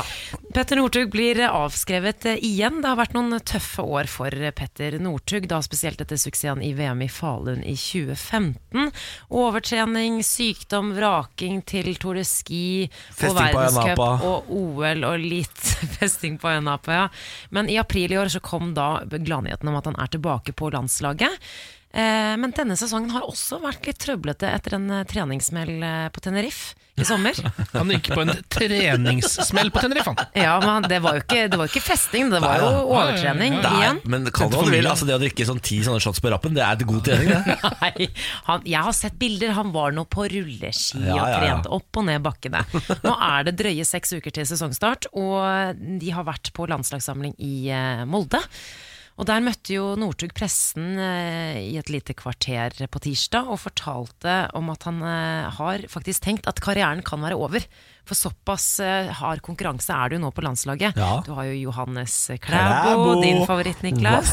Speaker 3: Petter Northug blir avskrevet eh, igjen. Det har vært noen tøffe år for eh, Petter Northug, da spesielt etter suksessen i VM i Falun i 2015. Overtrening, sykdom, vraking til Tour de Ski og
Speaker 2: Festing på
Speaker 3: verdenscup
Speaker 2: øyenapa.
Speaker 3: og OL og litt festing på øyenapa, ja. Men i april i år så kom da gladnyheten om at han er tilbake på landslaget. Eh, Men denne sesongen har også vært litt trøblete etter en eh, treningssmell eh, på Tenerife i sommer.
Speaker 4: han gikk på en treningssmell på Tenerife, han.
Speaker 3: Ja, men det var jo ikke, det var ikke festing, det var jo
Speaker 2: Nei,
Speaker 3: overtrening
Speaker 4: Nei,
Speaker 2: Nei,
Speaker 3: igjen.
Speaker 2: men kall det hva du vil. Altså, det å drikke sånn ti sånne shots på rappen, det er et god trening, det.
Speaker 3: Nei, han, jeg har sett bilder. Han var nå på rulleski
Speaker 2: Ja,
Speaker 3: og
Speaker 2: ja, ja.
Speaker 3: trente opp og ned bakkene. Nå er det drøye seks uker til sesongstart, og de har vært på landslagssamling i eh, Molde. Og Der møtte jo Northug pressen eh, i et lite kvarter på tirsdag og fortalte om at han eh, har faktisk tenkt at karrieren kan være over. For såpass eh, hard konkurranse er det jo nå på landslaget.
Speaker 2: Ja.
Speaker 3: Du har jo Johannes Klæbo,
Speaker 2: Klæbo.
Speaker 3: din favoritt, Niklas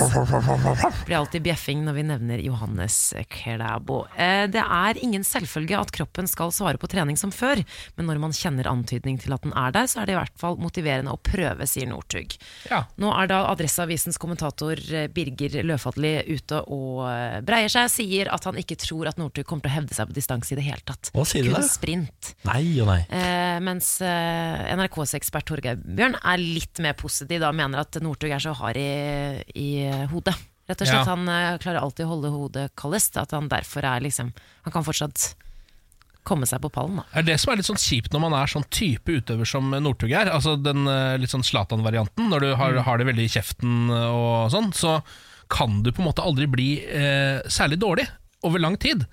Speaker 3: blir alltid bjeffing når vi nevner Johannes Klæbo. Eh, Det er ingen selvfølge at kroppen skal svare på trening som før, men når man kjenner antydning til at den er der, så er det i hvert fall motiverende å prøve, sier Northug.
Speaker 4: Ja.
Speaker 3: Nå er da Adresseavisens kommentator eh, Birger Løfatli ute og eh, breier seg, sier at han ikke tror at Northug kommer til å hevde seg på distanse i det hele tatt.
Speaker 2: Hva sier du
Speaker 3: Kun
Speaker 2: der?
Speaker 3: sprint.
Speaker 2: Nei og nei.
Speaker 3: Eh, mens eh, NRKs ekspert Torgeir Bjørn er litt mer positiv da, og mener at Northug er så hard i, i eh, hodet. Rett og slett,
Speaker 4: Ja.
Speaker 3: Han eh, klarer alltid å holde hodet kaldest. At han derfor er liksom Han kan fortsatt komme seg på pallen, da.
Speaker 4: er det som er litt sånn kjipt når man er sånn type utøver som Northug er, altså den eh, litt sånn Zlatan-varianten, når du har,
Speaker 3: Mm.
Speaker 4: har det veldig i kjeften og sånn, så kan du på en måte aldri bli eh, særlig dårlig over lang tid.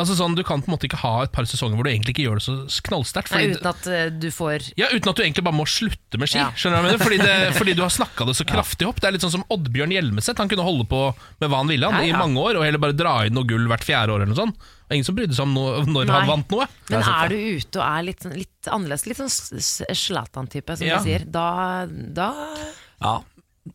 Speaker 4: Altså sånn, Du kan på en måte ikke ha et par sesonger hvor du egentlig ikke gjør det så knallsterkt.
Speaker 3: Nei,
Speaker 4: fordi-
Speaker 3: uten at eh, du får
Speaker 4: Ja, Uten at du egentlig bare må slutte med ski.
Speaker 3: Ja.
Speaker 4: Skjønner du hva jeg mener? Fordi, det, fordi du har snakka det så kraftig opp. Det er litt sånn som Oddbjørn Hjelmeset. Han kunne holde på med hva han ville han,
Speaker 3: Ja, ja.
Speaker 4: i mange år, og heller bare dra inn noe gull hvert fjerde år. eller noe sånt. Det var ingen som brydde seg om no når
Speaker 3: Nei.
Speaker 4: han vant noe.
Speaker 3: Men er du ute og er litt, sånn- litt annerledes, litt sånn s- s- Zlatan-type, som
Speaker 4: Ja.
Speaker 3: du sier, da, da
Speaker 2: Ja.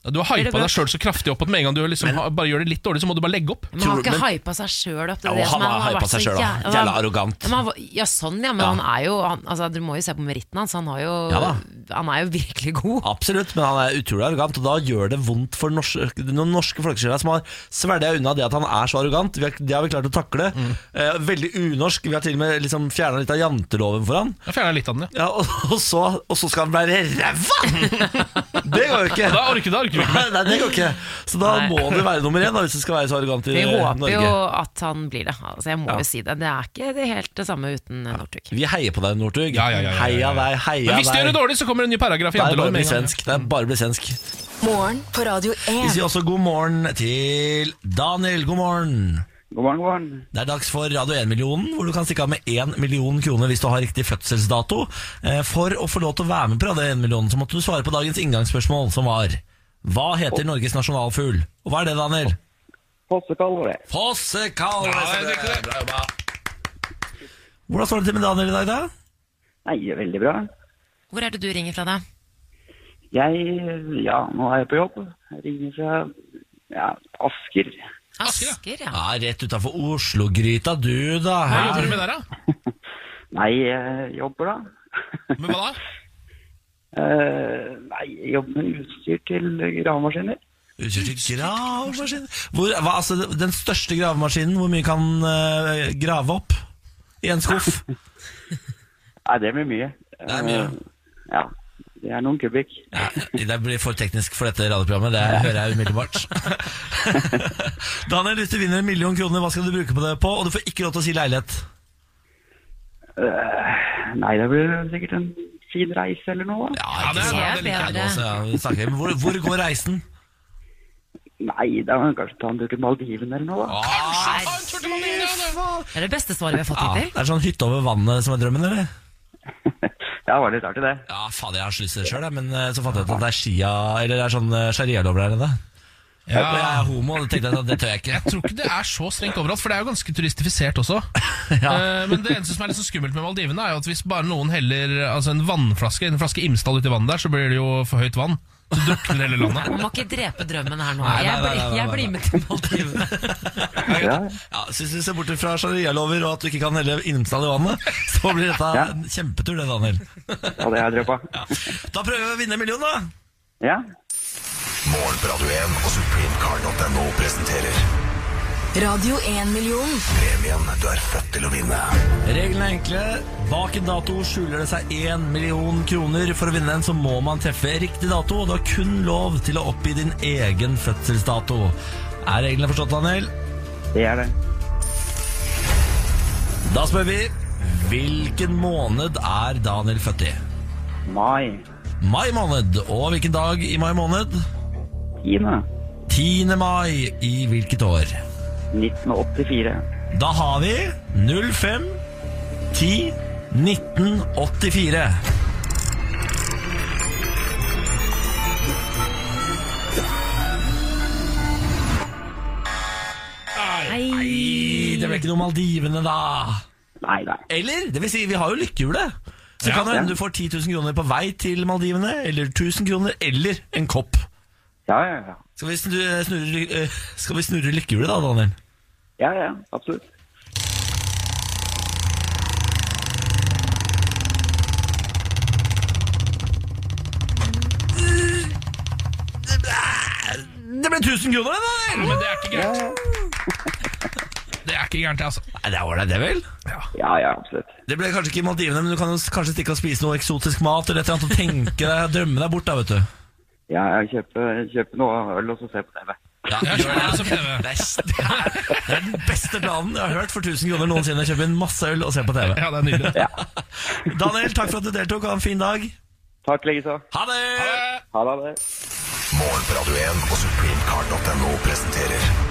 Speaker 4: Du har
Speaker 3: Blir det
Speaker 4: hypa
Speaker 3: bra?
Speaker 4: deg sjøl så kraftig opp at med en gang du liksom, har- bare gjør det litt dårlig, så må du bare legge opp.
Speaker 3: Men han har
Speaker 2: Tror-
Speaker 3: ikke
Speaker 2: men-
Speaker 3: hypa seg sjøl opp. Det er
Speaker 2: Jo,
Speaker 3: det som
Speaker 2: han har hypa
Speaker 3: vært
Speaker 2: seg
Speaker 3: så
Speaker 2: selv, da.
Speaker 3: jæ-
Speaker 2: Jævla arrogant.
Speaker 3: Men han var- ja, sånn, ja. Men
Speaker 2: Ja.
Speaker 3: han er jo han, altså, Du må jo se på meritten hans. Han, har jo,
Speaker 2: Ja da.
Speaker 3: han er jo virkelig god.
Speaker 2: Absolutt, men han er utrolig arrogant, og da gjør det vondt for norske, noen norske folkesjeler som har svelga unna det at han er så arrogant. Vi har, det har vi klart å takle. Eh, veldig unorsk. Vi har til og med liksom fjerna litt av janteloven for han.
Speaker 4: Jeg fjerna litt av den, ja.
Speaker 2: Ja, og, og, så, og så skal han være ræva! Det går jo ikke.
Speaker 4: Da orker da orker vi ikke
Speaker 2: Nei,
Speaker 4: mer.
Speaker 2: nei, det går ikke. Så da
Speaker 3: Nei.
Speaker 2: må det være nummer én, da, hvis det skal være så arrogant i
Speaker 3: Vi håper
Speaker 2: Norge.
Speaker 3: jo at han blir det. Altså, jeg må jo si det. Det er ikke det helt det samme uten Northug.
Speaker 2: Vi heier på deg, Northug.
Speaker 4: Ja, ja, ja, ja, ja.
Speaker 2: Heia deg, heia
Speaker 4: Men hvis du gjør det
Speaker 2: deg.
Speaker 4: dårlig, så kommer det en ny paragraf i
Speaker 2: Det er bare å
Speaker 4: janteloven. med
Speaker 2: bli
Speaker 4: en gang.
Speaker 2: svensk. Det er bare å bli svensk.
Speaker 1: Morgen på Radio
Speaker 2: Vi
Speaker 1: 1.
Speaker 2: sier også god morgen til Daniel. God morgen.
Speaker 7: God morgen, god morgen.
Speaker 2: Det er dags for Radio 1-millionen, hvor du kan stikke av med 1 million kroner hvis du har riktig fødselsdato. Eh, For å få lov til å være med på Radio 1-millionen, så måtte du svare på dagens inngangsspørsmål, som var Hva heter Norges nasjonalfugl? Og hva er det, Daniel?
Speaker 7: Fossekall var det.
Speaker 2: Fossekall!
Speaker 4: Ja, jeg likte det.
Speaker 2: Bra jobba. Hvordan står det til med Daniel i dag, da?
Speaker 7: Nei, veldig bra.
Speaker 3: Hvor er det du ringer fra, da?
Speaker 7: Jeg, ja, nå er jeg på jobb. Jeg ringer fra, ja, Asker.
Speaker 4: Asker, ja.
Speaker 3: Asker, ja.
Speaker 2: Ja, Rett utafor Oslo-gryta, du, da.
Speaker 4: Hva
Speaker 2: Her.
Speaker 4: jobber du med der, da?
Speaker 7: Nei, jeg jobber da.
Speaker 4: Med hva da?
Speaker 7: Eh, Nei, jeg jobber med utstyr til gravemaskiner.
Speaker 2: Utstyr til gravemaskin. Hvor, hva, altså, den største gravemaskinen, hvor mye kan eh, grave opp i en skuff?
Speaker 7: Nei, det blir mye. Det
Speaker 2: er mye.
Speaker 7: Ja, det er noen kubikk.
Speaker 2: Ja, det blir for teknisk for dette radioprogrammet, det hører jeg umiddelbart. Daniel, hvis du vinner en million kroner, hva skal du bruke på det på? Og du får ikke lov til å si leilighet.
Speaker 7: Nei, det blir sikkert en fin reise eller noe. da.
Speaker 2: Ja,
Speaker 4: det er bra, det
Speaker 3: liker jeg.
Speaker 2: nå, så, ja, vi snakker. Men hvor, hvor går reisen?
Speaker 7: Nei, da må vi kanskje ta en tur til Maldiven eller noe.
Speaker 2: Ah,
Speaker 7: da.
Speaker 3: Det er det beste svaret vi har fått
Speaker 2: Ja,
Speaker 3: hittil.
Speaker 2: det er sånn hytte over vannet som er drømmen, eller?
Speaker 7: Ja, var litt artig det.
Speaker 2: Ja, fader, jeg har så lyst til det sjøl, men eh, så fant jeg ut at det er shia Eller det er sånn eh, sharia-lover der nede.
Speaker 4: Ja.
Speaker 2: Og jeg er homo, og da tenkte jeg at det tør jeg ikke.
Speaker 4: Jeg tror ikke det er så strengt overalt, for det er jo ganske turistifisert også. Eh, Men det eneste som er litt så skummelt med Maldivene, er jo at hvis bare noen heller altså en vannflaske en flaske Imsdal uti vannet der, så blir det jo for høyt vann. Så drukner hele landet.
Speaker 3: Man må ikke drepe drømmen her nå.
Speaker 2: Nei, nei,
Speaker 3: Jeg
Speaker 2: nei, nei,
Speaker 3: blir,
Speaker 2: nei,
Speaker 3: jeg blir
Speaker 2: nei.
Speaker 3: med til Maldivene.
Speaker 7: Ja,
Speaker 2: Ja, så Hvis du ser bort fra sharia-lover og at du ikke kan helle innstall i vannet, så blir dette
Speaker 7: Ja.
Speaker 2: en kjempetur, det, Daniel.
Speaker 7: det hadde jeg drømt på.
Speaker 2: Da prøver vi å vinne en million, da!
Speaker 7: Ja,
Speaker 8: Morgen på Radio 1 og supremecard.no presenterer
Speaker 1: Radio 1-million.
Speaker 8: premien du er født til å vinne.
Speaker 2: Reglene er enkle. Bak en dato skjuler det seg én million kroner. For å vinne den så må man treffe riktig dato, og du har kun lov til å oppgi din egen fødselsdato. Er reglene forstått, Daniel?
Speaker 7: det er det.
Speaker 2: Da spør vi hvilken måned er Daniel født i?
Speaker 7: Mai.
Speaker 2: Mai måned. Og hvilken dag i mai måned?
Speaker 7: Tiende.
Speaker 2: 10. mai i hvilket år?
Speaker 7: 1984.
Speaker 2: Da har vi 05 10 1984. Nei, det ble ikke noe Maldivene, da.
Speaker 7: Nei, nei.
Speaker 2: Eller? Det vil si, vi har jo lykkehjulet. Så kan det hende du får 10 000 kroner på vei til Maldivene, eller 1000 kroner, eller en kopp.
Speaker 7: Ja, ja, ja.
Speaker 2: Skal vi snurre, snurre, eh, skal vi snurre lykkehjulet, da, Daniel?
Speaker 7: Ja, ja, absolutt.
Speaker 2: Det ble 1000 kroner, det, Daniel!
Speaker 4: Men det er ikke gærent. Det er ikke gærent, altså.
Speaker 2: Nei, det er ålreit, det, vel?
Speaker 7: Ja, ja, absolutt.
Speaker 2: Det ble kanskje ikke Maldivene, men du kan jo s- kanskje stikke og spise noe eksotisk mat eller et eller annet og tenke deg, drømme deg bort, da, vet du.
Speaker 7: Ja, jeg kjøper, kjøper noe øl og så ser jeg på TV.
Speaker 2: Ja,
Speaker 4: Jeg skjønner det som TV.
Speaker 2: Det, er, det er- det er den beste planen jeg har hørt for 1000 kroner noensinne. Kjøpe inn masse øl og se på TV.
Speaker 4: Ja, det er nydelig.
Speaker 2: Daniel, takk for at du deltok. Ha en fin dag.
Speaker 7: Takk likeså.
Speaker 2: Ha det!
Speaker 7: Ha det.
Speaker 8: Morgen på Radio 1 og supremecard.no presenterer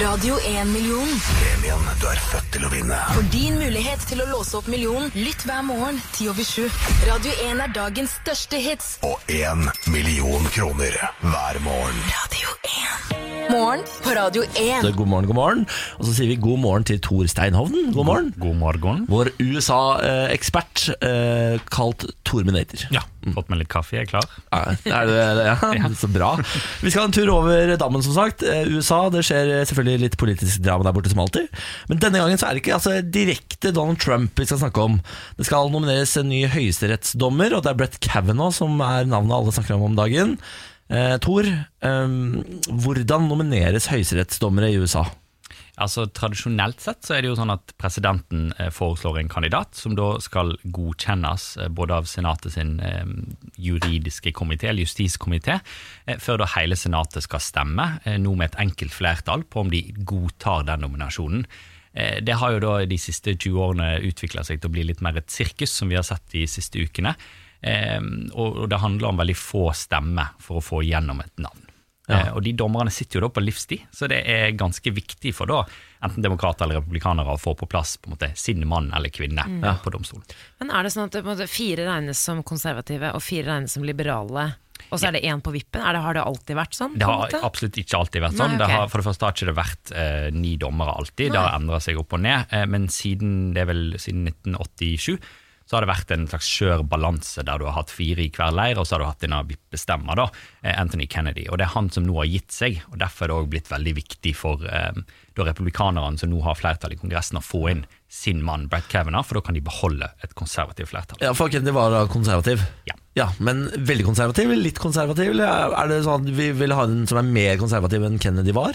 Speaker 1: Radio 1-million.
Speaker 8: Premien du er født til å vinne.
Speaker 1: For din mulighet til å låse opp millionen, lytt hver morgen 10 over 7. Radio 1 er dagens største hits.
Speaker 8: Og én million kroner hver morgen.
Speaker 1: Radio 1. Morgen på Radio 1.
Speaker 2: God morgen, god morgen. Og så sier vi god morgen til Tor Steinhovden. God morgen.
Speaker 9: God morgen.
Speaker 2: Vår USA-ekspert, eh, kalt Torminator.
Speaker 9: Ja, fått med litt kaffe, jeg er klar.
Speaker 2: Ja, Er det, ja, så bra. Vi skal ha en tur over dammen, som sagt. Eh, USA, det skjer selvfølgelig litt politisk drama der borte, som alltid. Men denne gangen så er det ikke altså, direkte Donald Trump vi skal snakke om. Det skal nomineres en ny høyesterettsdommer, og det er Brett Kavanaugh som er navnet alle snakker om om dagen. Eh, Tor, eh, hvordan nomineres høyesterettsdommere i USA?
Speaker 9: Altså, Tradisjonelt sett så er det jo sånn at presidenten eh, foreslår en kandidat, som da skal godkjennes eh, både av senatet sin eh, juridiske komité, eller justiskomité, eh, før da hele senatet skal stemme, eh, nå med et enkelt flertall, på om de godtar den nominasjonen. Eh, Det har jo da de siste 20 årene utvikla seg til å bli litt mer et sirkus, som vi har sett de siste ukene. Eh, Og og det handler om veldig få stemmer for å få gjennom et navn. Eh, Og de dommerne sitter jo da på livstid, så det er ganske viktig for da enten demokrater eller republikanere å få på plass på en måte sin mann eller kvinne eh, på domstolen.
Speaker 3: Men er det sånn at det på en måte fire regnes som konservative og fire regnes som liberale, og så er det én på vippen? Er det, har det alltid vært sånn?
Speaker 9: Det
Speaker 3: på en
Speaker 9: har
Speaker 3: måte?
Speaker 9: absolutt ikke alltid vært sånn.
Speaker 3: Nei, ok.
Speaker 9: det har, for det første har ikke det vært eh, ni dommere alltid, det har endra seg opp og ned, eh, men siden, det er vel, siden 1987 så har det vært en slags skjør balanse der du har hatt fire i hver leir, og så har du hatt denne vippestemmer, da, eh, Anthony Kennedy. Og det er han som nå har gitt seg, og derfor er det òg blitt veldig viktig for eh, da republikanerne som nå har flertall i Kongressen, å få inn sin mann Brett Kavanaugh, for da kan de beholde et konservativt flertall.
Speaker 2: Ja, for Kennedy var da konservativ.
Speaker 9: Ja.
Speaker 2: Men veldig konservativ? Litt konservativ? Eller er det sånn at vi vil ha en som er mer konservativ enn Kennedy var?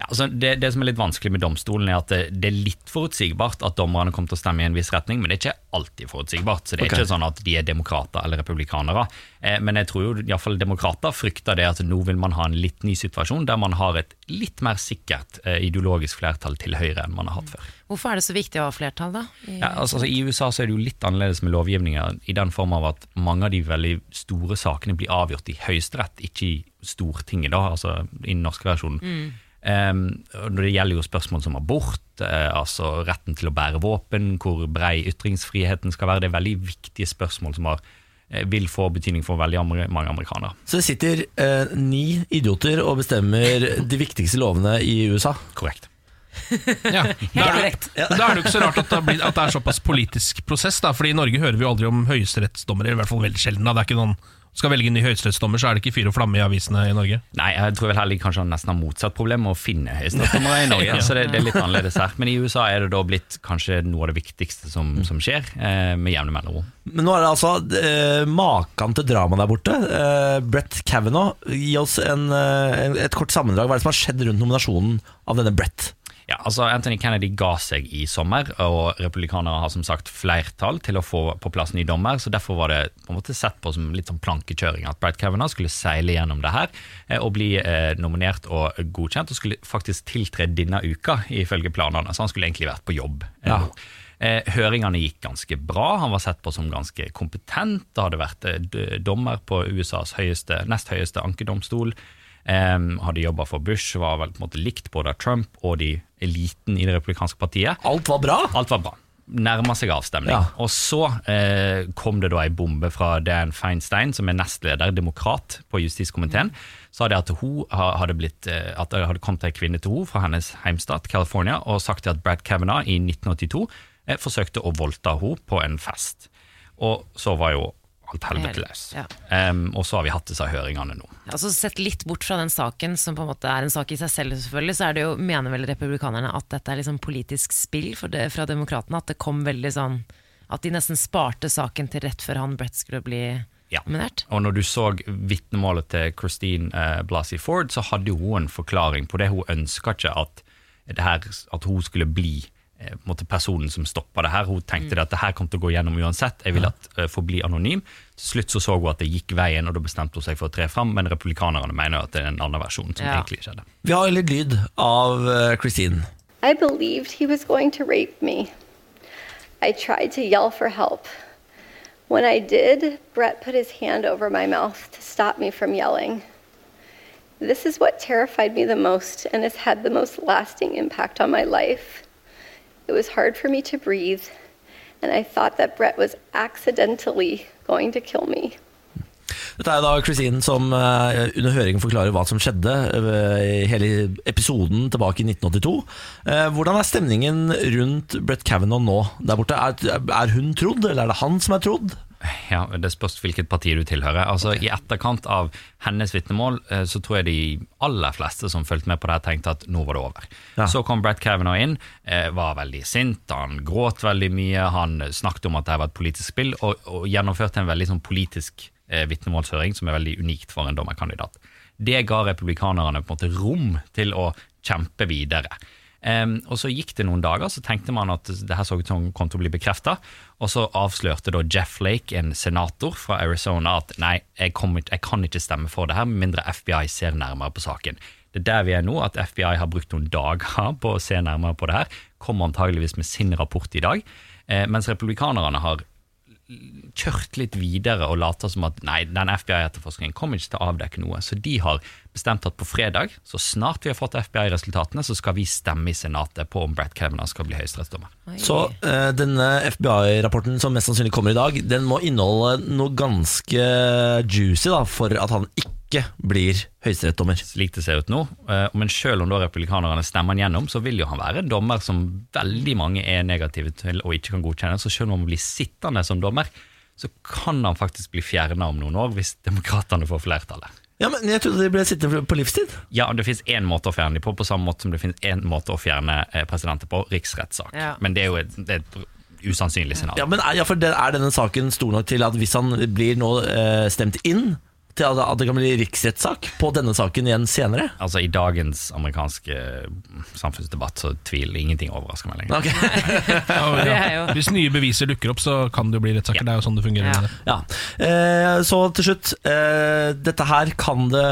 Speaker 9: Ja, altså det, det som er litt vanskelig med domstolen, er at det, det er litt forutsigbart at dommerne kommer til å stemme i en viss retning, men det er ikke alltid forutsigbart. Så det er
Speaker 2: Ok.
Speaker 9: ikke sånn at de er demokrater eller republikanere. Eh, men jeg tror jo i hvert fall demokrater frykter det at nå vil man ha en litt ny situasjon der man har et litt mer sikkert eh, ideologisk flertall til høyre enn man har hatt før.
Speaker 3: Hvorfor er det så viktig å ha flertall, da? I-
Speaker 9: Ja, altså, altså, I USA så er det jo litt annerledes med lovgivninger, i den form av at mange av de veldig store sakene blir avgjort i Høyesterett, ikke i Stortinget, da, altså i den norske versjonen. Ehm, og det gjelder jo spørsmål som abort, eh, altså retten til å bære våpen, hvor brei ytringsfriheten skal være. Det er veldig viktige spørsmål som har, eh, vil få betydning for veldig amer- mange amerikanere.
Speaker 2: Så det sitter eh, ni idioter og bestemmer de viktigste lovene i USA.
Speaker 9: Korrekt.
Speaker 4: Ja, da, er det, da er det jo ikke så rart at det, har blitt- at det er såpass politisk prosess. Da, fordi I Norge hører vi jo aldri om høyesterettsdommere. I hvert fall veldig sjelden da. Det er ikke noen, Skal velge en ny høyesterettsdommer, så er det ikke fyr og flamme i avisene i Norge.
Speaker 9: Nei, jeg tror vel heller kanskje han nesten har motsatt problem med å finne høyesterettsdommere i Norge. Så det, det er litt annerledes her. Men i USA er det da blitt kanskje noe av det viktigste som, som skjer, eh, med jevne mellomrom.
Speaker 2: Men nå er det altså eh, maken til drama der borte. Eh, Brett Kavanaugh, gi oss en, eh, en- et kort sammendrag. Hva er det som har skjedd rundt nominasjonen av denne Brett?
Speaker 9: Ja, altså Anthony Kennedy ga seg i sommer, og republikanere har som sagt flertall til å få på plass ny dommer, så derfor var det på en måte sett på som litt sånn plankekjøring at Brett Kavanaugh skulle seile gjennom det her eh, og bli eh, nominert og godkjent, og skulle faktisk tiltre denne uka ifølge planene, så han skulle egentlig vært på jobb. eh,
Speaker 2: Ja.
Speaker 9: nå. Eh, Høringene gikk ganske bra, han var sett på som ganske kompetent, det hadde vært eh, d- dommer på USAs høyeste, nest høyeste ankedomstol, Em, hadde jobba for Bush, var vel på en måte likt både av Trump og de eliten i det republikanske partiet.
Speaker 2: Alt var bra!
Speaker 9: Alt var bra. Nærma seg avstemning.
Speaker 2: Ja.
Speaker 9: Og så eh, kom det da ei bombe fra Dan Feinstein, som er nestleder, demokrat, på justiskomiteen. Sa det at, hun ha- hadde blitt, eh, at det hadde kommet ei kvinne til henne fra hennes heimstat, California, og sagt at Brad Kavanaugh i 1982 eh, forsøkte å voldta henne på en fest. Og så var jo alt helvete løs.
Speaker 3: Ja.
Speaker 9: Em, og så har vi hatt disse høringene nå.
Speaker 3: Altså Sett litt bort fra den saken, som på en måte er en sak i seg selv, selvfølgelig, så er det jo, mener vel republikanerne at dette er liksom politisk spill for det, fra demokratene. At det kom veldig sånn At de nesten sparte saken til rett før han Brett skulle bli
Speaker 9: Ja.
Speaker 3: nominert.
Speaker 9: Og når du så vitnemålet til Christine eh, Blasey Ford, så hadde jo hun en forklaring på det. Hun ønska ikke at, det her, at hun skulle bli eh, på en måte personen som stoppa det her. Hun
Speaker 2: Mm.
Speaker 9: tenkte det at det her kom til å gå gjennom uansett, jeg vil at, eh, forbli anonym. Til slutt så så hun at det gikk veien, og da bestemte hun seg for å tre fram, men republikanerne mener jo at det er en annen versjon som
Speaker 3: Ja.
Speaker 9: Sånn egentlig skjedde.
Speaker 2: Vi har litt lyd av eh, Christine.
Speaker 10: I believed he was going to rape me. I tried to yell for help. When I did, Brett put his hand over my mouth to stop me from yelling. This is what terrified me the most and has had the most lasting impact on my life. It was hard for me to breathe, and I thought that Brett was accidentally going to kill me.
Speaker 2: Dette er da Christine som eh, under høringen forklarer hva som skjedde eh, i hele episoden tilbake i 1982. Eh, hvordan er stemningen rundt Brett Kavanaugh nå der borte? Er, er hun trodd, eller er det han som er trodd?
Speaker 9: Ja, Det spørs hvilket parti du tilhører. Altså, I etterkant av hennes vitnemål eh, så tror jeg de aller fleste som fulgte med på det, her tenkte at nå var det over.
Speaker 2: Ja.
Speaker 9: Så kom Brett Kavanaugh inn, eh, var veldig sint, han gråt veldig mye, han eh, snakket om at det her var et politisk spill, og, og gjennomførte en veldig sånn politisk eh, vitnemålshøring som er veldig unikt for en dommerkandidat. Det ga republikanerne på en måte rom til å kjempe videre. Em, og Så gikk det noen dager, så tenkte man at det her så ut som kom til å bli bekrefta. Og så avslørte da Jeff Lake, en senator fra Arizona, at nei, jeg, kommer ikke, jeg kan ikke stemme for det her, med mindre FBI ser nærmere på saken. Det er der vi er nå, at FBI har brukt noen dager på å se nærmere på det her. Kommer antageligvis med sin rapport i dag. Eh, mens republikanerne har kjørt litt videre og later som at nei, den FBI-etterforskningen kommer ikke til å avdekke noe. Så de har bestemt at på fredag, så snart vi har fått FBI-resultatene, så skal vi stemme i Senatet på om Brett Kavanaugh skal bli høyesterettsdommer.
Speaker 2: Så eh, denne FBI-rapporten som mest sannsynlig kommer i dag, den må inneholde noe ganske juicy da, for at han ikke blir høyesterettsdommer.
Speaker 9: Slik det ser ut nå. Eh, Men selv om da republikanerne stemmer han gjennom, så vil jo han være en dommer som veldig mange er negative til og ikke kan godkjenne. Så selv om han blir sittende som dommer, så kan han faktisk bli fjernet om noen år hvis demokratene får flertallet.
Speaker 2: Ja, men jeg trodde de ble sittende på livstid.
Speaker 9: Ja, det finnes én måte å fjerne dem på, på samme måte som det finnes én måte å fjerne eh, presidenter på, riksrettssak.
Speaker 3: Ja.
Speaker 9: Men det er jo et, det er et usannsynlig scenario.
Speaker 2: Ja, men er, ja, for det, er denne saken stor nok til at hvis han blir nå eh, stemt inn til at, at det kan bli riksrettssak på denne saken igjen senere?
Speaker 9: Altså, I dagens amerikanske eh, samfunnsdebatt så tvil ingenting overrasker meg lenger.
Speaker 2: Ok.
Speaker 4: Ja,
Speaker 3: Det er jo-
Speaker 4: ja. Hvis nye beviser dukker opp, så kan det jo bli rettssaker.
Speaker 9: Ja.
Speaker 4: Det er jo sånn det fungerer.
Speaker 3: Ja.
Speaker 2: Ja. Eh, så til slutt, eh, dette her kan det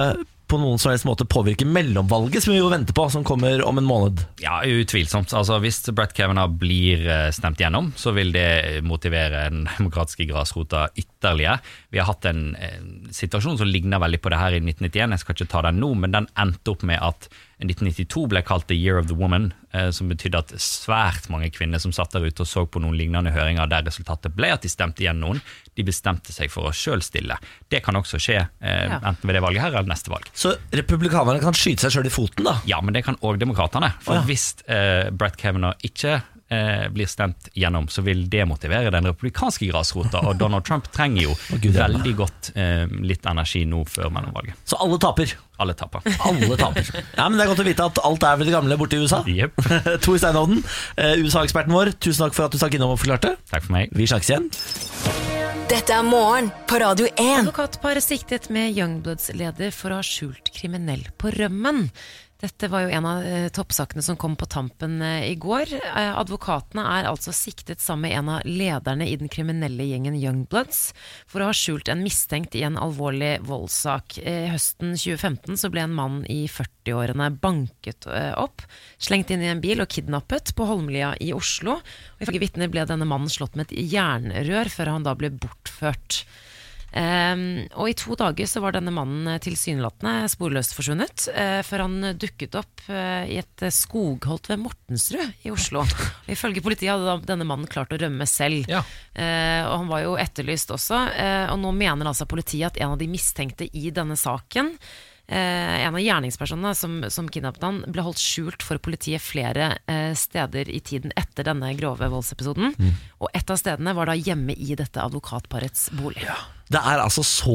Speaker 2: på noen som helst måte påvirke mellomvalget som vi jo venter på, som kommer om en måned.
Speaker 9: Ja, utvilsomt. Altså, Hvis Brett Kavanaugh blir eh, stemt gjennom, så vil det motivere den demokratiske grasrota ytterligere. Vi har hatt en eh, situasjon som ligner veldig på det her i 1991. Jeg skal ikke ta den nå, men den endte opp med at 1992 ble kalt The Year of the Woman, eh, som betydde at svært mange kvinner som satt der ute og så på noen lignende høringer der resultatet ble at de stemte igjen noen, de bestemte seg for å sjøl stille. Det kan også skje, eh,
Speaker 3: Ja.
Speaker 9: enten ved det valget her eller neste valg.
Speaker 2: Så republikanerne kan skyte seg sjøl i foten, da.
Speaker 9: Ja, men det kan òg demokratene. For
Speaker 2: Å, ja.
Speaker 9: hvis eh, Brett Kavanaugh ikke eh, blir stemt gjennom, så vil det motivere den republikanske grasrota. Og Donald Trump trenger jo
Speaker 2: Gud, ja.
Speaker 9: veldig godt eh, litt energi nå før mellomvalget.
Speaker 2: Så alle taper.
Speaker 9: Alle taper.
Speaker 2: Alle taper. Ja, men Det er godt å vite at alt er ved det gamle borte i USA.
Speaker 9: Jep.
Speaker 2: Tor Steinhovden, eh, USA-eksperten vår, tusen takk for at du stakk innom og forklarte.
Speaker 9: Takk for meg.
Speaker 2: Vi snakkes igjen.
Speaker 1: Dette er morgen på Radio 1.
Speaker 3: Advokatparet siktet med Youngbloods-leder for å ha skjult kriminell på rømmen. Dette var jo en av eh, toppsakene som kom på tampen eh, i går. Eh, advokatene er altså siktet sammen med en av lederne i den kriminelle gjengen Youngbloods for å ha skjult en mistenkt i en alvorlig voldssak. Eh, høsten 2015 så ble en mann i 40-årene banket eh, opp, slengt inn i en bil og kidnappet på Holmlia i Oslo. Og ifølge vitner ble denne mannen slått med et jernrør før han da ble bortført. Ehm, og i to dager så var denne mannen eh, tilsynelatende sporløst forsvunnet, eh, før han eh, dukket opp eh, i et eh, skogholt ved Mortensrud i Oslo. Og ifølge politiet hadde da denne mannen klart å rømme selv.
Speaker 4: Ja.
Speaker 3: Eh, og han var jo etterlyst også. eh, og nå mener altså politiet at en av de mistenkte i denne saken eh, en av gjerningspersonene som, som kidnappet han, ble holdt skjult for politiet flere eh, steder i tiden etter denne grove voldsepisoden. Og et av stedene var da hjemme i dette advokatparets bolig.
Speaker 2: Det er altså så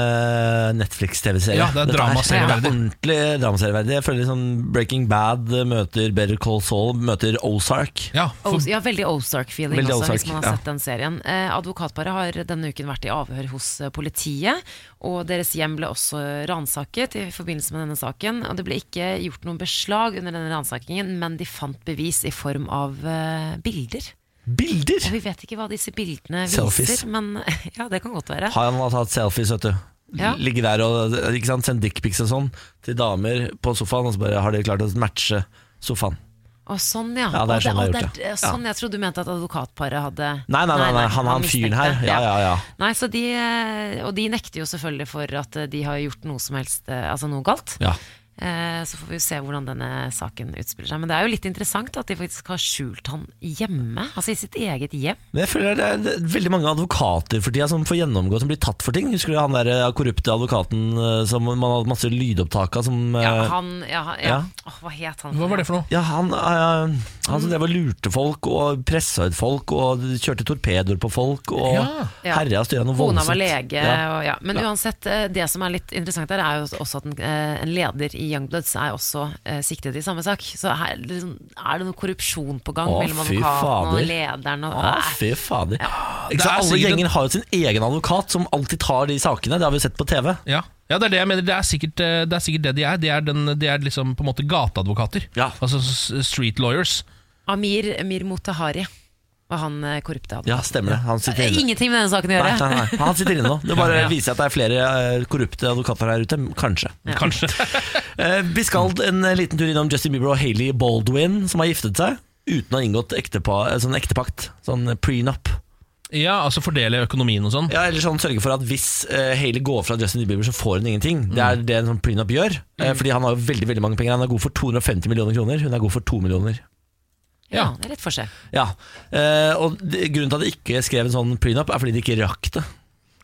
Speaker 2: eh, Netflix-TV-serie.
Speaker 4: Ja, det er
Speaker 2: Dette her.
Speaker 4: dramaserieverdig.
Speaker 2: Ja, Ordentlig dramaserieverdig. Jeg føler liksom Breaking Bad møter Better Call Saul møter Ozark.
Speaker 4: Ja, for,
Speaker 3: Oz- ja, veldig Ozark-feeling
Speaker 2: Veldig
Speaker 3: også, hvis
Speaker 2: Ozark,
Speaker 3: man har
Speaker 2: ja.
Speaker 3: sett den serien. Eh, advokatparet har denne uken vært i avhør hos eh, politiet, og deres hjem ble også ransaket i forbindelse med denne saken. Og det ble ikke gjort noen beslag under denne ransakingen, men de fant bevis i form av eh, bilder.
Speaker 2: Bilder!
Speaker 3: Og vi vet ikke hva disse bildene viser,
Speaker 2: Selfies.
Speaker 3: men ja, det kan godt være.
Speaker 2: Har han tatt selfies, vet du.
Speaker 3: Ja.
Speaker 2: Ligge der og ikke sant, sende dickpics og sånn til damer på sofaen, og så bare har de klart å matche sofaen.
Speaker 3: Å, sånn, ja.
Speaker 2: Ja, det er
Speaker 3: Å,
Speaker 2: sånn jeg har
Speaker 3: å,
Speaker 2: gjort det.
Speaker 3: er
Speaker 2: Ja.
Speaker 3: Sånn, jeg trodde du mente at advokatparet hadde
Speaker 2: Nei, nei, nei, nei, han- han fyren her.
Speaker 3: mistenkte.
Speaker 2: Ja, ja, ja.
Speaker 3: Nei, så de, eh, og de nekter jo selvfølgelig for at eh, de har gjort noe som helst, eh, altså noe galt.
Speaker 2: Ja.
Speaker 3: Eh, Så får vi jo se hvordan denne saken utspiller seg. Men det er jo litt interessant at de faktisk har skjult han hjemme, altså i sitt eget hjem.
Speaker 2: Men jeg føler det er det er veldig mange advokater for tida som får gjennomgå, som blir tatt for ting. Husker du han der eh, korrupte advokaten eh, som man hadde masse lydopptak av, som eh,
Speaker 3: Ja, han, ja, han- ja.
Speaker 2: ja.
Speaker 3: Åh, hva het han?
Speaker 4: Hva var det for noe?
Speaker 2: Ja, han, eh, han som drev og lurte folk og pressa ut folk og kjørte torpedoer på folk og
Speaker 4: Ja.
Speaker 3: Ja.
Speaker 2: herja og styra noe
Speaker 3: Kona
Speaker 2: voldsomt.
Speaker 3: var lege.
Speaker 2: Ja.
Speaker 3: Og, ja. Men uansett, eh, det som er litt interessant der, er jo også at en, eh, en leder i Youngbloods er også eh, siktet i samme sak. Så her liksom, er det noe korrupsjon på gang
Speaker 2: Å,
Speaker 3: mellom
Speaker 2: fy
Speaker 3: advokaten og
Speaker 2: fader.
Speaker 3: lederen. Og,
Speaker 2: Å,
Speaker 3: Nei.
Speaker 2: fy fader.
Speaker 4: Det
Speaker 2: Ikke
Speaker 4: er
Speaker 2: sant, alle
Speaker 4: sikkert-
Speaker 2: gjenger har jo sin egen advokat som alltid tar de sakene. Det har vi sett på TV.
Speaker 4: Ja. ja, det er det jeg mener. Det er sikkert eh, det, er sikkert det de er. De er, den, de er liksom på en måte gateadvokater.
Speaker 2: Ja.
Speaker 4: Altså s- street lawyers.
Speaker 3: Amir, Amir Motahari var han eh, korrupte advokaten.
Speaker 2: Ja, stemmer det. Han sitter inne.
Speaker 3: Ingenting med denne saken å
Speaker 2: Nei,
Speaker 3: gjøre.
Speaker 2: nei, nei. Han sitter inne nå. Det bare
Speaker 4: Ja, ja.
Speaker 2: viser at det er flere eh, korrupte advokater her ute. Kanskje.
Speaker 4: Kanskje.
Speaker 2: Eh, Vi skal en eh, liten tur innom Justin Bieber og Hailey Baldwin, som har giftet seg uten å ha inngått ektepa, eh, sånn ektepakt. Sånn prenup.
Speaker 4: ja, altså fordele økonomien og sånn.
Speaker 2: Ja, eller sånn sørge for at hvis eh, Hailey går fra Justin Bieber, så får hun ingenting. Det er det en sånn prenup gjør. eh, Fordi han har jo veldig veldig mange penger. Han er god for 250 millioner kroner. Hun er god for 2 millioner.
Speaker 3: Ja, det er litt forskjell.
Speaker 2: Ja, eh, og det- Grunnen til at de ikke skrev en sånn prenup, er fordi de ikke rakk det.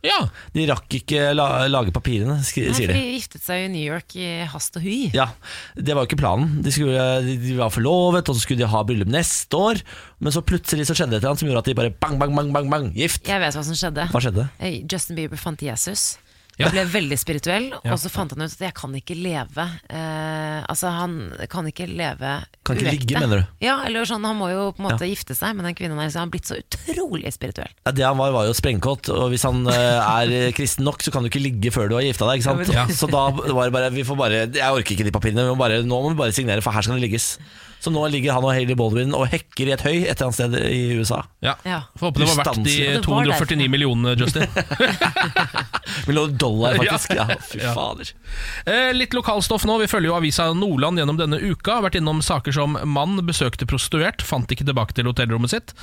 Speaker 4: Ja,
Speaker 2: De rakk ikke la lage papirene, skri,
Speaker 3: Nei,
Speaker 2: sier
Speaker 3: for
Speaker 2: de.
Speaker 3: de giftet seg jo i New York i hast og hy.
Speaker 2: Ja, Det var jo ikke planen. De, skulle, de var forlovet, og så skulle de ha bryllup neste år. Men så plutselig så skjedde det et eller annet som gjorde at de bare bang, bang, bang, bang, bang gift.
Speaker 3: Jeg vet hva som skjedde.
Speaker 2: Hva skjedde?
Speaker 3: Eh, Justin Bieber fant Jesus.
Speaker 4: Ja.
Speaker 3: Og ble veldig spirituell, og så fant han ut at jeg kan ikke leve eh, Altså, han kan ikke leve
Speaker 2: Kan ikke
Speaker 3: uekte.
Speaker 2: ligge, mener du?
Speaker 3: Ja, eller sånn, han må jo på en måte gifte seg med den kvinnen her, så han har blitt så utrolig spirituell.
Speaker 2: Ja, det han var, var jo sprengkåt, og hvis han eh, er kristen nok, så kan du ikke ligge før du har gifta deg. ikke sant?
Speaker 4: Ja.
Speaker 2: Så da var det bare Vi får bare Jeg orker ikke de papirene. Vi må bare, nå må vi bare signere, for her skal det ligges. Så nå ligger han og Hailey Baldwin og hekker i et høy et eller annet sted i USA.
Speaker 4: ja.
Speaker 3: Ja.
Speaker 4: Får håpe det var verdt de
Speaker 2: Ustanselig.
Speaker 3: Ja, det var
Speaker 4: 249
Speaker 3: derfor.
Speaker 4: millionene, Justin.
Speaker 2: Millioner dollar, faktisk.
Speaker 4: Ja.
Speaker 2: Ja, fy
Speaker 4: Ja.
Speaker 2: fader.
Speaker 4: Eh, Litt lokalstoff nå. Vi følger jo avisa Nordland gjennom denne uka. Har vært innom saker som mann besøkte prostituert, fant ikke tilbake til hotellrommet sitt.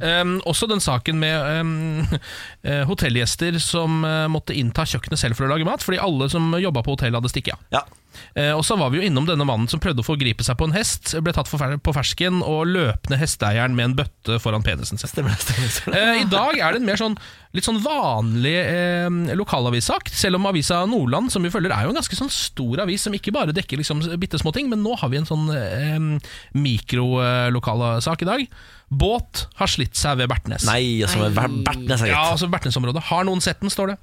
Speaker 4: Ehm, også den saken med ehm, eh, hotellgjester som eh, måtte innta kjøkkenet selv for å lage mat, fordi alle som jobba på hotellet, hadde stikket av.
Speaker 2: Ja.
Speaker 4: Eh, Og så var vi jo innom denne mannen som prøvde å forgripe seg på en hest, ble tatt for fer- på fersken og løp ned hesteeieren med en bøtte foran penisen sin.
Speaker 2: Stemmer det. stemmer det, stemmer det.
Speaker 4: Eh, I dag er det en mer sånn, litt sånn vanlig eh, lokalavissak, selv om avisa Nordland som vi følger er jo en ganske sånn stor avis som ikke bare dekker liksom bitte små ting, men nå har vi en sånn eh, mikrolokalasak i dag. Båt har slitt seg ved Bertnes.
Speaker 2: Nei, altså,
Speaker 3: Nei.
Speaker 2: Bertnes er
Speaker 4: Eh, Ja,
Speaker 2: greit.
Speaker 4: altså Bertnesområdet. Har noen sett den, står det.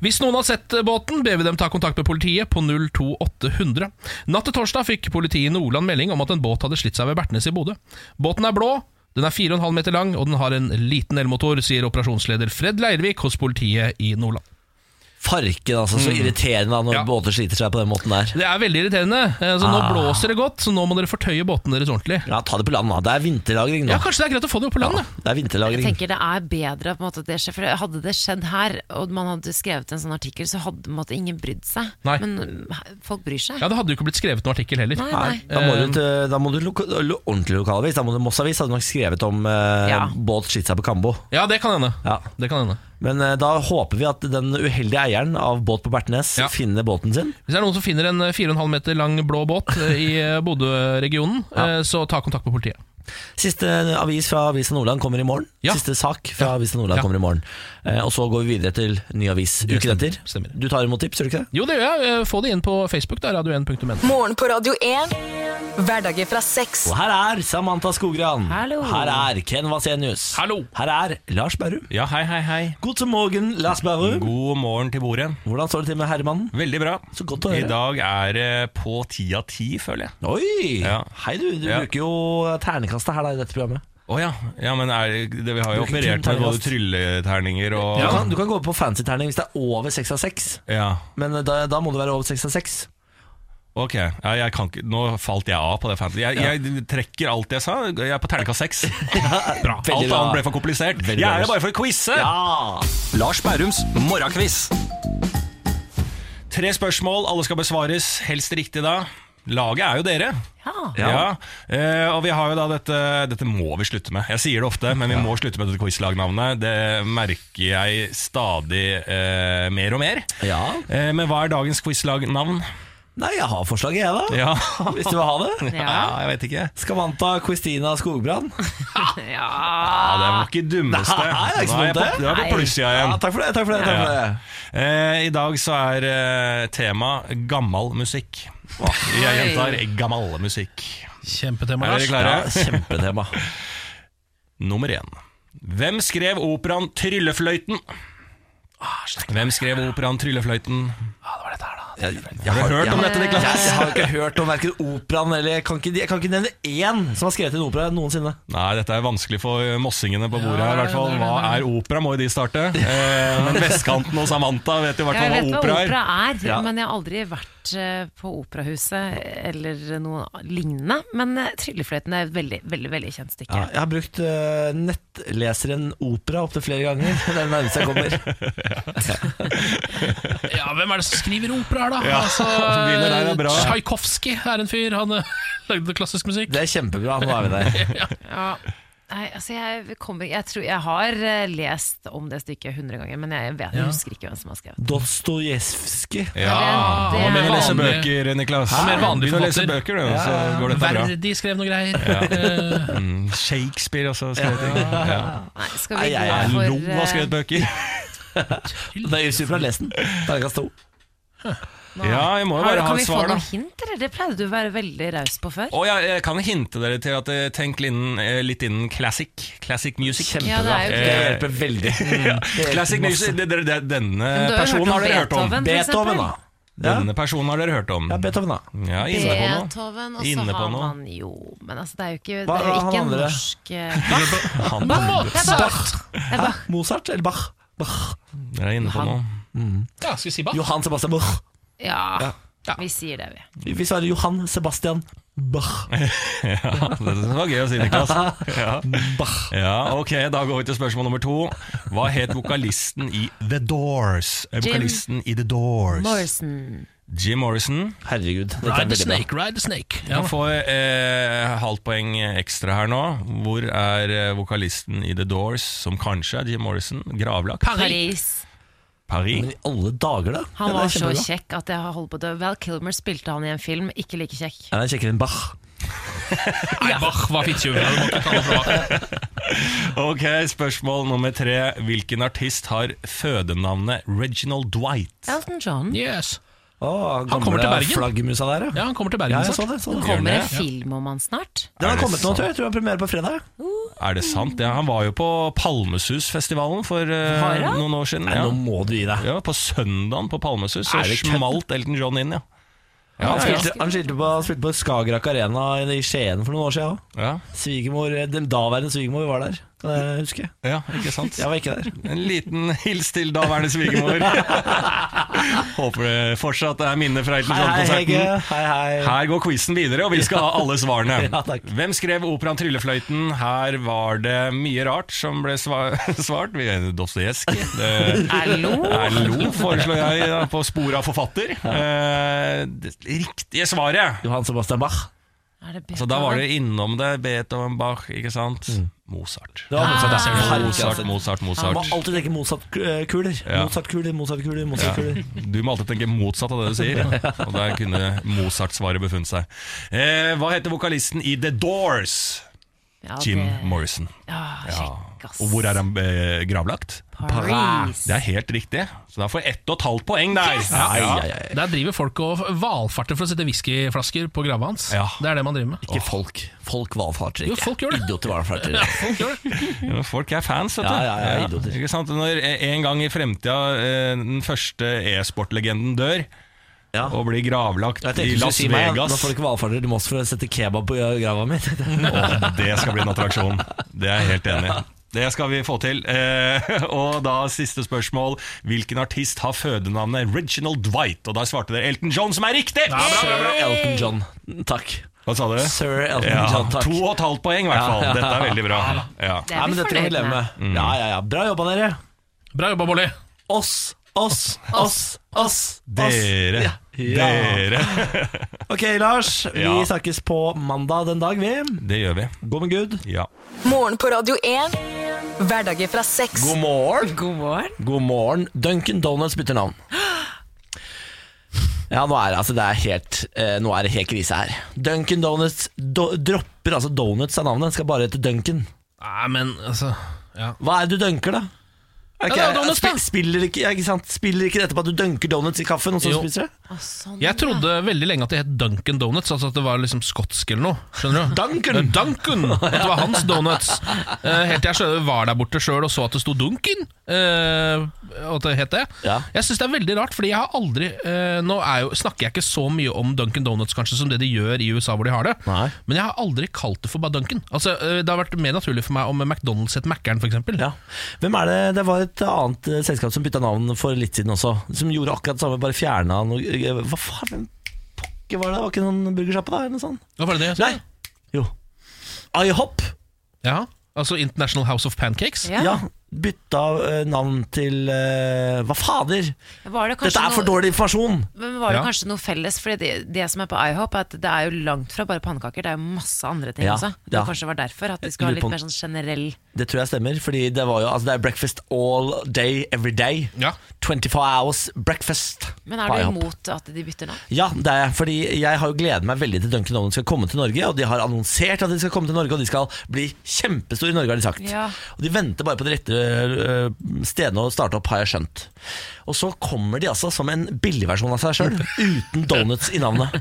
Speaker 4: Hvis noen har sett eh, båten, ber vi dem ta kontakt med politiet på 02800. Natt til torsdag fikk politiet i Nordland melding om at en båt hadde slitt seg ved Bertnes i Bodø. Båten er blå, den er 4,5 meter lang, og den har en liten elmotor, sier operasjonsleder Fred Leirvik hos politiet i Nordland.
Speaker 2: Farken, altså. Så irriterende da, når
Speaker 4: Mm. Ja.
Speaker 2: båter sliter seg på den måten der.
Speaker 4: Det er veldig irriterende. Eh, Så nå blåser det godt, så nå må dere fortøye båten deres ordentlig.
Speaker 2: Ah. Ja, Ta det på land, da. Det er vinterlagring nå.
Speaker 4: Ja, Kanskje det er greit å få det opp på land? da.
Speaker 2: Ja, det er
Speaker 3: Jeg
Speaker 2: vinterlagring.
Speaker 3: tenker det er bedre på en måte at det skjer, for hadde det skjedd her, og man hadde skrevet en sånn artikkel, så hadde på en måte ingen brydd seg.
Speaker 4: Nei.
Speaker 3: Men mm, folk bryr seg.
Speaker 4: Ja, Det hadde jo ikke blitt skrevet noen artikkel heller.
Speaker 3: Nei,
Speaker 4: Eh,
Speaker 2: Nei,
Speaker 3: nei.
Speaker 2: da må
Speaker 4: Ehm.
Speaker 2: du, til- da må du loka, lo, ordentlig lokalavis. Da må du Mossavis hadde nok skrevet om eh,
Speaker 3: Ja.
Speaker 2: båt skitt seg på Kambo.
Speaker 4: Ja, det kan hende.
Speaker 2: Ja.
Speaker 4: Det kan hende.
Speaker 2: Men eh, da håper vi at den uheldige eieren av båt på Bertnes
Speaker 4: Ja.
Speaker 2: finner båten sin.
Speaker 4: Hvis det er noen som finner en eh, 4,5 meter lang blå båt eh, i eh, Bodø-regionen, eh, så ta kontakt med politiet.
Speaker 2: Siste eh, avis fra Avisa Nordland kommer i morgen.
Speaker 4: Ja.
Speaker 2: Siste sak fra
Speaker 4: Ja.
Speaker 2: Avisa Nordland
Speaker 4: Ja.
Speaker 2: kommer i morgen. Eh, og så går vi videre til ny avis uken
Speaker 4: stemmer.
Speaker 2: etter.
Speaker 4: Stemmer.
Speaker 2: Du tar imot tips, gjør du ikke det?
Speaker 4: Jo, det gjør jeg. Eh, Få det inn på Facebook, da, radio1.no.
Speaker 1: Morgen på Radio 1. Hverdager fra seks.
Speaker 2: Og her er Samantha Skogran.
Speaker 3: Hallo.
Speaker 2: Her er Ken Vasenius.
Speaker 4: Hallo.
Speaker 2: Her er Lars Berrum.
Speaker 11: Ja, hei, hei, hei.
Speaker 2: God morgen, Lars Berrum.
Speaker 11: God morgen til bordet.
Speaker 2: Hvordan står det til med herremannen?
Speaker 11: Veldig bra.
Speaker 2: Så godt å
Speaker 11: I
Speaker 2: høre.
Speaker 11: dag er det på ti av ti, føler jeg.
Speaker 2: Oi!
Speaker 11: Ja.
Speaker 2: Hei, du. Du
Speaker 11: Ja.
Speaker 2: bruker jo ternekastet her da, i dette programmet.
Speaker 11: Å ja. ja, men er, det, vi har jo
Speaker 2: Bruker kun
Speaker 11: operert med både
Speaker 2: terningkast.
Speaker 11: trylleterninger og
Speaker 2: Du, kan, du kan gå på fancy-terning hvis det er over 6 av 6,
Speaker 11: Ja,
Speaker 2: men eh, da, da må det være over 6 av 6.
Speaker 11: ok. Ja, jeg kan ikke, nå falt jeg av på det fantasy. Jeg, jeg trekker alt jeg sa. Jeg er på terningkast seks. Bra. Alt
Speaker 2: Veldig bra.
Speaker 11: annet ble for komplisert. jeg
Speaker 2: Veldig bra,
Speaker 11: er
Speaker 2: Lars.
Speaker 11: her bare for å quize!
Speaker 2: Ja!
Speaker 8: Lars Bærums morgenkviss.
Speaker 11: Tre spørsmål, alle skal besvares. Helst riktig da. Laget er jo dere.
Speaker 3: Ja.
Speaker 11: Eh, og vi har jo da dette Dette må vi slutte med. Jeg sier det ofte, men vi må slutte med dette quizlagnavnet. Det merker jeg stadig eh, mer og mer. Eh, men hva er dagens quizlagnavn?
Speaker 2: Nei, jeg har forslaget, jeg, da.
Speaker 11: Ja.
Speaker 2: Hvis du vil ha det.
Speaker 11: Ja. jeg vet ikke. Um.
Speaker 2: Skal man ta Christina Skogbrann?
Speaker 11: Ja, det var ikke dummeste.
Speaker 2: Nei, det er ikke så
Speaker 11: Nå jeg
Speaker 2: dumt,
Speaker 11: på,
Speaker 2: det.
Speaker 11: du er på
Speaker 2: Nei.
Speaker 11: plussida igjen.
Speaker 2: Ja, takk for det, takk for det, takk for det.
Speaker 11: Eh, I dag så er eh, tema gammal musikk. Jeg gjentar gammal musikk.
Speaker 4: Kjempetema,
Speaker 11: Er
Speaker 4: Lars.
Speaker 11: dere klare?
Speaker 2: Ja, kjempetema.
Speaker 11: Nummer én. Hvem skrev operaen 'Tryllefløyten'? Hvem skrev operaen 'Tryllefløyten'?
Speaker 2: Jeg, jeg
Speaker 11: Har du hørt om
Speaker 2: jeg-
Speaker 11: dette, Niklas?
Speaker 2: Jeg, jeg har ikke hørt om verken operaen eller jeg kan, ikke, jeg kan ikke nevne én som har skrevet en opera noensinne.
Speaker 11: Nei, dette er vanskelig for mossingene på bordet her. i hvert fall Hva er opera, må jo de starte. Eh, men Vestkanten og Samantha vet jo i hvert
Speaker 3: Jeg vet
Speaker 11: fall hva
Speaker 3: hva
Speaker 11: opera er.
Speaker 3: opera er,
Speaker 11: Ja.
Speaker 3: men jeg har aldri vært eh, på operahuset eller noe lignende. Men eh, Tryllefløyten er et veldig, veldig, veldig kjent stykke.
Speaker 2: Ja, jeg har brukt øh, nettleseren Opera opptil flere ganger. Det er det nærmeste jeg kommer.
Speaker 4: Ja, hvem er det som skriver operaer, da?
Speaker 11: Ja,
Speaker 4: altså,
Speaker 11: som begynner der, er bra.
Speaker 4: Tsjajkovskij er en fyr. Han eh, lagde klassisk musikk.
Speaker 2: Det er kjempebra. Nå er vi der.
Speaker 3: Ja. Nei, altså jeg, kommer, jeg, tror, jeg har eh, lest om det stykket 100 ganger, men jeg, vet, jeg husker ikke hvem som har skrevet det.
Speaker 2: Dostojevskij.
Speaker 11: Ja,
Speaker 3: det er-
Speaker 11: Begynn å lese
Speaker 4: vanlig.
Speaker 11: bøker, Niklas.
Speaker 4: Ja, mer vanlig
Speaker 11: Begynn å lese
Speaker 4: forfatter.
Speaker 11: bøker, du, så går dette bra.
Speaker 4: Verdi skrev noe greier. Eh,
Speaker 11: Mm, Shakespeare også har skrevet ting. Ja.
Speaker 3: Nei, skal vi
Speaker 2: Nei, jeg
Speaker 3: gå
Speaker 11: Lo
Speaker 3: for
Speaker 11: har skrevet
Speaker 3: eh,
Speaker 11: bøker.
Speaker 2: Det er Yusuf fra Lesen. Terningkast to.
Speaker 3: nei.
Speaker 11: Ja, jeg må jo
Speaker 3: eh, Har-
Speaker 11: bare ha
Speaker 3: Kan
Speaker 11: et
Speaker 3: vi
Speaker 11: svar,
Speaker 3: få
Speaker 11: da.
Speaker 3: noen hint, eller? Det pleide du å være veldig raus på før.
Speaker 11: Og jeg, jeg kan hinte dere til at eh, tenk innen, eh, litt innen classic. Classic music.
Speaker 3: Ja, det er jo
Speaker 2: Det
Speaker 3: ikke-
Speaker 2: hjelper veldig. Mm.
Speaker 11: Classic music, det, det, det, Denne
Speaker 3: Men du har jo hørt
Speaker 11: personen
Speaker 3: om
Speaker 11: har dere hørt om.
Speaker 3: Beethoven.
Speaker 2: Beethoven, da. Ja.
Speaker 11: Denne personen har dere hørt om.
Speaker 2: ja, Beethoven, da.
Speaker 11: Ja, inne på noe.
Speaker 3: Beethoven, og så
Speaker 11: Inne på
Speaker 3: har
Speaker 11: noe.
Speaker 3: man jo Men altså, det er jo ikke,
Speaker 2: Hva
Speaker 3: det er jo
Speaker 2: er han
Speaker 3: ikke en
Speaker 2: andre?
Speaker 3: norsk eh,
Speaker 11: Han
Speaker 3: Bach! Det er Bach! Det er
Speaker 2: Hæ?
Speaker 3: Bach.
Speaker 2: Mozart eller Bach? Bach.
Speaker 11: dere er inne på noe.
Speaker 4: ja, skal vi si Bach?
Speaker 2: Johan Sebastian Bach.
Speaker 3: Ja, vi sier det, vi.
Speaker 2: Vi svarer Johan Sebastian Bach.
Speaker 11: Ja, det synes jeg var gøy å si, Niklas. Ja.
Speaker 2: Bach.
Speaker 11: ja, ok, Da går vi til spørsmål nummer to. Hva het vokalisten i The Doors? Eh,
Speaker 3: Jim
Speaker 11: Vokalisten i The Doors.
Speaker 3: Morrison.
Speaker 11: Jim Morrison.
Speaker 2: Herregud. dette er
Speaker 4: Ride the
Speaker 2: veldig bra.
Speaker 4: Snake, Ride the Snake. Ja.
Speaker 11: Han får eh, halvt poeng ekstra her nå. Hvor er eh, vokalisten i The Doors, som kanskje er Jim Morrison, gravlagt?
Speaker 3: Paris.
Speaker 11: Paris.
Speaker 2: Men i alle dager, da.
Speaker 3: Han
Speaker 2: Ja, det er
Speaker 3: var så
Speaker 2: kjempebra.
Speaker 3: kjekk at jeg har holdt på å dø. Val Kilmer spilte han i en film, ikke like kjekk.
Speaker 2: Ja, det er kjekkere enn Bach.
Speaker 4: Nei, Bach var fittjuven. Du må ikke ta det fra Bach.
Speaker 11: Ok, spørsmål nummer tre. Hvilken artist har fødenavnet Reginald Dwight?
Speaker 3: Elton John.
Speaker 4: Yes.
Speaker 2: Å,
Speaker 4: Han kommer til
Speaker 2: gamle
Speaker 4: Bergen.
Speaker 2: Flaggermusa der,
Speaker 4: Ja, han kommer til Bergen.
Speaker 2: Ja,
Speaker 4: snart.
Speaker 2: jeg så det. Så det.
Speaker 11: Gjør han
Speaker 3: Kommer det
Speaker 11: det?
Speaker 3: film om han snart?
Speaker 2: Den
Speaker 11: Er
Speaker 2: har
Speaker 11: det
Speaker 2: kommet nå,
Speaker 11: sant?
Speaker 2: tror jeg. Jeg tror det er premiere på fredag.
Speaker 11: Er det sant? Ja, han var jo på Palmesusfestivalen for eh,
Speaker 3: Har han?
Speaker 11: noen år siden.
Speaker 2: Nei,
Speaker 11: Ja.
Speaker 2: nå må du gi deg.
Speaker 11: ja, På søndagen på Palmesus så
Speaker 2: Er det kødd?
Speaker 11: smalt Elton John inn, ja. Ja, ja,
Speaker 2: Han spilte, han spilte på, han spilte på Skagerrak Arena i Skien for noen år siden òg.
Speaker 11: ja.
Speaker 2: Svigermor, eh, den daværende svigermor var der, kan jeg huske.
Speaker 11: ja ikke sant?
Speaker 2: Jeg var ikke der.
Speaker 11: En liten hils til daværende svigermor. Håper det fortsatt er minner fra Elton
Speaker 2: Hei, hei, Hege.
Speaker 11: John-konserten.
Speaker 2: Hei, hei.
Speaker 11: Her går quizen videre, og vi skal ha alle svarene.
Speaker 2: Ja, takk.
Speaker 11: Hvem skrev operaen 'Tryllefløyten'? Her var det mye rart som ble sva svart. Vi er Dostojevskij. Det-
Speaker 3: Hallo?
Speaker 11: Erlo foreslår jeg da, på sporet av forfatter. Eh, det riktige svaret
Speaker 2: Johan Sebastian Bach.
Speaker 3: Er det
Speaker 11: Så Altså, da var dere innom det. Beethoven, Bach, ikke sant? Mozart.
Speaker 2: Det var Mozart, Mm. ja.
Speaker 11: Mozart,
Speaker 2: Herregud, altså.
Speaker 11: Mozart,
Speaker 2: Man må
Speaker 11: Mozart.
Speaker 2: alltid tenke Mozart-kuler.
Speaker 11: Ja.
Speaker 2: Mozart-kuler, Mozart-kuler, Mozart-kuler.
Speaker 11: Du må alltid tenke motsatt av det du sier. Og der kunne Mozart-svaret befunnet seg. Eh, hva heter vokalisten i The Doors?
Speaker 3: Ja,
Speaker 11: Jim
Speaker 3: det-
Speaker 11: Morrison.
Speaker 3: Ja, kjekk, ass.
Speaker 11: Og hvor er han eh, gravlagt?
Speaker 3: Paris.
Speaker 11: Det er helt riktig. Så da får jeg ett og et halvt poeng der.
Speaker 2: Ai,
Speaker 11: Ja.
Speaker 2: ai, ai.
Speaker 4: Der driver folk og valfarter for å sette whiskyflasker på grava hans.
Speaker 11: Ja.
Speaker 4: Det er det man driver med.
Speaker 2: Ikke folk. Folk valfarter
Speaker 4: Jo,
Speaker 2: ikke.
Speaker 4: folk gjør det.
Speaker 2: Idioter valfarter ikke.
Speaker 4: Folk gjør det.
Speaker 11: Ja, Folk er fans, vet du.
Speaker 2: Ja, ja, ja, idioter.
Speaker 11: Ikke sant? Når eh, en gang i fremtida eh, den første e-sportlegenden dør
Speaker 2: Ja.
Speaker 11: og blir gravlagt i
Speaker 2: Jeg tenkte du skulle
Speaker 11: Las
Speaker 2: si meg ja, Nå
Speaker 11: Vegas
Speaker 2: får du ikke valfarter til Moss for å sette kebab på grava mi.
Speaker 11: Å, det skal bli en attraksjon. Det er jeg helt enig i. Det skal vi få til. Eh, og da siste spørsmål. Hvilken artist har fødenavnet Reginald Dwight? Og da svarte dere Elton John, som er riktig!
Speaker 2: Sir Elton John. Takk.
Speaker 11: Hva sa du?
Speaker 2: Sir Elton
Speaker 11: Ja,
Speaker 2: John, takk.
Speaker 11: to og et halvt poeng, i hvert fall.
Speaker 2: Ja, ja.
Speaker 11: Dette er veldig bra. Ja.
Speaker 3: Det
Speaker 2: Ja,
Speaker 3: er
Speaker 2: men
Speaker 3: vi
Speaker 2: dette kan vi
Speaker 3: fornøyd
Speaker 2: leve
Speaker 3: med.
Speaker 2: med. Ja, ja, ja. Bra jobba, dere.
Speaker 4: Bra jobba, Bolli.
Speaker 2: Oss, oss, oss, oss. oss.
Speaker 11: Dere.
Speaker 2: Ja, Ja.
Speaker 11: dere.
Speaker 2: Ok, Lars. Vi
Speaker 11: Ja.
Speaker 2: snakkes på mandag den dag, vi.
Speaker 11: Det gjør vi.
Speaker 2: Gå med Gud.
Speaker 11: Ja.
Speaker 1: Morgen på Radio 1. Hverdager fra seks.
Speaker 2: God morgen.
Speaker 3: God morgen.
Speaker 2: God morgen. Duncan Donuts bytter navn. Ja, nå er det, altså, det, er helt, eh, nå er det helt krise her. Duncan Donuts do, dropper altså donuts av navnet. Den skal bare hete Duncan.
Speaker 4: Nei, men altså ja.
Speaker 2: Hva er det du dunker, da? Er
Speaker 4: Ja,
Speaker 2: ikke-
Speaker 4: det er jo donuts, da.
Speaker 2: sp- Spiller ikke, ja, ikke sant? spiller ikke dette på at du dunker donuts i kaffen, og så
Speaker 4: Jo.
Speaker 2: spiser du?
Speaker 3: Å, sånn,
Speaker 4: Jeg trodde veldig lenge at det het Duncan Donuts, altså at det var liksom skotsk eller noe. Skjønner du?
Speaker 2: Duncan!
Speaker 4: Duncan! At det var hans donuts. Eh, helt til jeg skjønner, var der borte sjøl og så at det sto Duncan. eh, og at det het det.
Speaker 2: Ja.
Speaker 4: Jeg syns det er veldig rart, fordi jeg har aldri eh, Nå er jo, snakker jeg ikke så mye om Duncan Donuts kanskje som det de gjør i USA hvor de har det,
Speaker 2: Nei.
Speaker 4: men jeg har aldri kalt det for bare Duncan. Altså, eh, det har vært mer naturlig for meg om McDonald's het Mækkern, f.eks.
Speaker 2: Ja. Hvem er det? Det var et annet eh, selskap som bytta navn for litt siden også. Som gjorde akkurat det samme, bare fjerna noe eh, Hva faen hvem pokker var det? Var ikke noen burgersjappe da? Eller noe sånt?
Speaker 4: Hva var det det jeg sa?
Speaker 2: Nei. Jo. iHop.
Speaker 4: Ja, altså International House of Pancakes.
Speaker 2: Ja.
Speaker 3: Ja.
Speaker 2: bytta eh, navn til eh, Hva fader?
Speaker 3: Var det kanskje
Speaker 2: Dette er for
Speaker 3: noe-
Speaker 2: dårlig informasjon!
Speaker 3: Men var det
Speaker 4: Ja.
Speaker 3: kanskje noe felles? Fordi det, det som er på iHop, er at det er jo langt fra bare pannekaker. Det er jo masse andre ting
Speaker 2: Ja,
Speaker 3: også. Det
Speaker 2: ja.
Speaker 3: kanskje var derfor at de skulle
Speaker 2: lurer
Speaker 3: ha
Speaker 2: på
Speaker 3: litt mer sånn generell
Speaker 2: Det tror jeg stemmer, fordi det var jo Altså, det er breakfast all day, every day.
Speaker 4: Ja.
Speaker 2: 24 hours breakfast.
Speaker 3: Men er
Speaker 2: på
Speaker 3: du
Speaker 2: iHop.
Speaker 3: imot at de bytter navn?
Speaker 2: Ja, det er jeg, fordi jeg har jo gledet meg veldig til Duncan Donuts skal komme til Norge. Og de har annonsert at de skal komme til Norge, og de skal bli kjempestore i Norge, har de sagt.
Speaker 3: Ja.
Speaker 2: Og de venter bare på de rette øh, stedene å starte opp, har jeg skjønt. Og så kommer de altså som en billigversjon av seg sjøl, uten donuts i navnet.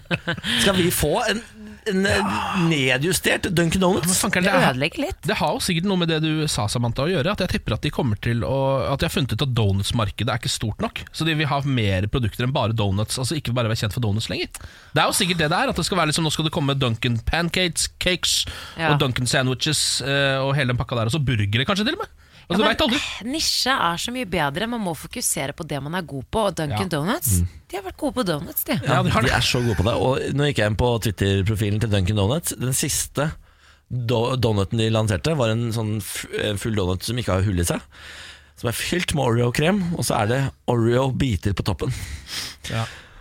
Speaker 2: Skal vi få en, en øh, nedjustert Duncan
Speaker 4: Men
Speaker 2: Donuts?
Speaker 4: fanker,
Speaker 3: Det
Speaker 4: det er-
Speaker 3: ødelegger litt.
Speaker 4: Det har jo sikkert noe med det du sa, Samantha, å gjøre. At jeg tipper at de kommer til å At de har funnet ut at donutsmarkedet er ikke stort nok. Så de vil ha mer produkter enn bare donuts. Altså ikke bare være kjent for donuts lenger. Det er jo sikkert det det er. At det skal være liksom Nå skal det komme Duncan pancakes, cakes
Speaker 3: Ja.
Speaker 4: og Duncan sandwiches eh, og hele den pakka der. Og så burgere kanskje, til og med. Altså, du
Speaker 3: Men,
Speaker 4: vet aldri.
Speaker 3: Nisje er så mye bedre. Man må fokusere på det man er god på. Og Duncan
Speaker 4: Ja.
Speaker 3: Donuts De har vært gode på donuts, de.
Speaker 2: Ja,
Speaker 4: Ja, de har
Speaker 2: de
Speaker 4: det.
Speaker 2: er så gode på det. Og nå gikk jeg inn på Twitter-profilen til Duncan Donuts. Den siste do donuten de lanserte, var en sånn f- en full donut som ikke har hull i seg. Som er fylt med Oreo-krem, og så er det Oreo-biter på toppen.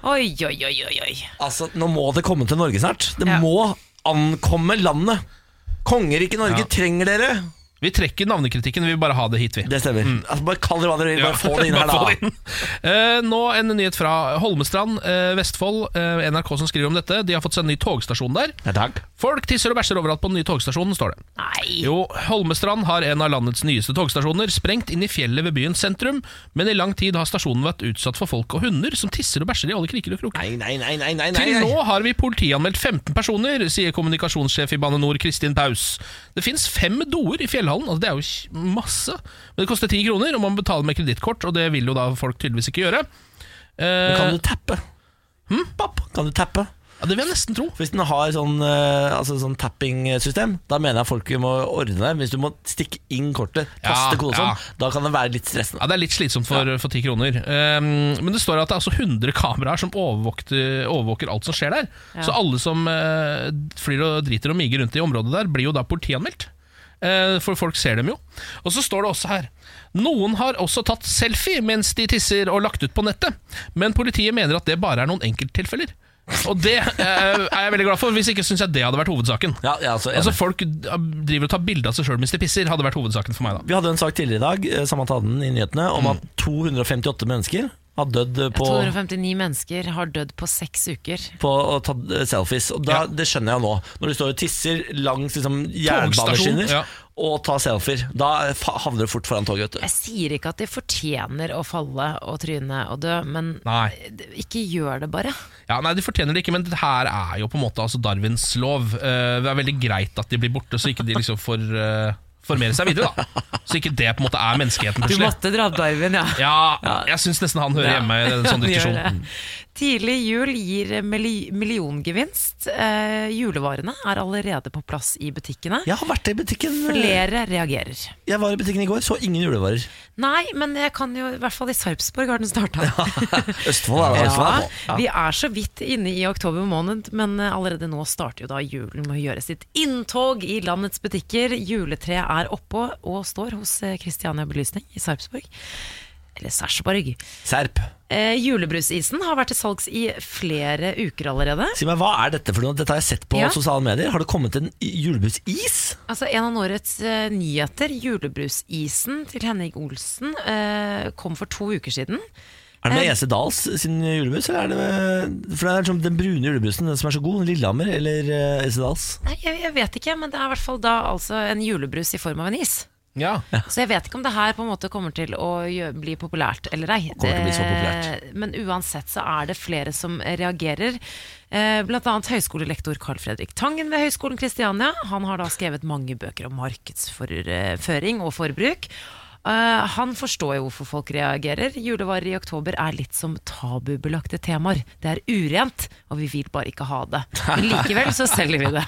Speaker 3: Oi, oi, oi, oi, oi.
Speaker 2: Altså, Nå må det komme til Norge snart. Det
Speaker 3: Ja.
Speaker 2: må ankomme landet. Kongeriket Norge
Speaker 4: Ja.
Speaker 2: trenger dere!
Speaker 4: Vi trekker navnekritikken, vi vil bare ha det hit, vi.
Speaker 2: Det stemmer. Altså, bare kall det hva dere
Speaker 4: Mm.
Speaker 2: vil,
Speaker 4: Ja,
Speaker 2: bare få det inn her,
Speaker 4: bare få det
Speaker 2: da.
Speaker 4: inn. Eh, nå en nyhet fra Holmestrand, eh, Vestfold. eh, NRK som skriver om dette. De har fått seg en ny togstasjon der.
Speaker 2: Ja, takk.
Speaker 4: Folk tisser og bæsjer overalt på den nye togstasjonen, står det.
Speaker 3: Nei.
Speaker 4: Jo, Holmestrand har en av landets nyeste togstasjoner, sprengt inn i fjellet ved byens sentrum, men i lang tid har stasjonen vært utsatt for folk og hunder som tisser og bæsjer i alle kriker og kroker.
Speaker 2: Nei, nei, nei, nei, nei, nei.
Speaker 4: Til nå har vi politianmeldt 15 personer, sier kommunikasjonssjef i Bane Nor, Kristin Paus. Det fins fem doer i fjellhallen, altså det er jo kj- masse. Men det koster ti kroner, og man betaler med kredittkort, og det vil jo da folk tydeligvis ikke gjøre. Eh,
Speaker 2: Kan du tappe?
Speaker 4: Hm?
Speaker 2: Papp, kan du tappe?
Speaker 4: ja, det vil jeg nesten tro.
Speaker 2: Hvis den har sånn, eh, altså sånn tapping-system, da mener jeg folk må ordne det. Hvis du må stikke inn kortet, taste
Speaker 4: Ja,
Speaker 2: kode og
Speaker 4: ja.
Speaker 2: sånn, da kan det være litt stressende.
Speaker 4: Ja, Det er litt slitsomt for, for 10 kroner. Ehm, men det står at det er altså 100 kameraer som overvåkte- overvåker alt som skjer der. Så alle som eh, flyr og driter og miger rundt i området der, blir jo da politianmeldt. Eh, for folk ser dem jo. Og så står det også her Noen har også tatt selfie mens de tisser og lagt ut på nettet, men politiet mener at det bare er noen enkelttilfeller. Og det eh, er jeg veldig glad for, hvis ikke syns jeg det hadde vært hovedsaken.
Speaker 2: Ja, jeg er altså enig.
Speaker 4: altså Folk driver og tar bilde av seg sjøl mens de pisser, hadde vært hovedsaken for meg da.
Speaker 2: Vi hadde en sak tidligere i dag, eh, Samantha hadde den i nyhetene, om
Speaker 4: Mm.
Speaker 2: at 258 mennesker har dødd eh, på,
Speaker 3: 259 mennesker har dødd på seks uker.
Speaker 2: på å ta eh, selfies. Og da,
Speaker 4: Ja.
Speaker 2: Det skjønner jeg nå. Når du står og tisser langs liksom, jernbaneskinner
Speaker 4: ja.
Speaker 2: og tar selfier, da eh, fa- havner du fort foran toget. Vet
Speaker 3: Jeg sier ikke at de fortjener å falle og tryne og dø, men
Speaker 4: Nei.
Speaker 3: ikke gjør det bare.
Speaker 4: Ja, nei, De fortjener det ikke, men det her er jo på en måte altså Darwins lov. Eh, det er veldig greit at de blir borte, så ikke de liksom får eh, formere seg videre. da Så ikke det på en måte er menneskeheten
Speaker 3: Du
Speaker 4: plutselig.
Speaker 3: måtte dra opp Darwin, ja.
Speaker 4: Ja, jeg syns nesten han hører
Speaker 3: Ja.
Speaker 4: hjemme i en sånn
Speaker 3: Han gjør
Speaker 4: diskusjon.
Speaker 3: det. Tidlig jul gir milli- milliongevinst. Eh, julevarene er allerede på plass i butikkene.
Speaker 2: du. Jeg har vært i butikken eh,
Speaker 3: Flere reagerer.
Speaker 2: Jeg var i butikken i går, så ingen julevarer.
Speaker 3: Nei, men jeg kan jo, i hvert fall i Sarpsborg har den starta.
Speaker 2: Østfold er det. Østfold er på.
Speaker 3: vi er så vidt inne i oktober måned, men eh, allerede nå starter jo da julen med å gjøre sitt inntog i landets butikker. Juletreet er oppå og står hos eh, Christiania Belysning i Sarpsborg. eller Sarpsborg.
Speaker 2: Serp.
Speaker 3: Eh, julebrusisen har vært til salgs i flere uker allerede.
Speaker 2: Si meg, Hva er dette for noe? Dette har jeg sett på
Speaker 3: Ja.
Speaker 2: sosiale medier. Har det kommet en julebrusis?
Speaker 3: Altså En av årets eh, nyheter, julebrusisen til Henning Olsen, eh, kom for to uker siden.
Speaker 2: Er det med
Speaker 3: Eh,
Speaker 2: Ese Dahls sin julebrus? Eller er det med, for det er som den brune julebrusen, den som er så god. Lillehammer eller eh, Ese Dahls?
Speaker 3: Nei, jeg, jeg vet ikke, men det er i hvert fall da altså en julebrus i form av en is.
Speaker 4: Ja.
Speaker 3: Så jeg vet ikke om det her på en måte kommer til å gjø- bli populært eller ei.
Speaker 2: Kommer til å bli så populært.
Speaker 3: Eh, Men uansett så er det flere som reagerer. Eh, Blant annet høyskolelektor Carl Fredrik Tangen ved Høgskolen Kristiania. Han har da skrevet mange bøker om markedsføring og forbruk. Eh, han forstår jo hvorfor folk reagerer. Julevarer i oktober er litt som tabubelagte temaer. Det er urent, og vi vil bare ikke ha det. Men likevel så selger vi det.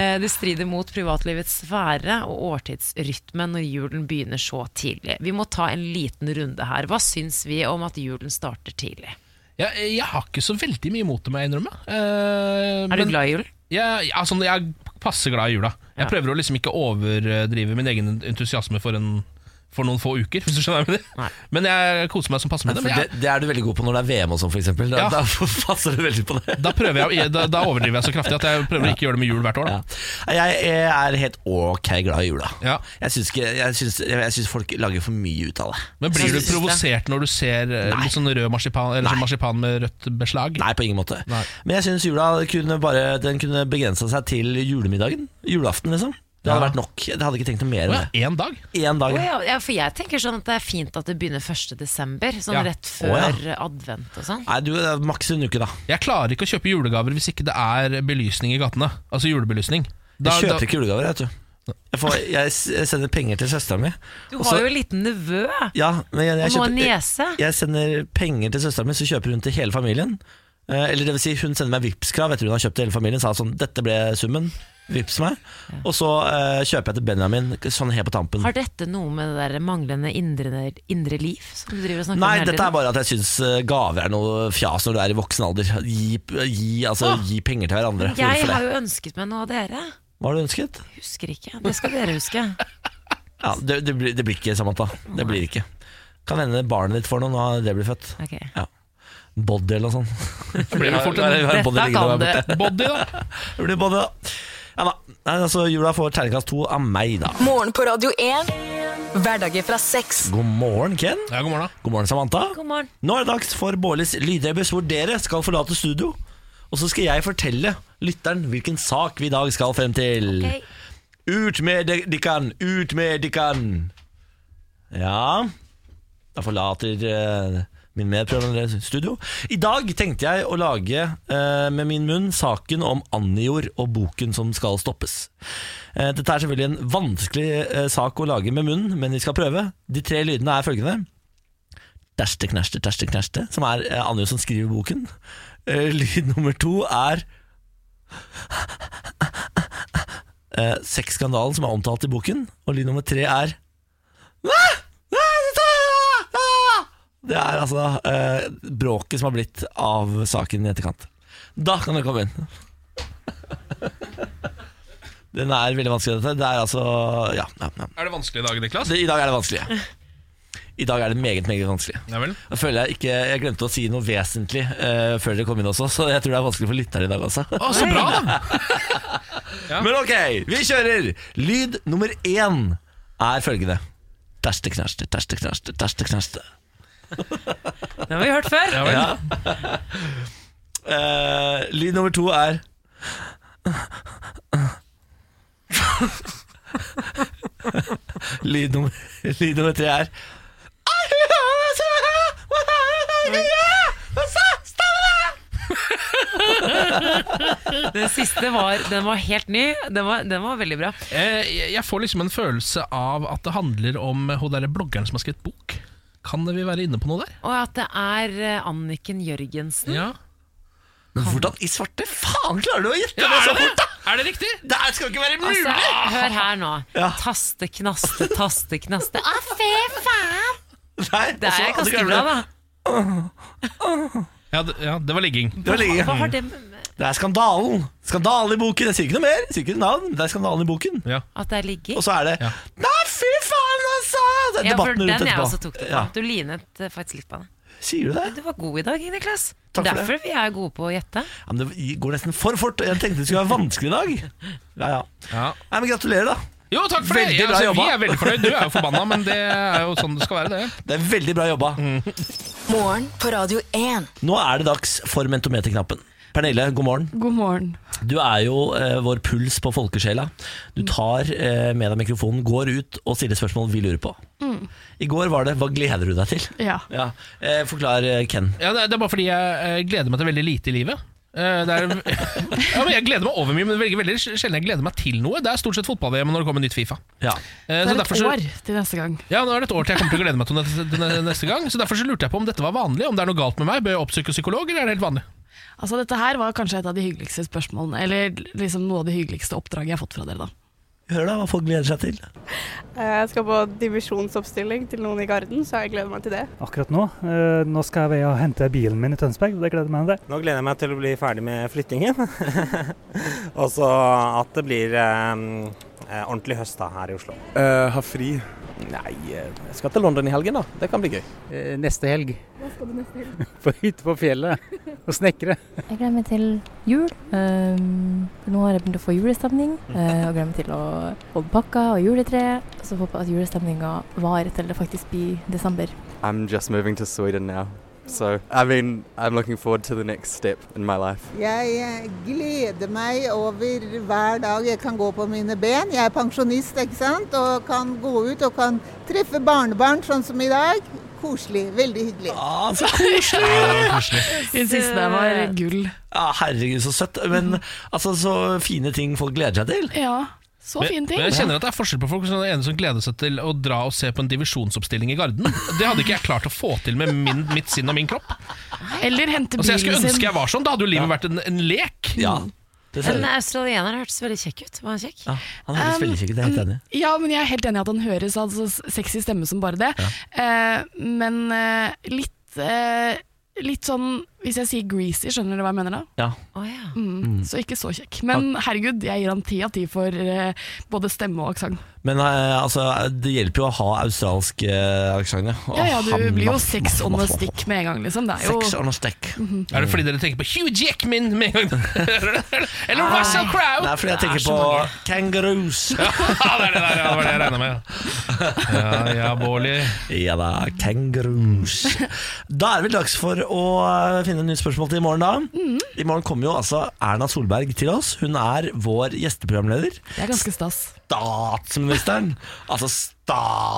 Speaker 3: Eh, Det strider mot privatlivets sfære og årtidsrytmen når julen begynner så tidlig. Vi må ta en liten runde her. Hva syns vi om at julen starter tidlig?
Speaker 4: Jeg, jeg har ikke så veldig mye imot det, må jeg innrømme. Eh,
Speaker 3: Er du
Speaker 4: men-
Speaker 3: glad i jul?
Speaker 4: Ja, ja, altså, jeg er passe glad i jula. Jeg
Speaker 3: Ja.
Speaker 4: prøver å liksom ikke overdrive min egen entusiasme for, en, for noen få uker. Hvis du skjønner hva jeg mener. Men jeg koser meg som passe med det.
Speaker 2: For
Speaker 4: Men
Speaker 2: det,
Speaker 4: jeg,
Speaker 2: det er du veldig god på når det er VM og sånn, f.eks. Da,
Speaker 4: Ja.
Speaker 2: da passer du veldig på det.
Speaker 4: da, prøver jeg, å- da, da overdriver jeg så kraftig at jeg prøver å ikke gjøre det med jul hvert år. Da.
Speaker 2: Nei, Jeg er helt ok glad i jula. Jeg syns ikke- jeg syns- jeg syns folk lager for mye ut av det.
Speaker 4: Men blir du
Speaker 2: Jeg syns det.
Speaker 4: provosert når du ser eh,
Speaker 2: Nei.
Speaker 4: litt sånn rød marsipan, eller sånn marsipan med rødt beslag?
Speaker 2: Nei, på ingen måte.
Speaker 4: Nei.
Speaker 2: Men jeg syns jula kunne bare Den kunne begrensa seg til julemiddagen. Julaften, liksom. Det hadde
Speaker 4: Ja.
Speaker 2: vært nok. Jeg hadde ikke tenkt noe mer enn det.
Speaker 4: Én dag?
Speaker 2: Én dag.
Speaker 3: Å ja, ja, for jeg tenker sånn at det er fint at det begynner 1. desember, sånn
Speaker 2: Ja.
Speaker 3: rett
Speaker 2: Å
Speaker 3: før
Speaker 2: ja.
Speaker 3: eh, advent og sånn.
Speaker 2: Nei, du, det er maks en uke, da.
Speaker 4: Jeg klarer ikke å kjøpe julegaver hvis ikke det er belysning i gatene. Altså julebelysning.
Speaker 2: Jeg kjøper ikke julegaver, jeg, vet du. Jeg, får, jeg s- jeg sender penger til søsteren min.
Speaker 3: Du
Speaker 2: og
Speaker 3: har
Speaker 2: så-
Speaker 3: jo en liten nevø.
Speaker 2: Ja, men jeg, jeg,
Speaker 3: Og nå en
Speaker 2: kjøper,
Speaker 3: niese.
Speaker 2: jeg, jeg sender penger til søsteren min, så kjøper hun til hele familien. Eh, eller det vil si, hun sender meg Vipps-krav etter hun har kjøpt til hele familien. Sa sånn, dette ble summen, Vipps meg. Og så eh, kjøper jeg til Benjamin, sånn helt på tampen.
Speaker 3: Har dette noe med det der manglende indre, indre liv som du driver og snakker
Speaker 2: Nei,
Speaker 3: om hele
Speaker 2: dette er
Speaker 3: tiden?
Speaker 2: bare at jeg syns eh, gaver er noe fjas når du er i voksen alder. Gi, gi, altså, gi penger til
Speaker 3: Jeg
Speaker 2: hverandre. Hvorfor det?
Speaker 3: har jo ønsket meg noe av dere.
Speaker 2: Hva har du ønsket?
Speaker 3: Husker ikke. Det skal dere huske.
Speaker 2: Ja, det, det, blir, det blir ikke, Samantha. Det blir ikke. Kan hende barnet ditt får noe når det blir født.
Speaker 3: Ok.
Speaker 2: Ja. Body eller noe sånt.
Speaker 4: Det blir vel fort en-
Speaker 2: Bare- bare body
Speaker 4: Dette
Speaker 2: liggende
Speaker 4: kan
Speaker 2: der
Speaker 4: det.
Speaker 2: borte.
Speaker 4: Body, da.
Speaker 2: Det blir body, da. Ja da. Nei, altså, jula får terningkast to av meg, da.
Speaker 1: Morgen på Radio 1. Hverdager fra seks.
Speaker 2: God morgen, Ken.
Speaker 4: Ja, god morgen.
Speaker 2: God morgen, Samantha.
Speaker 1: God morgen.
Speaker 2: Nå er det dags for Bårlis lydrebus, hvor dere skal forlate studio. Og så skal jeg fortelle lytteren hvilken sak vi i dag skal frem til.
Speaker 1: Ok.
Speaker 2: Ut med de- dikkan, ut med dikkan. Ja Da forlater eh, min medprøver studio. I dag tenkte jeg å lage eh, med min munn saken om Anjor og boken som skal stoppes. Eh, dette er selvfølgelig en vanskelig eh, sak å lage med munnen, men vi skal prøve. De tre lydene er følgende. Dæsjte, knæsjte, dæsjte, knæsjte, som er eh, Anjo som skriver boken. Eh, lyd nummer to er eh, sexskandalen som er omtalt i boken. Og lyd nummer tre er Det er altså eh, bråket som har blitt av saken i etterkant. Da kan dere komme inn. Den er veldig vanskelig, dette. Det er altså Ja. ja, ja.
Speaker 4: Er det vanskelig i dag, Niklas?
Speaker 2: Det, I dag er det vanskelig. I dag er det meget, meget vanskelig.
Speaker 4: Ja vel.
Speaker 2: Jeg føler jeg ikke Jeg glemte å si noe vesentlig eh, før dere kom inn også, så jeg tror det er vanskelig for lytterne i dag også.
Speaker 4: Å, så bra, da!
Speaker 2: Men ok, vi kjører! Lyd nummer én er følgende. Terste, knerste, terste, knerste, terste, knerste.
Speaker 3: Det har vi hørt før.
Speaker 4: Ja vel.
Speaker 2: Eh, lyd nummer to er lyd, nummer, lyd nummer tre er
Speaker 3: Den siste var, den var helt ny. Den var, den var veldig bra.
Speaker 4: Eh, Jeg jeg får liksom en følelse av at det handler om hun derre bloggeren som har skrevet bok. Kan vi være inne på noe der?
Speaker 3: Og at det er eh, Anniken Jørgensen.
Speaker 4: Ja.
Speaker 2: Men hvordan i svarte faen klarer du å gjette
Speaker 4: Ja,
Speaker 2: det så
Speaker 4: er,
Speaker 2: fort,
Speaker 4: det?
Speaker 2: da?!
Speaker 4: er det riktig?
Speaker 2: Det her skal ikke være mulig!
Speaker 3: Altså, hør her nå.
Speaker 2: Ja.
Speaker 3: Taste, knaste, taste, knaste. Å, fy faen!
Speaker 2: Nei,
Speaker 3: Det er ganske bra, da.
Speaker 4: Ja, det, ja, det var ligging.
Speaker 2: Det, var lenge.
Speaker 3: Hva har det med- med
Speaker 2: det er skandalen. Skandalen i boken. Jeg sier ikke noe mer, jeg sier ikke noe navn. men Det er skandalen i boken.
Speaker 4: Ja.
Speaker 3: at det er ligging?
Speaker 2: Og så er det Nei, fy faen, altså! den
Speaker 3: Ja, for
Speaker 2: debatten rundt
Speaker 3: den jeg
Speaker 2: etterpå.
Speaker 3: også tok det på.
Speaker 2: Ja.
Speaker 3: Du linet eh, faktisk litt på det.
Speaker 2: Sier du det?
Speaker 3: Du var god i dag, Niklas.
Speaker 2: Takk for det.
Speaker 3: Derfor vi er gode på å gjette.
Speaker 2: Ja, men det går nesten for fort. Jeg tenkte det skulle være vanskelig i dag. Ja, ja. Nei, men gratulerer, da.
Speaker 4: Jo, takk for det!
Speaker 2: Veldig
Speaker 4: Ja,
Speaker 2: bra
Speaker 4: altså, vi
Speaker 2: jobba.
Speaker 4: er veldig fornøyd. Du er jo forbanna, men det er jo sånn det skal være, det.
Speaker 2: Det er veldig bra jobba.
Speaker 1: Morgen på Radio 1.
Speaker 2: Nå er det dags for mentometerknappen. Pernille, god morgen.
Speaker 12: God morgen.
Speaker 2: Du er jo eh, vår puls på folkesjela. Du tar eh, med deg mikrofonen, går ut og stiller spørsmål vi lurer på.
Speaker 12: Mm.
Speaker 2: I går var det 'Hva gleder du deg til?'
Speaker 12: Ja.
Speaker 2: Ja. Eh, forklar eh, Ken.
Speaker 4: Ja, det, er- det er bare fordi jeg eh, gleder meg til veldig lite i livet. Eh, Det er, ja, men jeg gleder meg over mye, men veldig, veldig sjelden jeg gleder meg til noe. Det er stort sett fotball-VM når det kommer nytt Fifa. Eh,
Speaker 12: Det
Speaker 4: så
Speaker 12: er et
Speaker 4: derfor så-
Speaker 12: år til neste gang.
Speaker 4: Ja, nå er det et år til jeg kommer til å glede meg til neste- til ne- neste gang. Så Derfor så lurte jeg på om dette var vanlig, om det er noe galt med meg. Bør jeg oppsøke psykolog, eller er det helt vanlig?
Speaker 12: Altså, dette her var kanskje et av de hyggeligste spørsmålene, eller liksom noe av det hyggeligste oppdraget jeg har fått fra dere, da.
Speaker 2: Hør da hva folk gleder seg til.
Speaker 13: Eh, Jeg skal på divisjonsoppstilling til noen i Garden, så jeg gleder meg til det.
Speaker 14: akkurat nå. Eh, Nå skal jeg ved og hente bilen min i Tønsberg, og det gleder jeg meg til.
Speaker 15: Nå gleder jeg meg til å bli ferdig med flyttingen. og så at det blir eh, eh, ordentlig høst da, her i Oslo.
Speaker 16: ha fri. Nei, eh, jeg skal til London i helgen, da. Det kan bli gøy.
Speaker 17: Neste helg.
Speaker 18: Hva skal du neste helg?
Speaker 17: På hytte på fjellet og snekre.
Speaker 18: Jeg gleder meg til jul. Ehm, for nå har jeg begynt å få julestemning. eh, og gleder meg til å få pakker og juletre. Og så håper jeg at julestemninga varer til det faktisk blir desember.
Speaker 19: I'm just moving to Sweden now. So, I mean, I'm looking forward to the next step in my life.
Speaker 20: Jeg eh, gleder meg over hver dag jeg kan gå på mine ben. Jeg er pensjonist, ikke sant, og kan gå ut og kan treffe barnebarn, sånn som i dag. Koselig. Veldig hyggelig.
Speaker 2: Ah, så koselig!
Speaker 12: Hun syntes det var
Speaker 3: Eh,
Speaker 12: gull.
Speaker 2: Ja, herregud, så søtt. Men altså, så fine ting folk gleder seg til.
Speaker 12: Ja, så
Speaker 4: Men-
Speaker 12: fin ting.
Speaker 4: Men jeg kjenner at det er forskjell på folk. Sånn, den ene som gleder seg til å dra og se på en divisjonsoppstilling i Garden. Det hadde ikke jeg klart å få til med min, mitt sinn og min kropp.
Speaker 12: Eller hente
Speaker 4: Altså,
Speaker 12: bilen
Speaker 4: jeg skulle ønske
Speaker 12: sin.
Speaker 4: jeg var sånn. Da hadde jo livet vært en, en lek.
Speaker 2: Ja,
Speaker 3: Den australieneren hørtes veldig kjekk ut. Var han kjekk?
Speaker 2: Han høres
Speaker 12: Um,
Speaker 2: veldig kjekk ut, jeg er helt enig.
Speaker 12: Ja, men jeg er helt enig i at han høres altså, sexy stemme som bare det. Eh, men eh, litt, eh, litt sånn Hvis jeg sier greasy, skjønner dere hva jeg mener da?
Speaker 2: Ja.
Speaker 12: Mm, så ikke så kjekk. Men herregud, jeg gir han ti av ti for eh, både stemme og aksent.
Speaker 2: Men eh, altså, det hjelper jo å ha australsk eh, aksent.
Speaker 12: Ja, ja, du blir jo sex on the stick med en gang, liksom. Det er jo Mhm.
Speaker 2: Sex on a stick.
Speaker 4: Er det fordi dere tenker på Hugh Jackman med en gang? Eller
Speaker 2: Nei.
Speaker 4: Russell Crowe?
Speaker 2: Nei,
Speaker 4: Det
Speaker 2: fordi jeg
Speaker 4: er
Speaker 2: tenker
Speaker 4: så
Speaker 2: på
Speaker 4: mange.
Speaker 2: kangaroos.
Speaker 4: Ja, det er det der, ja, det var det jeg regna med. Ja, ja, Bårli.
Speaker 2: Ja da, kangaroos. Da er det vel dags for å eh, finne nytt spørsmål til i morgen, da.
Speaker 12: Mhm.
Speaker 2: I morgen kommer jo altså Erna Solberg til oss. Hun er vår gjesteprogramleder.
Speaker 12: Det er ganske stas.
Speaker 2: Statsministeren! Altså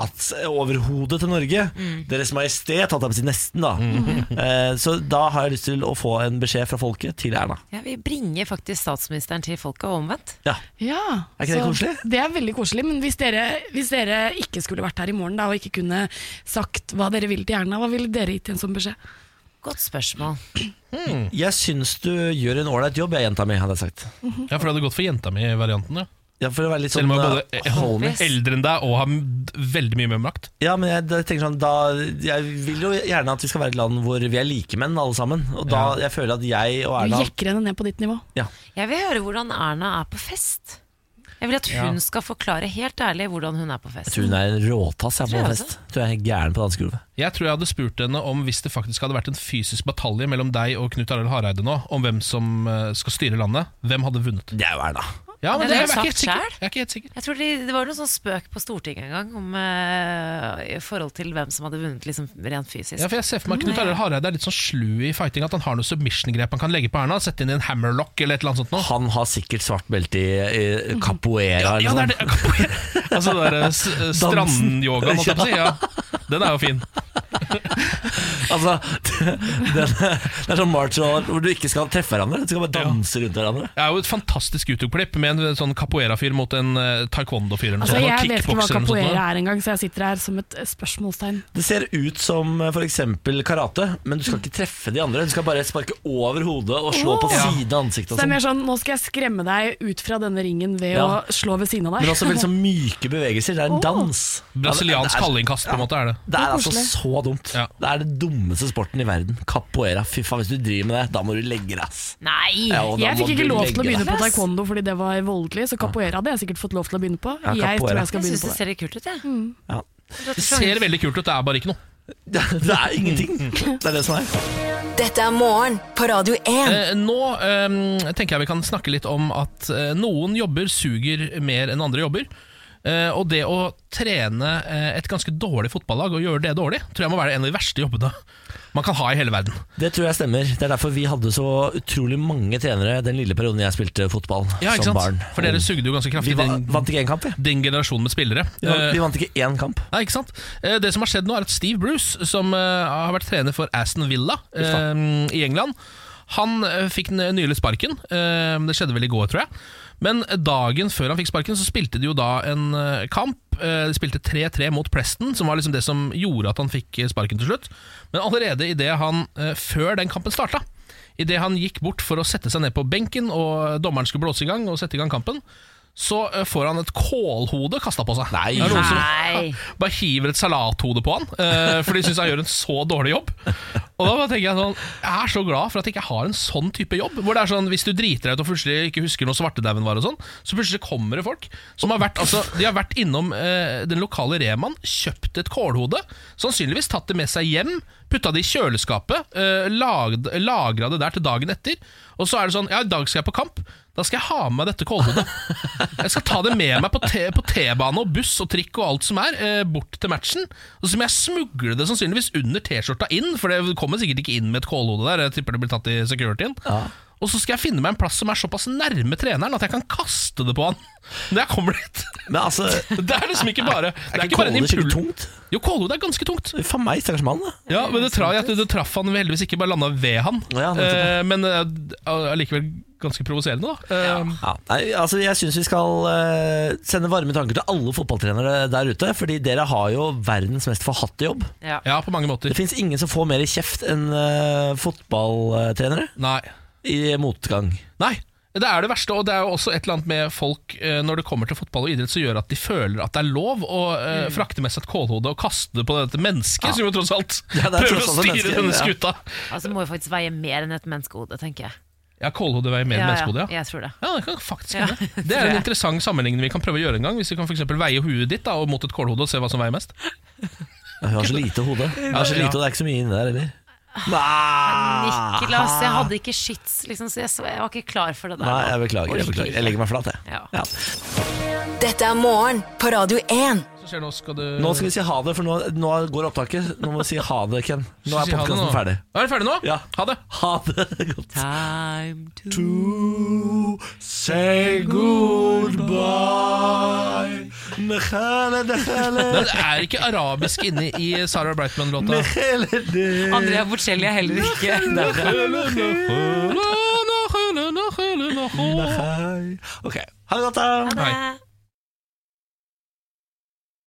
Speaker 2: statsoverhodet til Norge.
Speaker 12: Mm.
Speaker 2: Deres Majestet, holdt jeg på å si. Nesten, da.
Speaker 12: Mhm.
Speaker 2: Eh, Så da har jeg lyst til å få en beskjed fra folket til Erna.
Speaker 3: Ja, vi bringer faktisk statsministeren til folket, og omvendt.
Speaker 2: Ja.
Speaker 12: Ja,
Speaker 2: Er ikke det
Speaker 12: så-
Speaker 2: koselig?
Speaker 12: Det er veldig koselig, men hvis dere, hvis dere ikke skulle vært her i morgen da, og ikke kunne sagt hva dere ville til Erna, hva ville dere gitt i en sånn beskjed?
Speaker 3: Godt spørsmål.
Speaker 2: Jeg syns du gjør en ålreit jobb, jeg, jenta mi, hadde jeg sagt.
Speaker 4: Ja, for det hadde gått for jenta mi-varianten, ja.
Speaker 2: Ja, for å være litt
Speaker 4: Selv om jeg
Speaker 2: sånn,
Speaker 4: er
Speaker 2: eh,
Speaker 4: både
Speaker 2: Holmes.
Speaker 4: eh, eldre enn deg og har m- veldig mye mer makt.
Speaker 2: Ja, men jeg da tenker sånn da, Jeg vil jo gjerne at vi skal være et land hvor vi er likemenn alle sammen. Og da jeg føler at jeg og
Speaker 12: Du
Speaker 2: Erna
Speaker 12: jekker henne ned på ditt nivå.
Speaker 2: ja.
Speaker 3: Jeg vil høre hvordan Erna er på fest. Jeg vil at hun
Speaker 2: Ja.
Speaker 3: skal forklare helt ærlig hvordan hun er på fest.
Speaker 2: Jeg tror hun er en råtass jeg,
Speaker 3: Tror
Speaker 2: på
Speaker 3: jeg
Speaker 2: fest. Jeg tror jeg er helt gæren på dansegulvet.
Speaker 4: Jeg tror jeg hadde spurt henne om hvis det faktisk hadde vært en fysisk batalje mellom deg og Knut Arild Hareide nå, om hvem som eh, skal styre landet, hvem hadde vunnet?
Speaker 2: Det er jo Erna.
Speaker 4: Ja, men det,
Speaker 3: har
Speaker 4: jeg er
Speaker 3: hun
Speaker 4: ikke helt
Speaker 3: sagt
Speaker 4: sikker.
Speaker 3: selv.
Speaker 4: Jeg er ikke helt sikker.
Speaker 3: Jeg tror de, Det var noe sånn spøk på Stortinget en gang om eh, i forhold til hvem som hadde vunnet liksom, rent fysisk.
Speaker 4: Ja, for jeg ser for meg Knut
Speaker 3: Nei.
Speaker 4: Arild Hareide er litt sånn slu i fighting, at han har noe submission-grep han kan legge på Erna. Sette inn i en hammerlock eller et eller annet sånt noe.
Speaker 2: Han har sikkert svart belte i, i capoeira liksom.
Speaker 4: Ja, det er
Speaker 2: eller
Speaker 4: det.
Speaker 2: noe sånt.
Speaker 4: Altså det der eh, s- eh, strandyogaen, holdt jeg på å si. Ja. Den er jo fin.
Speaker 2: Altså, det, det er sånn march og- hvor du ikke skal treffe hverandre, du skal bare danse rundt hverandre.
Speaker 4: Det er jo et fantastisk YouTube-klipp med en sånn capoeira-fyr mot en eh, taekwondo-fyr. eller noe
Speaker 12: Altså,
Speaker 4: sånt, og
Speaker 12: jeg vet ikke hva
Speaker 4: kickbokser eller noe sånt noe.
Speaker 12: capoeira er engang, så jeg sitter her som et eh, spørsmålstegn.
Speaker 2: Det ser ut som f.eks. karate, men du skal ikke treffe de andre. Du skal bare sparke over hodet og slå på
Speaker 12: Åh! Ja.
Speaker 2: siden av ansiktet. og
Speaker 12: Så det er
Speaker 2: sånn.
Speaker 12: mer sånn, nå skal jeg skremme deg ut fra denne ringen ved
Speaker 2: Ja.
Speaker 12: å slå ved siden av deg.
Speaker 2: Men også veldig sånn myke bevegelser. Det er en dans.
Speaker 4: Brasiliansk
Speaker 2: Ja, det er-
Speaker 4: hallingkast, på en måte, er det.
Speaker 2: Det er
Speaker 4: Det er
Speaker 2: altså så dumt. Det er det dummeste sporten i verden. Capoeira. Fy faen, hvis du driver med det, da må du legge deg, ass.
Speaker 3: Nei!
Speaker 2: Ja, og da
Speaker 12: jeg
Speaker 2: må
Speaker 12: fikk ikke
Speaker 2: du
Speaker 12: lov til å
Speaker 2: legge
Speaker 12: begynne på
Speaker 2: deg.
Speaker 12: taekwondo fordi det var voldelig, så capoera hadde jeg sikkert fått lov til å begynne på.
Speaker 2: Ja,
Speaker 12: jeg tror
Speaker 2: capoeira.
Speaker 12: jeg skal
Speaker 2: Jeg
Speaker 12: begynne
Speaker 2: synes
Speaker 12: på
Speaker 3: det ser litt kult ut, jeg.
Speaker 2: Ja.
Speaker 4: Det ser veldig kult ut, det er bare ikke noe. Det er ingenting. Det er det som er.
Speaker 1: Dette er morgen på Radio 1.
Speaker 4: Eh, nå eh, tenker jeg vi kan snakke litt om at eh, noen jobber suger mer enn andre jobber. Eh, og det å trene eh, et ganske dårlig fotballag og gjøre det dårlig, tror jeg må være en av de verste jobbene man kan ha i hele verden.
Speaker 2: Det tror jeg stemmer. Det er derfor vi hadde så utrolig mange trenere den lille perioden jeg spilte fotball
Speaker 4: Ja, ikke sant?
Speaker 2: som barn.
Speaker 4: For dere sugde jo ganske kraftig.
Speaker 2: Vi va-
Speaker 4: den-
Speaker 2: vant ikke én kamp, vi.
Speaker 4: Din generasjon med spillere. Eh,
Speaker 2: Vi vant- vi vant
Speaker 4: ikke én kamp. Nei, ikke sant? Eh, Det som har skjedd nå, er at Steve Bruce, som eh, har vært trener for Aston Villa eh, i England, han eh, fikk n- nylig sparken. Eh, Det skjedde vel i går, tror jeg. Men dagen før han fikk sparken, så spilte de jo da en eh, kamp. Eh, De spilte 3-3 mot Preston, som var liksom det som gjorde at han fikk eh, sparken til slutt. Men allerede i det han, eh, før den kampen starta, Idet han gikk bort for å sette seg ned på benken, og dommeren skulle blåse i gang og sette i gang kampen, så eh, får han et kålhode kasta på seg. Nei,
Speaker 3: Nei.
Speaker 4: Bare hiver et salathode på han, eh, for de syns han gjør en så dårlig jobb. Og da bare tenker Jeg sånn Jeg er så glad for at jeg ikke har en sånn type jobb. Hvor det er sånn Hvis du driter deg ut og plutselig ikke husker når svartedauden var, og sånn så plutselig kommer det folk som har vært Altså De har vært innom eh, den lokale Remaen, kjøpt et kålhode, sannsynligvis tatt det med seg hjem, putta det i kjøleskapet, eh, lagd, lagra det der til dagen etter, og så er det sånn Ja, i dag skal jeg på kamp. Da skal jeg ha med meg dette kålhodet. Jeg skal ta det med meg på T- på T-bane og buss og trikk og alt som er, eh, bort til matchen. Og så må jeg smugle det sannsynligvis under T-skjorta inn, for det kommer sikkert ikke inn med et kålhode der. Jeg tipper det blir tatt i securityen. Og så skal jeg finne meg en plass som er såpass nærme treneren at jeg kan kaste det på han når jeg kommer dit.
Speaker 2: altså,
Speaker 4: det er liksom ikke bare Det er
Speaker 2: ikke
Speaker 4: ikke bare en
Speaker 2: kålhode skikkelig
Speaker 4: impuls. Jo, kålhode er ganske tungt.
Speaker 2: Faen meg, stakkars mann. da.
Speaker 4: Ja, men det traff, det traff han heldigvis ikke, bare landa ved han.
Speaker 2: nettopp.
Speaker 4: eh, men eh, allikevel ganske provoserende, da. Eh,
Speaker 2: Ja, nei, altså Jeg syns vi skal eh, sende varme tanker til alle fotballtrenere der ute. Fordi dere har jo verdens mest forhatte jobb.
Speaker 3: Ja.
Speaker 4: på mange måter
Speaker 2: Det fins ingen som får mer kjeft enn eh, fotballtrenere.
Speaker 4: Nei
Speaker 2: I motgang.
Speaker 4: Nei, det er det verste, og det er jo også et eller annet med folk eh, når det kommer til fotball og idrett, som gjør at de føler at det er lov å eh, frakte med seg et kålhode og kaste det på dette mennesket, som jo tross alt
Speaker 2: Ja, det er
Speaker 4: prøver
Speaker 2: tross
Speaker 4: å
Speaker 2: alt
Speaker 4: styre
Speaker 2: et menneske,
Speaker 4: denne
Speaker 2: ja.
Speaker 4: skuta.
Speaker 3: Altså må jo faktisk veie mer enn et menneskehode, tenker jeg.
Speaker 4: Ja, kålhode veier mer enn
Speaker 3: ja,
Speaker 4: menneskehode, ja.
Speaker 3: Jeg tror det.
Speaker 4: Ja, det kan faktisk
Speaker 3: Ja,
Speaker 4: hende. Det
Speaker 3: tror
Speaker 4: er en
Speaker 3: jeg.
Speaker 4: interessant sammenligning vi kan prøve å gjøre en gang, hvis vi kan for eksempel veie hodet ditt da, og mot et kålhode og se hva som veier mest.
Speaker 2: Hun har så lite hode. Hun har så
Speaker 4: Ja.
Speaker 2: lite, og det er ikke så mye inni der heller.
Speaker 3: Ah, Niklas, jeg hadde ikke shits, liksom, så jeg, så jeg var ikke klar for det der.
Speaker 2: Ah, Nei,
Speaker 3: nå.
Speaker 2: jeg beklager. Jeg,
Speaker 3: Orker
Speaker 2: beklager.
Speaker 3: ikke.
Speaker 2: jeg legger meg flat, jeg. Ja.
Speaker 1: Dette er morgen på Radio 1.
Speaker 4: Så skjer det, nå skal du...
Speaker 2: Nå skal vi si ha det, for nå, nå går opptaket. Nå må vi si ha det, Ken. Nå
Speaker 4: Skal
Speaker 2: er
Speaker 4: vi si ha det
Speaker 2: podkasten
Speaker 4: nå?
Speaker 2: ferdig.
Speaker 4: Er det ferdig nå?
Speaker 2: Ja.
Speaker 4: Ha det.
Speaker 2: Ha det godt.
Speaker 3: Time
Speaker 2: to say goodbye.
Speaker 4: Men det er ikke arabisk inne i Sarah Brightman-låta.
Speaker 3: Andrea Bocelli er heller ikke
Speaker 4: Ok, ha det godt, da.
Speaker 2: Hei.